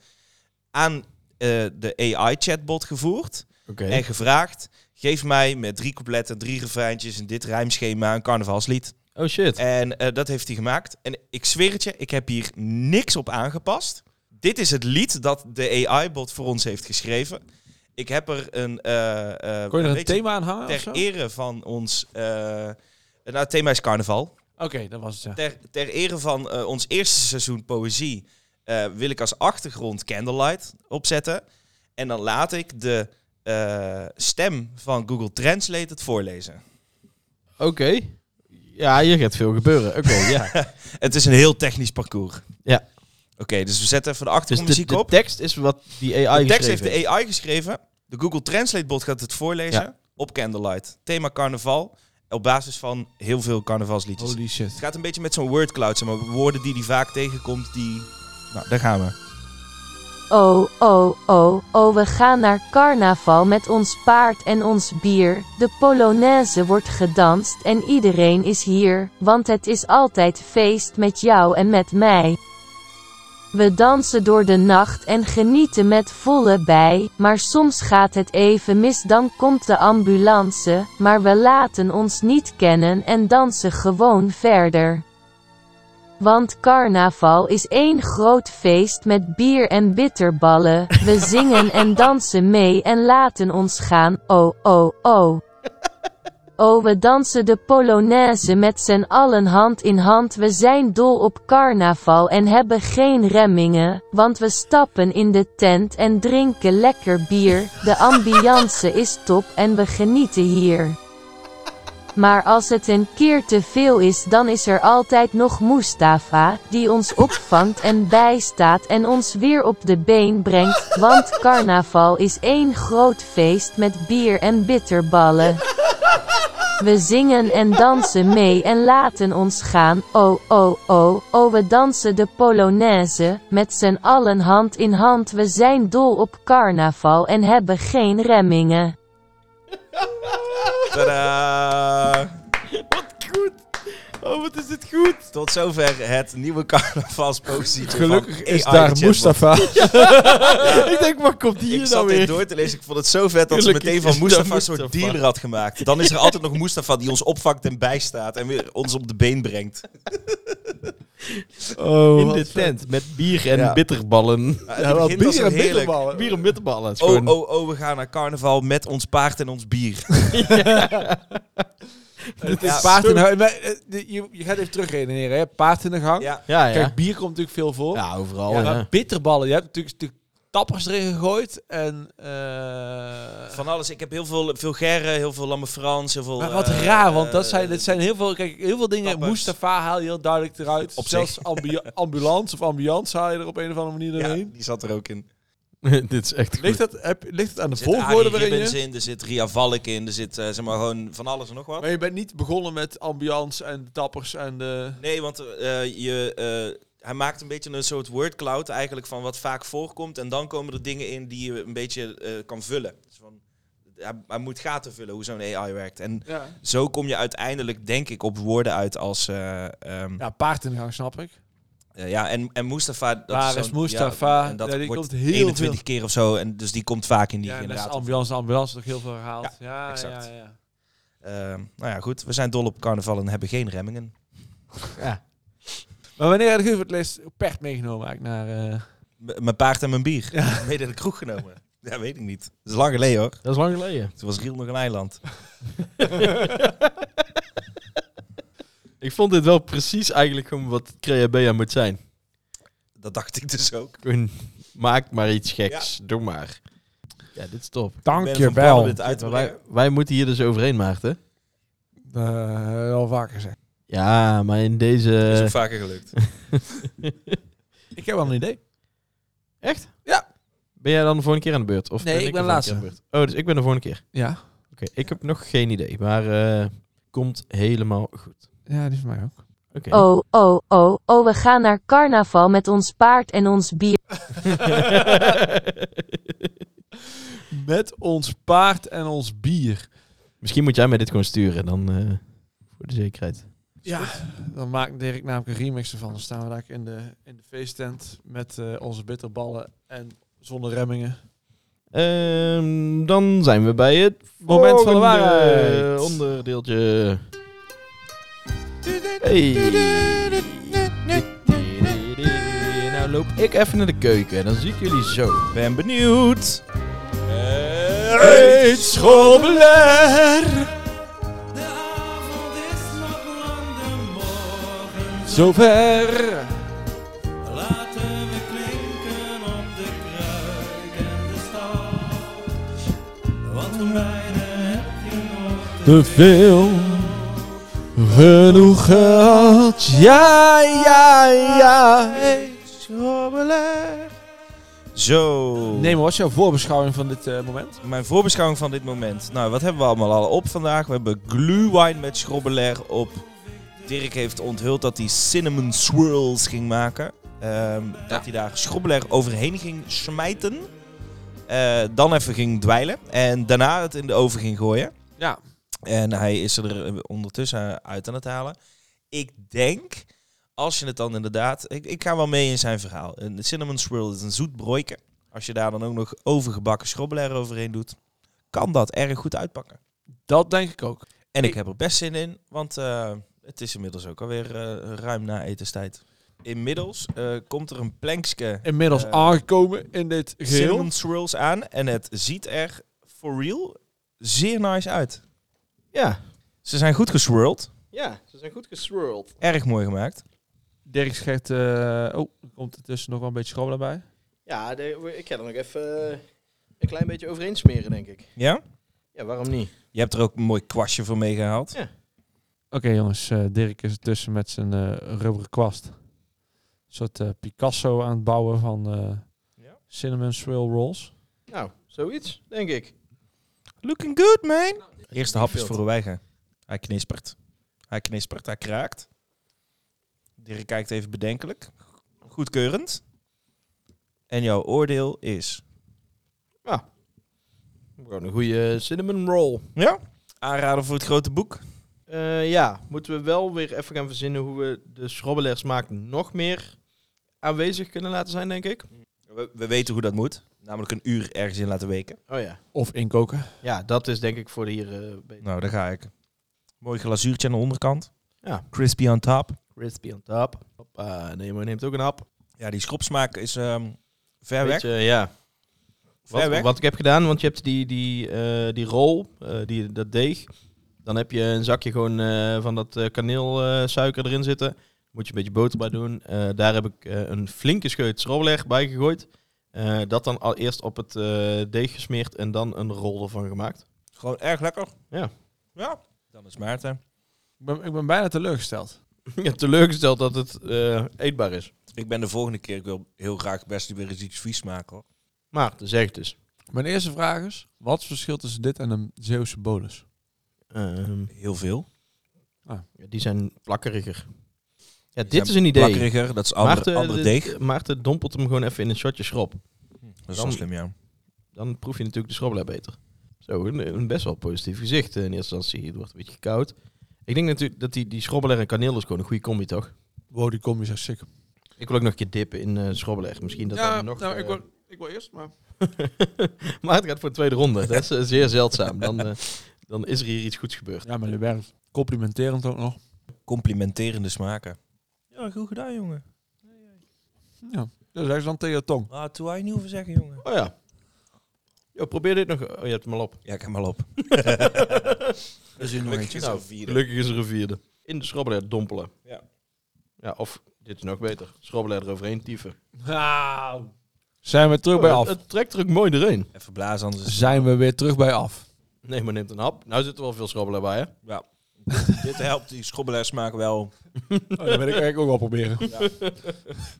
[SPEAKER 3] aan eh, de AI-chatbot gevoerd.
[SPEAKER 2] Oké.
[SPEAKER 3] En gevraagd, geef mij met drie coupletten, drie refreintjes en dit rijmschema een carnavalslied.
[SPEAKER 2] Oh shit.
[SPEAKER 3] En eh, dat heeft hij gemaakt. En ik zweer het je, ik heb hier niks op aangepast. Dit is het lied dat de AI-bot voor ons heeft geschreven. Ik heb er een... eh, eh,
[SPEAKER 4] Kon je er een
[SPEAKER 3] beetje
[SPEAKER 4] thema aan hangen
[SPEAKER 3] Ter
[SPEAKER 4] of zo?
[SPEAKER 3] ere van ons... eh, nou, het thema is carnaval.
[SPEAKER 4] Oké, dat was het. Ja.
[SPEAKER 3] Ter, ter ere van eh, ons eerste seizoen poëzie eh, wil ik als achtergrond Candlelight opzetten. En dan laat ik de eh, stem van Google Translate het voorlezen.
[SPEAKER 2] Oké. Ja, hier gaat veel gebeuren. Oké, ja.
[SPEAKER 3] het is een heel technisch parcours.
[SPEAKER 2] Ja.
[SPEAKER 3] Oké, dus we zetten even de
[SPEAKER 2] Dus de,
[SPEAKER 3] achtergrondmuziek
[SPEAKER 2] de
[SPEAKER 3] op.
[SPEAKER 2] tekst is wat die AI
[SPEAKER 3] de tekst
[SPEAKER 2] geschreven
[SPEAKER 3] heeft de AI geschreven. De Google Translate bot gaat het voorlezen
[SPEAKER 2] Ja.
[SPEAKER 3] op Candlelight. Thema carnaval. Op basis van heel veel carnavalsliedjes.
[SPEAKER 4] Holy shit.
[SPEAKER 3] Het gaat een beetje met zo'n wordcloud. Zeg maar woorden die die vaak tegenkomt. Die... Nou, daar gaan we.
[SPEAKER 13] Oh, oh, oh, oh, we gaan naar carnaval met ons paard en ons bier. De polonaise wordt gedanst en iedereen is hier, want het is altijd feest met jou en met mij. We dansen door de nacht en genieten met volle bij, maar soms gaat het even mis, dan komt de ambulance, maar we laten ons niet kennen en dansen gewoon verder. Want carnaval is één groot feest met bier en bitterballen. We zingen en dansen mee en laten ons gaan. Oh, oh, oh. Oh, we dansen de Polonaise met z'n allen hand in hand. We zijn dol op carnaval en hebben geen remmingen. Want we stappen in de tent en drinken lekker bier. De ambiance is top en we genieten hier. Maar als het een keer te veel is, dan is er altijd nog Mustafa, die ons opvangt en bijstaat en ons weer op de been brengt. Want carnaval is één groot feest met bier en bitterballen. We zingen en dansen mee en laten ons gaan. Oh, oh, oh, oh, we dansen de Polonaise. Met z'n allen hand in hand. We zijn dol op carnaval en hebben geen remmingen.
[SPEAKER 3] Tadaa!
[SPEAKER 2] wat goed. Oh, wat is dit goed.
[SPEAKER 3] Tot zover het nieuwe carnavalspositietje
[SPEAKER 4] Gelukkig
[SPEAKER 3] van
[SPEAKER 4] is
[SPEAKER 3] AI
[SPEAKER 4] daar
[SPEAKER 3] chatbot.
[SPEAKER 4] Mustafa.
[SPEAKER 3] Ja.
[SPEAKER 2] Ik denk, waar komt die
[SPEAKER 3] Ik
[SPEAKER 2] hier
[SPEAKER 3] zat
[SPEAKER 2] nou
[SPEAKER 3] dit
[SPEAKER 2] weer?
[SPEAKER 3] door te lezen. Ik vond het zo vet dat ze
[SPEAKER 2] Gelukkig
[SPEAKER 3] meteen van
[SPEAKER 2] is daar
[SPEAKER 3] Mustafa een soort
[SPEAKER 2] Mustafa.
[SPEAKER 3] dealer had gemaakt. Dan is er altijd nog Mustafa die ons opvangt en bijstaat. En weer ons op de been brengt.
[SPEAKER 4] Oh.
[SPEAKER 2] in de tent met bier en
[SPEAKER 3] Ja.
[SPEAKER 2] bitterballen.
[SPEAKER 3] Ja, het begin was zo heerlijk.
[SPEAKER 2] Bier en bitterballen. is
[SPEAKER 3] Oh,
[SPEAKER 2] gewoon-
[SPEAKER 3] oh, oh, we gaan naar carnaval met ons paard en ons bier.
[SPEAKER 4] Het
[SPEAKER 3] Ja.
[SPEAKER 4] is paard in de gang. Maar, eh, de- Je, je gaat even terugredeneren, hè? Paard in de gang.
[SPEAKER 3] Ja.
[SPEAKER 2] Ja, ja.
[SPEAKER 4] Kijk, bier komt natuurlijk veel voor.
[SPEAKER 2] Ja, overal,
[SPEAKER 4] maar
[SPEAKER 2] ja.
[SPEAKER 4] Bitterballen. Je hebt natuurlijk, natuurlijk tappers erin gegooid. En, eh,
[SPEAKER 3] Van alles. Ik heb heel veel vulgaire, heel veel lamme Frans, heel veel...
[SPEAKER 4] Maar wat
[SPEAKER 3] eh,
[SPEAKER 4] raar, want dat
[SPEAKER 3] eh,
[SPEAKER 4] zijn, dit zijn heel veel, kijk, heel veel dingen.
[SPEAKER 3] Tappers.
[SPEAKER 4] Mustafa haal je heel duidelijk eruit.
[SPEAKER 3] Op
[SPEAKER 4] Zelfs
[SPEAKER 3] zich.
[SPEAKER 4] ambu- ambulance of ambulance haal je er op een of andere manier doorheen.
[SPEAKER 3] Die zat er ook in.
[SPEAKER 2] dit is echt
[SPEAKER 4] Ligt, dat, heb, ligt het aan de
[SPEAKER 3] Er zit
[SPEAKER 4] volgorde
[SPEAKER 3] Arie
[SPEAKER 4] waarin
[SPEAKER 3] Ribbons
[SPEAKER 4] je...
[SPEAKER 3] in, er zit Ria Valk in, er zit eh, zeg maar gewoon van alles en nog wat.
[SPEAKER 4] Maar je bent niet begonnen met ambiance en de tappers en de...
[SPEAKER 3] Nee, want eh, je, eh, hij maakt een beetje een soort wordcloud eigenlijk van wat vaak voorkomt. En dan komen er dingen in die je een beetje eh, kan vullen. Dus van, hij, hij moet gaten vullen hoe zo'n AI werkt. En
[SPEAKER 4] Ja.
[SPEAKER 3] zo kom je uiteindelijk, denk ik, op woorden uit als... eh, ehm,
[SPEAKER 4] Ja, paard in de gang, snap ik.
[SPEAKER 3] eh, ja, en, en Mustafa... Dat
[SPEAKER 4] Waar
[SPEAKER 3] zo'n-
[SPEAKER 4] is Mustafa?
[SPEAKER 3] ja, en dat
[SPEAKER 4] Ja, die
[SPEAKER 3] wordt
[SPEAKER 4] komt heel
[SPEAKER 3] 21 keer of zo. En dus die komt vaak in die
[SPEAKER 4] Ja, en dat is
[SPEAKER 3] generator.
[SPEAKER 4] ambulance, ambulance toch heel veel herhaald. Ja, ja,
[SPEAKER 3] exact.
[SPEAKER 4] ja, ja.
[SPEAKER 3] Ehm, nou ja, goed. We zijn dol op carnaval en hebben geen remmingen.
[SPEAKER 4] Maar wanneer had ik u voor het laatst pert meegenomen eigenlijk naar... eh,
[SPEAKER 3] M- mijn paard en mijn bier. Mede de kroeg genomen. Ja, weet ik niet. Dat is lang geleden hoor.
[SPEAKER 2] Dat is lang geleden.
[SPEAKER 3] Toen was Riel nog een eiland.
[SPEAKER 2] Ik vond dit wel precies eigenlijk gewoon wat Creabea moet zijn.
[SPEAKER 3] Dat dacht ik dus ook.
[SPEAKER 2] Gewoon, maak maar iets geks. Doe maar. Ja, dit is top.
[SPEAKER 4] Dank Ik ben je van plan wel. om dit
[SPEAKER 2] Wij, wij moeten hier dus overheen, Maarten.
[SPEAKER 4] Eh, al vaker gezegd.
[SPEAKER 2] Ja, maar in deze...
[SPEAKER 12] Is ook vaker gelukt.
[SPEAKER 4] Ik heb wel een idee. Echt?
[SPEAKER 2] Ben jij dan de volgende keer aan de beurt? Of
[SPEAKER 4] Nee, ik ben
[SPEAKER 2] de
[SPEAKER 4] laatste.
[SPEAKER 2] volgende keer aan de beurt? Oh, dus ik ben de volgende keer.
[SPEAKER 4] Ja.
[SPEAKER 2] Oké, ik heb nog geen idee, maar eh, komt helemaal goed.
[SPEAKER 4] Ja, die is voor mij ook.
[SPEAKER 2] Oké.
[SPEAKER 13] Oh, oh, oh, oh, we gaan naar carnaval met ons paard en ons bier.
[SPEAKER 4] Met ons paard en ons bier.
[SPEAKER 2] Misschien moet jij mij dit gewoon sturen, dan eh, voor de zekerheid.
[SPEAKER 4] Ja, dan maakt Dirk namelijk een remix ervan. Dan staan we daar in de, in de feesttent met eh, onze bitterballen en zonder remmingen.
[SPEAKER 2] Ehm, dan zijn we bij het
[SPEAKER 4] Moment van
[SPEAKER 2] volgende
[SPEAKER 4] de waarheid.
[SPEAKER 2] Onderdeeltje. Hey. Nou loop ik even naar de keuken, dan zie ik jullie zo. Ben benieuwd.
[SPEAKER 9] Eet schommelaar.
[SPEAKER 4] Zover.
[SPEAKER 9] Laten we klinken op de kruik en de stad. Want hoe mijne heb je nog
[SPEAKER 4] Te veel. Genoeg gehad. Ja, ja, ja.
[SPEAKER 3] Zo.
[SPEAKER 4] Nee, maar wat is jouw voorbeschouwing van dit eh, moment?
[SPEAKER 3] Mijn voorbeschouwing van dit moment. Nou, wat hebben we allemaal al op vandaag? We hebben glühwein met schrobbelair op. Dirk heeft onthuld dat hij cinnamon swirls ging maken. Ehm, Dat hij daar schrobbelair overheen ging smijten. Eh, dan even ging dweilen. En daarna het in de oven ging gooien.
[SPEAKER 4] Ja.
[SPEAKER 3] En hij is er eh, ondertussen uit aan het halen. Ik denk, als je het dan inderdaad... Ik, ik ga wel mee in zijn verhaal. Een cinnamon swirl is een zoet broeike. Als je daar dan ook nog overgebakken schrobbelair overheen doet... kan dat erg goed uitpakken.
[SPEAKER 4] Dat denk ik ook.
[SPEAKER 3] En ik,
[SPEAKER 4] Ik-
[SPEAKER 3] heb er best zin in, want eh, het is inmiddels ook alweer eh, ruim na etenstijd. Inmiddels eh, komt er een plankske...
[SPEAKER 4] Inmiddels
[SPEAKER 3] eh,
[SPEAKER 4] aangekomen in dit geheel.
[SPEAKER 3] cinnamon swirls aan. En het ziet er, for real, zeer nice uit.
[SPEAKER 2] Ja.
[SPEAKER 3] Ze zijn goed geswirled.
[SPEAKER 2] Ja, ze zijn goed geswirled.
[SPEAKER 3] Erg mooi gemaakt.
[SPEAKER 4] Dirk schrijft... eh, oh, er komt er tussen nog wel een beetje schommel bij.
[SPEAKER 2] Ja, de- ik ga er nog even eh, een klein beetje overheen smeren, denk ik.
[SPEAKER 3] Ja?
[SPEAKER 2] Ja, waarom niet?
[SPEAKER 3] Je hebt er ook een mooi kwastje voor meegehaald.
[SPEAKER 2] Ja.
[SPEAKER 4] Oké jongens, eh, Dirk is ertussen met zijn eh rubberen kwast. Een soort eh, Picasso aan het bouwen van eh, cinnamon swirl rolls.
[SPEAKER 2] Nou, zoiets, denk ik.
[SPEAKER 3] Looking good, man. Eerste hap Nou, is
[SPEAKER 2] Veel
[SPEAKER 3] voor de weiger. Hij knispert. Hij knispert, hij kraakt. Dirk kijkt even bedenkelijk. Goedkeurend. En jouw oordeel is...
[SPEAKER 2] Gewoon een goede cinnamon roll.
[SPEAKER 3] Ja? Aanraden voor het grote boek.
[SPEAKER 2] Eh, ja, moeten we wel weer even gaan verzinnen hoe we de schrobbelair smaak nog meer aanwezig kunnen laten zijn, denk ik.
[SPEAKER 3] We, we weten hoe dat moet. Namelijk een uur ergens in laten weken.
[SPEAKER 2] Oh ja.
[SPEAKER 4] Of inkoken.
[SPEAKER 2] Ja, dat is denk ik voor de hier eh, beter.
[SPEAKER 3] Nou, daar ga ik. Mooi glazuurtje aan de onderkant.
[SPEAKER 2] Ja.
[SPEAKER 3] Crispy on top.
[SPEAKER 2] Crispy on top. Hoppa, Nemo neemt ook een hap.
[SPEAKER 3] Ja, die schropsmaak is ehm, ver
[SPEAKER 2] Beetje,
[SPEAKER 3] weg.
[SPEAKER 2] ja.
[SPEAKER 3] Ver
[SPEAKER 2] Wat,
[SPEAKER 3] weg.
[SPEAKER 2] wat ik heb gedaan, want je hebt die, die, eh, die rol, eh, die, dat deeg. Dan heb je een zakje gewoon eh, van dat kaneelsuiker eh, erin zitten. Moet je een beetje boter bij doen. Eh, daar heb ik eh, een flinke scheut schrobbelig bij gegooid. Eh, dat dan al eerst op het eh, deeg gesmeerd en dan een rol ervan gemaakt.
[SPEAKER 3] Gewoon erg lekker.
[SPEAKER 2] Ja.
[SPEAKER 3] Ja. Dan is Maarten.
[SPEAKER 4] Ik ben, ik ben bijna teleurgesteld.
[SPEAKER 2] Ja, teleurgesteld dat het eh, eetbaar is.
[SPEAKER 3] Ik ben de volgende keer, ik wil heel graag best weer eens iets vies maken hoor.
[SPEAKER 2] Maar, zeg het dus.
[SPEAKER 4] Mijn eerste vraag is, wat is het verschil tussen dit en een Zeeuwse bolus?
[SPEAKER 3] Heel veel.
[SPEAKER 2] Ehm, Ja, Die zijn plakkeriger. Ja,
[SPEAKER 3] zijn
[SPEAKER 2] dit is een idee.
[SPEAKER 3] plakkeriger, dat is ander- ander
[SPEAKER 2] dit-
[SPEAKER 3] deeg.
[SPEAKER 2] Maarten dompelt hem gewoon even in een shotje schrop.
[SPEAKER 3] Dat is wel slim, ja.
[SPEAKER 2] Dan proef je natuurlijk de schrobbelaar beter. Zo, een, een best wel positief gezicht eh, in eerste instantie. Het wordt een beetje koud. Ik denk natuurlijk dat die, die schrobbelaar en kaneel is gewoon een goede combi, toch?
[SPEAKER 4] Wow, die combi is echt sick.
[SPEAKER 2] Ik wil ook nog een keer dippen in eh schrobbelaar. Misschien dat
[SPEAKER 4] ja,
[SPEAKER 2] dan nog...
[SPEAKER 4] nou,
[SPEAKER 2] eh,
[SPEAKER 4] ik, wil, ik wil eerst, maar...
[SPEAKER 2] Maarten gaat voor de tweede ronde. Dat is eh, zeer zeldzaam. Dan, eh, dan is er hier iets goeds gebeurd.
[SPEAKER 4] Ja, maar je werkt complimenterend ook nog.
[SPEAKER 3] Complimenterende smaken. Ja, goed gedaan jongen.
[SPEAKER 4] Ja, dat is echt dan tegen je tong.
[SPEAKER 3] Ah, toen wij niet hoeven zeggen jongen.
[SPEAKER 2] Oh ja. Yo, probeer dit nog. Oh, je hebt hem al op.
[SPEAKER 3] Ja, ik heb hem al op.
[SPEAKER 2] dus
[SPEAKER 3] nog eentje. is er een vierde.
[SPEAKER 2] gelukkig is er een vierde. In de schrobbelair dompelen.
[SPEAKER 3] Ja.
[SPEAKER 2] ja. Of, dit is nog beter, schrobbelair eroverheen tyfen.
[SPEAKER 4] Wauw. Zijn we terug
[SPEAKER 2] Oh,
[SPEAKER 4] bij
[SPEAKER 2] het-
[SPEAKER 4] af?
[SPEAKER 2] Het trekt er ook mooi doorheen.
[SPEAKER 12] Even blazen anders.
[SPEAKER 4] Zijn we weer terug bij af?
[SPEAKER 2] Nee, maar neemt een hap. Nou zit er wel veel schrobbelen bij, hè?
[SPEAKER 3] Ja. Dit helpt die schrobbelaarsmaak wel.
[SPEAKER 4] Oh, dat wil ik eigenlijk ook wel proberen.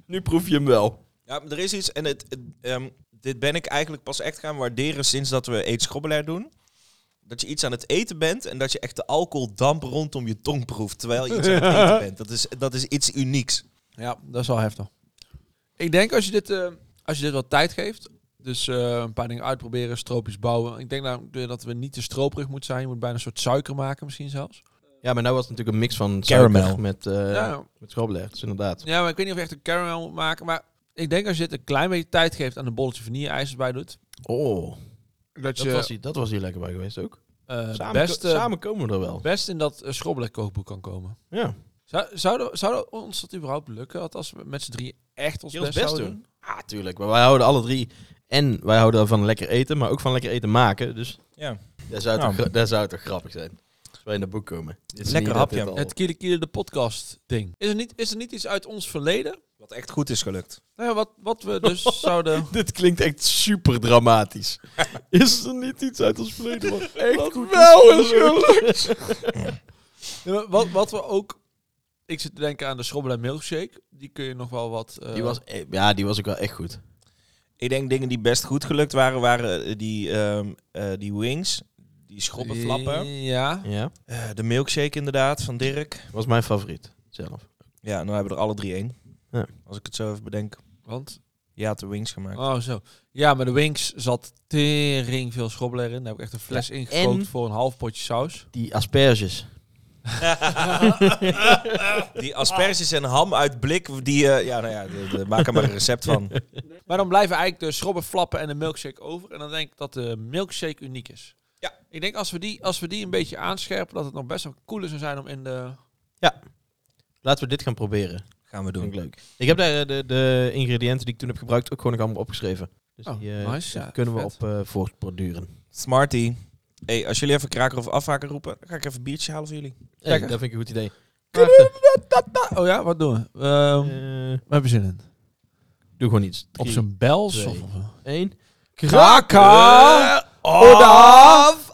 [SPEAKER 2] Nu proef je hem wel.
[SPEAKER 3] Ja, maar er is iets, en het, het, ehm, dit ben ik eigenlijk pas echt gaan waarderen sinds dat we eet schrobbelaar doen. Dat je iets aan het eten bent en dat je echt de alcoholdamp rondom je tong proeft terwijl je iets aan het eten bent. Dat is, dat is iets unieks.
[SPEAKER 4] Ja, dat is wel heftig. Ik denk als je dit, eh, als je dit wat tijd geeft, dus eh, een paar dingen uitproberen, stroopjes bouwen. Ik denk nou, dat we niet te stroperig moeten zijn. Je moet bijna een soort suiker maken misschien zelfs.
[SPEAKER 2] Ja, maar nou was het natuurlijk een mix van
[SPEAKER 3] Caramel.
[SPEAKER 2] suiker met, eh
[SPEAKER 4] Ja.
[SPEAKER 2] met schrobbelen. Dus inderdaad.
[SPEAKER 4] Ja, maar ik weet niet of je echt een caramel moet maken. Maar ik denk als je dit een klein beetje tijd geeft aan een bolletje vanille-ijs erbij doet.
[SPEAKER 2] Oh, dat,
[SPEAKER 4] je-
[SPEAKER 2] was hier, dat was hier lekker bij geweest ook.
[SPEAKER 4] eh,
[SPEAKER 2] samen,
[SPEAKER 4] best, eh,
[SPEAKER 2] samen komen we er wel.
[SPEAKER 4] Best in dat uh, kookboek kan komen.
[SPEAKER 2] Ja.
[SPEAKER 4] Zou, zouden, zouden ons dat überhaupt lukken? Althans, we met z'n drie echt ons
[SPEAKER 2] Heel
[SPEAKER 4] best,
[SPEAKER 2] best
[SPEAKER 4] zouden
[SPEAKER 2] doen. Ah, tuurlijk. Maar wij houden alle drie. En wij houden van lekker eten, maar ook van lekker eten maken. Dus
[SPEAKER 3] Ja.
[SPEAKER 2] daar zou het,
[SPEAKER 3] Nou.
[SPEAKER 2] toch, gra- daar zou het toch grappig zijn. Als wij in dat boek komen. Dit is
[SPEAKER 3] Lekker
[SPEAKER 2] niet dat
[SPEAKER 3] hapje.
[SPEAKER 2] dit al-
[SPEAKER 4] Het Kiele Kiele de podcast ding. Is er, niet, is er niet iets uit ons verleden?
[SPEAKER 3] Wat echt goed is gelukt.
[SPEAKER 4] Nou ja, wat, wat we dus zouden...
[SPEAKER 2] Dit klinkt echt super dramatisch. Is er niet iets uit ons verleden wat echt goed
[SPEAKER 4] wel
[SPEAKER 2] is
[SPEAKER 4] eens
[SPEAKER 2] gelukt?
[SPEAKER 4] Ja, maar wat, wat we ook... Ik zit te denken aan de schrobbel en milkshake. Die kun je nog wel wat... eh,
[SPEAKER 2] Die was, eh, ja, die was ook wel echt goed.
[SPEAKER 3] Ik denk dingen die best goed gelukt waren, waren eh, die, ehm, eh, die wings, die schrobbenflappen.
[SPEAKER 4] Ja.
[SPEAKER 2] Ja.
[SPEAKER 3] Eh, de milkshake inderdaad van Dirk.
[SPEAKER 2] Was mijn favoriet zelf.
[SPEAKER 3] Ja, nou hebben we er alle drie één.
[SPEAKER 2] Ja.
[SPEAKER 3] Als ik het zo even bedenk.
[SPEAKER 4] Want?
[SPEAKER 3] Je had de wings gemaakt.
[SPEAKER 4] Oh, zo. Ja, maar de Wings zat tering veel schrobbel erin. Daar heb ik echt een fles
[SPEAKER 2] Ja,
[SPEAKER 4] ingekookt
[SPEAKER 2] en-
[SPEAKER 4] voor een half potje saus.
[SPEAKER 2] Die asperges.
[SPEAKER 3] Die asperges en ham uit blik, die... eh, ja, nou ja, de- de- maak er maar een recept van.
[SPEAKER 4] Maar dan blijven eigenlijk de schrobbelflappen en de milkshake over. En dan denk ik dat de milkshake uniek is.
[SPEAKER 3] Ja.
[SPEAKER 4] Ik denk als we die, als we die een beetje aanscherpen, dat het nog best wel cooler zou zijn om in de...
[SPEAKER 2] Laten we dit gaan proberen.
[SPEAKER 3] Gaan we
[SPEAKER 2] Vind ik
[SPEAKER 3] doen.
[SPEAKER 2] leuk. Ik heb daar eh, de, de ingrediënten die ik toen heb gebruikt ook gewoon nog allemaal opgeschreven. Dus
[SPEAKER 4] Oh,
[SPEAKER 2] die eh,
[SPEAKER 4] nice. Ja,
[SPEAKER 2] kunnen we
[SPEAKER 4] vet.
[SPEAKER 2] op eh voortborduren.
[SPEAKER 3] Smarty. hey, als jullie even kraker of afhaker roepen, dan ga ik even een biertje halen voor jullie.
[SPEAKER 2] Hey,
[SPEAKER 4] Lekker.
[SPEAKER 2] dat vind ik een goed idee.
[SPEAKER 4] Oh ja, wat doen we? Ehm,
[SPEAKER 2] Eh,
[SPEAKER 4] we hebben zin in.
[SPEAKER 2] doe gewoon iets.
[SPEAKER 4] Op zijn bels
[SPEAKER 2] twee.
[SPEAKER 4] of...
[SPEAKER 2] Eén. Eh,
[SPEAKER 4] Kraken! Oder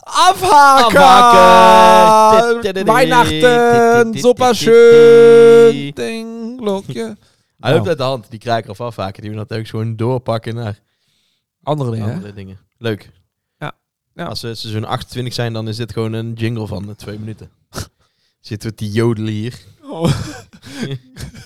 [SPEAKER 4] afhaken!
[SPEAKER 2] Afhaken!
[SPEAKER 4] Weihnachten, super schön! Ding, lokje.
[SPEAKER 2] Hij loopt
[SPEAKER 4] Nou,
[SPEAKER 2] uit de hand, die kraker of afhaken. Die we natuurlijk gewoon doorpakken naar
[SPEAKER 4] andere dingen. hè?
[SPEAKER 2] andere dingen. Leuk.
[SPEAKER 4] Ja. Ja.
[SPEAKER 2] Als ze seizoen 28 zijn, dan is dit gewoon een jingle van eh, twee minuten. Zitten we te jodelen hier.
[SPEAKER 4] Oh.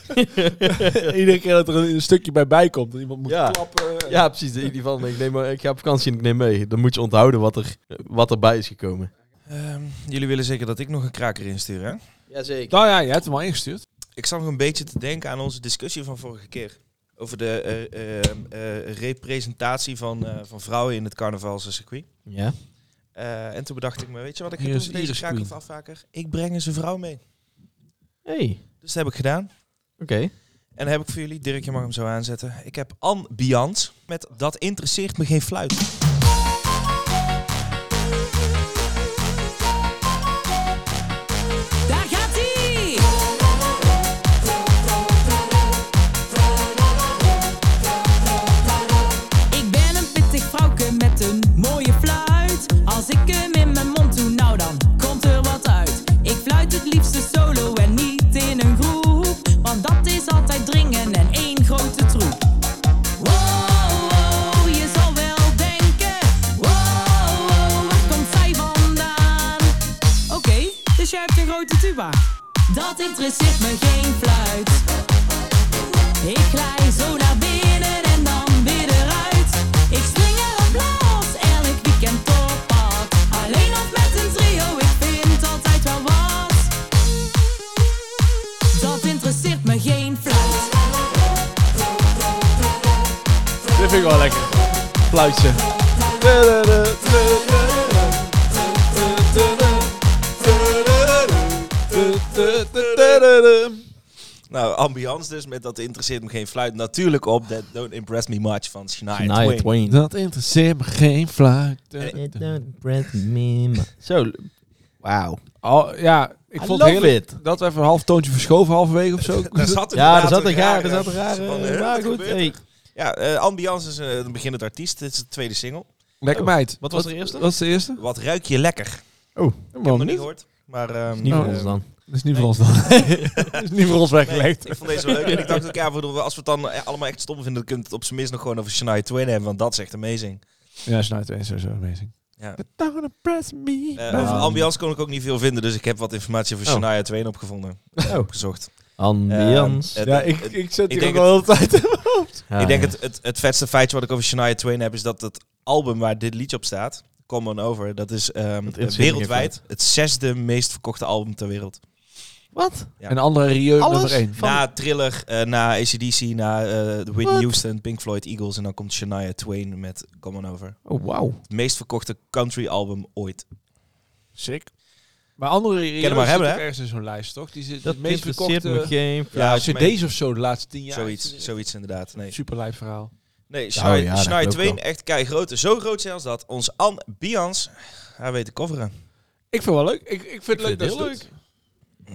[SPEAKER 4] Iedere keer dat er een, een stukje bij bij komt, dat iemand moet
[SPEAKER 2] Ja.
[SPEAKER 4] klappen.
[SPEAKER 2] Ja, precies. In ieder geval, ik, neem, maar- ik ga op vakantie en ik neem mee. Dan moet je onthouden wat, er, wat erbij is gekomen.
[SPEAKER 3] Ehm, jullie willen zeker dat ik nog een kraker instuur, hè?
[SPEAKER 2] Jazeker.
[SPEAKER 4] Nou ja, je hebt hem al ingestuurd.
[SPEAKER 3] Ik zat nog een beetje te denken aan onze discussie van vorige keer. Over de eh, ehm, eh, representatie van, eh, van vrouwen in het carnavalscircuit.
[SPEAKER 2] Ja.
[SPEAKER 3] Eh en toen bedacht ik me, weet je wat ik
[SPEAKER 4] Hier
[SPEAKER 3] ga doen
[SPEAKER 4] is
[SPEAKER 3] met deze
[SPEAKER 4] Iris
[SPEAKER 3] kraker of
[SPEAKER 4] Queen.
[SPEAKER 3] afhaker? Ik breng eens een vrouw mee.
[SPEAKER 2] hey.
[SPEAKER 3] Dus dat heb ik gedaan.
[SPEAKER 2] oké.
[SPEAKER 3] En dan heb ik voor jullie, Dirk, je mag hem zo aanzetten. Ik heb Anne Bians met Dat interesseert me geen fluit.
[SPEAKER 6] Daar gaat ie! Ik ben een pittig vrouwke met een mooie fluit. Als ik hem in mijn mond doe, nou dan komt er wat uit. Ik fluit het liefste solo en niet in een groep. Want dat is altijd dringen en één grote troep. Wow, wow, je zal wel denken. Wow, wow, waar komt zij vandaan? Oké, dus jij hebt een grote tuba. Dat interesseert me geen fluit. Ik glij zo naar binnen en dan weer eruit. Ik spring erop los, elk weekend op pad. Alleen of met een trio, ik vind altijd wel wat. Dat interesseert me geen fluit.
[SPEAKER 4] Dit vind ik wel lekker. Fluitje.
[SPEAKER 3] Nou, ambiance dus met Dat interesseert me geen fluit. Natuurlijk op That Don't Impress Me Much van Shania Twain.
[SPEAKER 4] Dat interesseert me geen fluit.
[SPEAKER 2] Zo. Wauw.
[SPEAKER 4] Oh, ja, ik
[SPEAKER 2] I
[SPEAKER 4] vond het
[SPEAKER 2] love
[SPEAKER 4] heerlijk dat we even een half toontje verschoven halverwege of zo.
[SPEAKER 3] Daar zat
[SPEAKER 2] Ja,
[SPEAKER 3] inderdaad
[SPEAKER 2] er zat een raar, er
[SPEAKER 3] rare-
[SPEAKER 2] zat een raar.
[SPEAKER 3] van, hè,
[SPEAKER 2] Maar
[SPEAKER 3] wat
[SPEAKER 2] goed,
[SPEAKER 3] gebeurt er?
[SPEAKER 2] hey.
[SPEAKER 3] Ja, eh, Ambiance is eh, een beginnend artiest. Dit is de tweede single.
[SPEAKER 4] Lekker meid.
[SPEAKER 3] Wat was de eerste?
[SPEAKER 4] Wat was de eerste?
[SPEAKER 3] Wat ruik je lekker?
[SPEAKER 4] Oh,
[SPEAKER 3] ik heb het nog niet gehoord. Maar, ehm,
[SPEAKER 4] Is niet voor Oh. ons dan. Is niet voor ons dan. Is niet voor ons weggelegd.
[SPEAKER 3] Nee, ik vond deze wel leuk. En ik dacht ook, ja, voor de- als we het dan eh, allemaal echt stom vinden, dan kunnen we het op zijn minst nog gewoon over Shania Twain hebben. Want dat is echt amazing.
[SPEAKER 4] Ja, Snuit is nou sowieso amazing.
[SPEAKER 3] Ja.
[SPEAKER 4] Don't wanna press me.
[SPEAKER 3] Eh, over Ambiance kon ik ook niet veel vinden, dus ik heb wat informatie over
[SPEAKER 2] Oh.
[SPEAKER 3] Shania Twain opgevonden. Opgezocht.
[SPEAKER 2] Ambiance.
[SPEAKER 3] Eh, het-
[SPEAKER 4] Oh. Ja, ik-
[SPEAKER 3] het-
[SPEAKER 4] ik zet die
[SPEAKER 3] denk
[SPEAKER 4] ook al
[SPEAKER 3] het-
[SPEAKER 4] de hele tijd in mijn hoofd.
[SPEAKER 2] Ja,
[SPEAKER 3] ik denk
[SPEAKER 2] ja.
[SPEAKER 3] het, het, het vetste feitje wat ik over Shania Twain heb, is dat het album waar dit liedje op staat, Come On Over, dat is ehm,
[SPEAKER 4] interesseert me
[SPEAKER 3] wereldwijd het zesde meest verkochte album ter wereld.
[SPEAKER 2] Wat?
[SPEAKER 3] Ja.
[SPEAKER 4] Een andere Rieu nummer 1.
[SPEAKER 3] Na Thriller, eh, na ACDC, na eh, Whitney Houston, Pink Floyd, Eagles en dan komt Shania Twain met Come On Over.
[SPEAKER 4] Oh, wauw.
[SPEAKER 3] Het meest verkochte country album ooit.
[SPEAKER 4] Sick. Maar andere Rieu
[SPEAKER 3] Ken hem maar hebben,
[SPEAKER 4] zit ook
[SPEAKER 3] hè?
[SPEAKER 4] ergens in zo'n lijst, toch? Die zit
[SPEAKER 2] Dat
[SPEAKER 4] het meest
[SPEAKER 2] interesseert
[SPEAKER 4] verkochte...
[SPEAKER 2] me geen
[SPEAKER 4] Ja,
[SPEAKER 3] flauw.
[SPEAKER 4] cd's of zo de laatste tien jaar.
[SPEAKER 3] Zoiets, zoiets inderdaad. Nee.
[SPEAKER 4] Super lijf verhaal.
[SPEAKER 3] Nee,
[SPEAKER 2] Nou
[SPEAKER 3] Shania
[SPEAKER 2] ja, dat
[SPEAKER 3] Shania
[SPEAKER 2] klopt
[SPEAKER 3] Twain,
[SPEAKER 2] wel.
[SPEAKER 3] echt kei groot. Zo groot zelfs dat ons Anne Bians haar weet te coveren.
[SPEAKER 4] Ik vind het wel leuk. Ik, ik vind het leuk
[SPEAKER 2] vind
[SPEAKER 4] dat
[SPEAKER 2] het
[SPEAKER 4] ze
[SPEAKER 2] heel
[SPEAKER 4] het-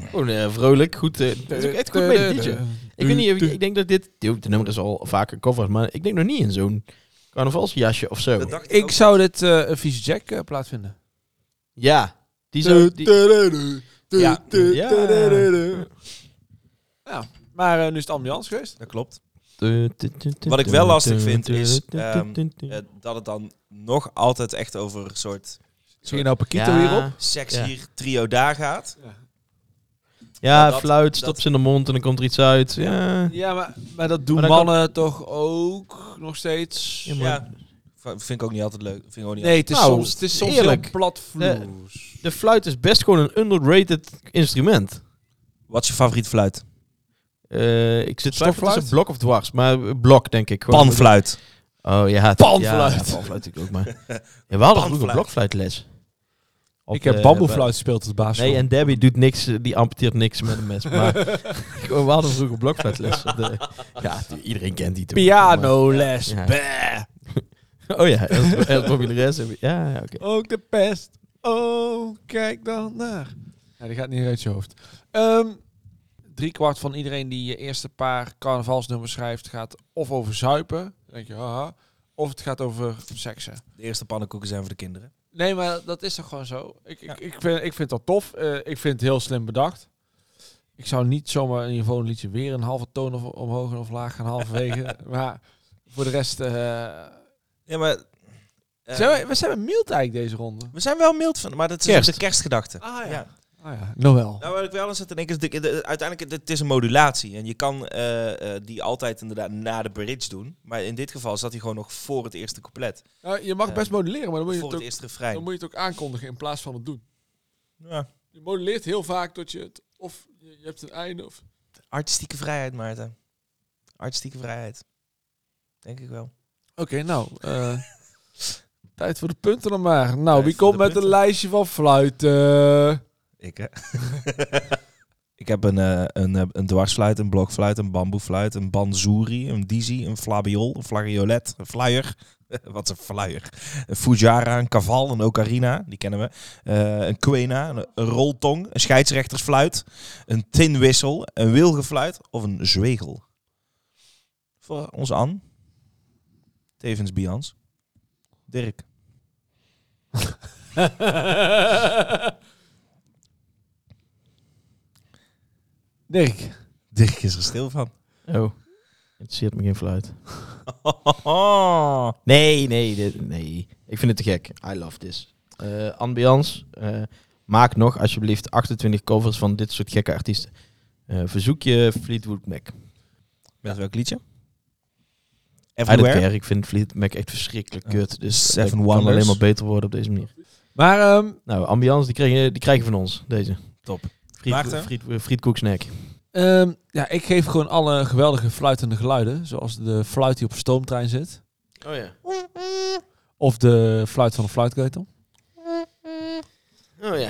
[SPEAKER 2] Gewoon eh, vrolijk, goed. eh, het is ook echt goed bij dit liedje. Ik weet niet, ik, ik denk dat dit... De nummer is al vaker covers, maar ik denk nog niet in zo'n carnavalsjasje of zo.
[SPEAKER 4] Ik zou dit eh een vieze Jack eh, plaat vinden.
[SPEAKER 2] Ja, die zo... die- Ja. Ja.
[SPEAKER 4] Ja, maar eh, nu is het ambiance geweest.
[SPEAKER 3] Dat klopt. Wat ik wel lastig vind is ehm, eh, dat het dan nog altijd echt over een soort...
[SPEAKER 4] Zie je nou Paquito
[SPEAKER 2] Ja.
[SPEAKER 4] hierop?
[SPEAKER 3] Seks
[SPEAKER 2] Ja.
[SPEAKER 3] hier, trio daar gaat.
[SPEAKER 2] Ja,
[SPEAKER 3] Maar dat-
[SPEAKER 2] fluit, stopt ze in de mond en dan komt er iets uit. Ja.
[SPEAKER 4] Ja, maar, maar dat doen
[SPEAKER 2] Maar dan
[SPEAKER 4] mannen toch ook nog steeds?
[SPEAKER 2] Ja, maar-
[SPEAKER 3] Ja, v- vind ik ook niet altijd leuk. Vind ik ook niet
[SPEAKER 4] Nee, het is
[SPEAKER 2] Nou,
[SPEAKER 4] soms, het is soms
[SPEAKER 2] eerlijk.
[SPEAKER 4] heel platvloers.
[SPEAKER 2] De, de fluit is best gewoon een underrated instrument.
[SPEAKER 3] Wat is je favoriet fluit?
[SPEAKER 2] Eh, ik zit twijfel
[SPEAKER 4] Stokfluit?
[SPEAKER 2] tussen blok of dwars, maar eh, blok denk ik. Gewoon
[SPEAKER 3] Panfluit.
[SPEAKER 2] Oh ja, het-
[SPEAKER 4] Panfluit.
[SPEAKER 2] Ja, ja, panfluit ik ook maar. Ja, we hadden vroeger
[SPEAKER 3] Panfluit.
[SPEAKER 2] blokfluitles. Op,
[SPEAKER 4] Ik heb
[SPEAKER 2] eh,
[SPEAKER 4] bamboefluit gespeeld als
[SPEAKER 2] bij-
[SPEAKER 4] baas.
[SPEAKER 2] Nee, en Debbie doet niks, eh, die amputeert niks met een mes. Maar gewoon, we hadden vroeger blokfluitles. De- ja, die- iedereen kent die toch.
[SPEAKER 4] Pianoles.
[SPEAKER 2] Ja.
[SPEAKER 4] Bah.
[SPEAKER 2] Oh ja, Els- Els Populaires heb je- Ja, ja, oké.
[SPEAKER 4] Ook de pest. Oh, kijk dan naar. Ja, die gaat niet uit je hoofd. Ehm drie kwart van iedereen die je eerste paar carnavalsnummers schrijft, gaat of over zuipen. Dan denk je, haha. Of het gaat over seksen.
[SPEAKER 3] De eerste pannenkoeken zijn voor de kinderen.
[SPEAKER 4] Nee, maar dat is toch gewoon zo? Ik, ik, ik, vind, ik vind dat tof. Eh, ik vind het heel slim bedacht. Ik zou niet zomaar in ieder geval een liedje weer een halve toon of, omhoog of laag gaan halverwege. maar voor de rest... eh,
[SPEAKER 3] Ja, maar... eh,
[SPEAKER 4] zijn we, we zijn mild eigenlijk deze ronde.
[SPEAKER 3] we zijn wel mild van, maar dat is dus
[SPEAKER 2] Kerst.
[SPEAKER 3] de kerstgedachte.
[SPEAKER 4] Ah
[SPEAKER 3] Ja.
[SPEAKER 4] Ah ja, Noël.
[SPEAKER 3] Nou, wat ik wel eens zit te denken, is de- de- uiteindelijk het is een modulatie. En je kan eh, eh, die altijd inderdaad na de bridge doen. Maar in dit geval zat hij gewoon nog voor het eerste couplet.
[SPEAKER 4] Nou, je mag
[SPEAKER 3] Eh,
[SPEAKER 4] best modelleren, maar dan moet, je
[SPEAKER 3] voor
[SPEAKER 4] het
[SPEAKER 3] het
[SPEAKER 4] ook,
[SPEAKER 3] eerste
[SPEAKER 4] dan
[SPEAKER 3] refrein.
[SPEAKER 4] moet je het ook aankondigen in plaats van het doen.
[SPEAKER 3] Ja.
[SPEAKER 4] Je modelleert heel vaak tot je het... Of je je hebt een einde of...
[SPEAKER 3] Artistieke vrijheid, Maarten. Artistieke vrijheid. Denk ik wel.
[SPEAKER 4] Oké, nou. eh, tijd voor de punten dan maar. Nou,
[SPEAKER 3] Tijd
[SPEAKER 4] wie
[SPEAKER 3] voor
[SPEAKER 4] komt
[SPEAKER 3] de
[SPEAKER 4] met een
[SPEAKER 3] punten.
[SPEAKER 4] lijstje van fluiten?
[SPEAKER 3] Ik, hè? ik heb een, eh, een, eh, een dwarsfluit, een blokfluit, een bamboefluit, een banzuri, een dizi, een flabiol, een flariolet, een flyer. Wat een flyer. Een fujara, een kaval, een ocarina, die kennen we. Eh, een quena, een, een roltong, een scheidsrechtersfluit, een tinwissel, een wilgefluit of een zwegel. Voor ons An. Tevens Bians. Dirk.
[SPEAKER 4] Dirk.
[SPEAKER 3] Dirk is er stil van.
[SPEAKER 2] Oh, interesseert me geen fluit.
[SPEAKER 3] Oh.
[SPEAKER 2] Nee, nee, dit- nee. Ik vind het te gek. I love this. Eh ambiance. eh, maak nog alsjeblieft 28 covers van dit soort gekke artiesten. Eh, verzoek je Fleetwood Mac.
[SPEAKER 3] Met welk liedje?
[SPEAKER 2] I don't
[SPEAKER 3] Everywhere.
[SPEAKER 2] care. Ik vind Fleetwood Mac echt verschrikkelijk kut. Dus
[SPEAKER 3] Seven
[SPEAKER 2] het kan
[SPEAKER 3] Wonders.
[SPEAKER 2] alleen maar beter worden op deze manier.
[SPEAKER 4] Maar ehm,
[SPEAKER 2] Nou, ambiance, die krijgen, die krijgen van ons. Deze.
[SPEAKER 3] Top.
[SPEAKER 2] Friet,
[SPEAKER 3] Maarten?
[SPEAKER 2] friet, frietkoek snack.
[SPEAKER 4] ehm, ja, ik geef gewoon alle geweldige fluitende geluiden. Zoals de fluit die op een stoomtrein zit.
[SPEAKER 2] Oh ja.
[SPEAKER 4] Of de fluit van een fluitketel.
[SPEAKER 2] Oh ja.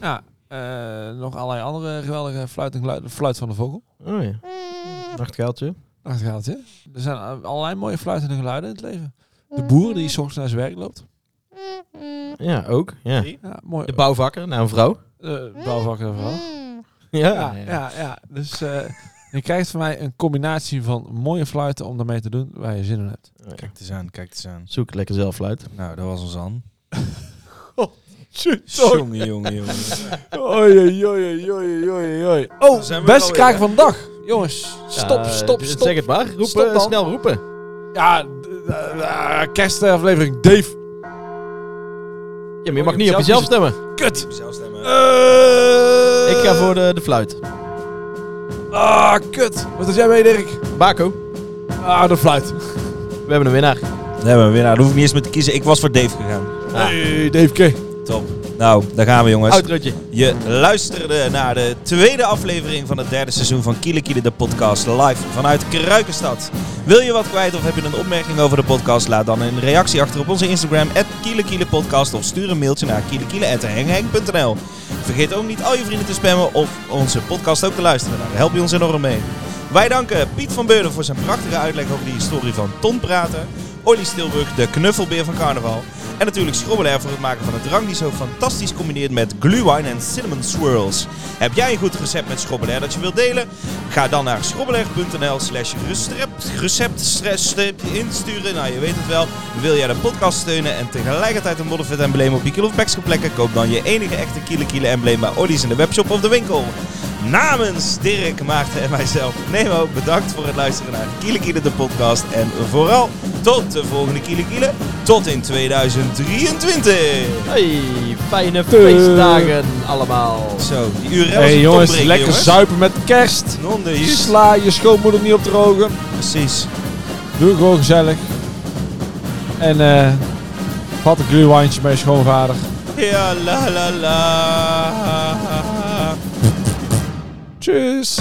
[SPEAKER 4] Ja, eh, nog allerlei andere geweldige fluitende geluiden. De fluit van de vogel.
[SPEAKER 2] Oh ja. Nachtkuiltje.
[SPEAKER 4] Dat gaat, hè? Er zijn allerlei mooie fluitende geluiden in het leven.
[SPEAKER 2] Mhm.
[SPEAKER 4] De boer die 's ochtends naar zijn werk loopt.
[SPEAKER 2] Ja, ook. Ja.
[SPEAKER 4] Ja, mooi.
[SPEAKER 2] De nou, bouwvakker naar een vrouw.
[SPEAKER 4] Eh, bouwvakker en vrouw.
[SPEAKER 2] Mhm. Ja.
[SPEAKER 4] Ja, ja, ja. Dus eh, Je krijgt van mij een combinatie van mooie fluiten om daarmee te doen waar je zin in hebt.
[SPEAKER 3] Kijk het eens aan, kijk het eens aan.
[SPEAKER 2] Zoek lekker zelf fluit.
[SPEAKER 3] Nou, dat was ons aan.
[SPEAKER 4] Jongen,
[SPEAKER 3] Jongen, jongen, jongen.
[SPEAKER 4] Oei, oei, oei, oei, oei, oei. Oh,
[SPEAKER 3] Zijn we er
[SPEAKER 4] beste
[SPEAKER 3] alweer,
[SPEAKER 4] kraker
[SPEAKER 3] hè?
[SPEAKER 4] van de dag. Jongens, stop,
[SPEAKER 2] Ja, eh,
[SPEAKER 4] stop,
[SPEAKER 2] d-
[SPEAKER 4] stop.
[SPEAKER 2] Zeg het maar. Roepen,
[SPEAKER 4] Stop dan.
[SPEAKER 2] snel roepen.
[SPEAKER 4] Ja, d- d- eh, kerstaflevering Dave.
[SPEAKER 2] Ja, maar je mag niet op jezelf stemmen.
[SPEAKER 4] Kut. Eh,
[SPEAKER 2] Ik ga voor de, de fluit.
[SPEAKER 4] Ah, kut. Wat is jij mee, Dirk?
[SPEAKER 2] Baco.
[SPEAKER 4] Ah, de fluit.
[SPEAKER 2] We hebben een winnaar.
[SPEAKER 3] We hebben een winnaar. Daar hoef ik niet eens meer te kiezen. Ik was voor Dave gegaan.
[SPEAKER 4] Hey, Dave K.
[SPEAKER 3] Top. Nou, daar gaan we jongens.
[SPEAKER 2] Outrootje.
[SPEAKER 3] Je luisterde naar de tweede aflevering van het derde seizoen van Kiele Kiele, de podcast live vanuit Kruikenstad. Wil je wat kwijt of heb je een opmerking over de podcast? Laat dan een reactie achter op onze Instagram, @kielekielepodcast of stuur een mailtje naar kielekiele.hengheng.nl. Vergeet ook niet al je vrienden te spammen of onze podcast ook te luisteren. Daar help je ons enorm mee. Wij danken Piet van Beurden voor zijn prachtige uitleg over de historie van Ton Praten. Olly Stilburg, de knuffelbeer van carnaval. En natuurlijk Schrobbelair voor het maken van een drank die zo fantastisch combineert met glühwein en cinnamon swirls. Heb jij een goed recept met Schrobbelair dat je wilt delen? Ga dan naar schrobbelair.nl slash recept- recept stress- strip insturen. Nou, je weet het wel. Wil jij de podcast steunen en tegelijkertijd een Modderfit embleem op je Kiel of Packs plekken? Koop dan je enige echte Kiele Kiele embleem bij Olly's in de webshop of de winkel. Namens Dirk, Maarten en mijzelf, Nemo, bedankt voor het luisteren naar Kiele Kiele de podcast. En vooral tot de volgende Kiele Kiele, tot in 2023.
[SPEAKER 2] Hey, fijne feestdagen allemaal.
[SPEAKER 3] Zo, die URL is
[SPEAKER 4] Hey
[SPEAKER 3] een
[SPEAKER 4] jongens,
[SPEAKER 3] topbreker,
[SPEAKER 4] lekker
[SPEAKER 3] jongens.
[SPEAKER 4] zuipen met kerst.
[SPEAKER 3] Nonde, hier.
[SPEAKER 4] Sla je schoonmoeder niet op drogen.
[SPEAKER 3] Precies.
[SPEAKER 4] Doe gewoon gezellig. En eh vat een glühwijntje mee schoonvader.
[SPEAKER 3] Ja, la la la.
[SPEAKER 4] Tjus.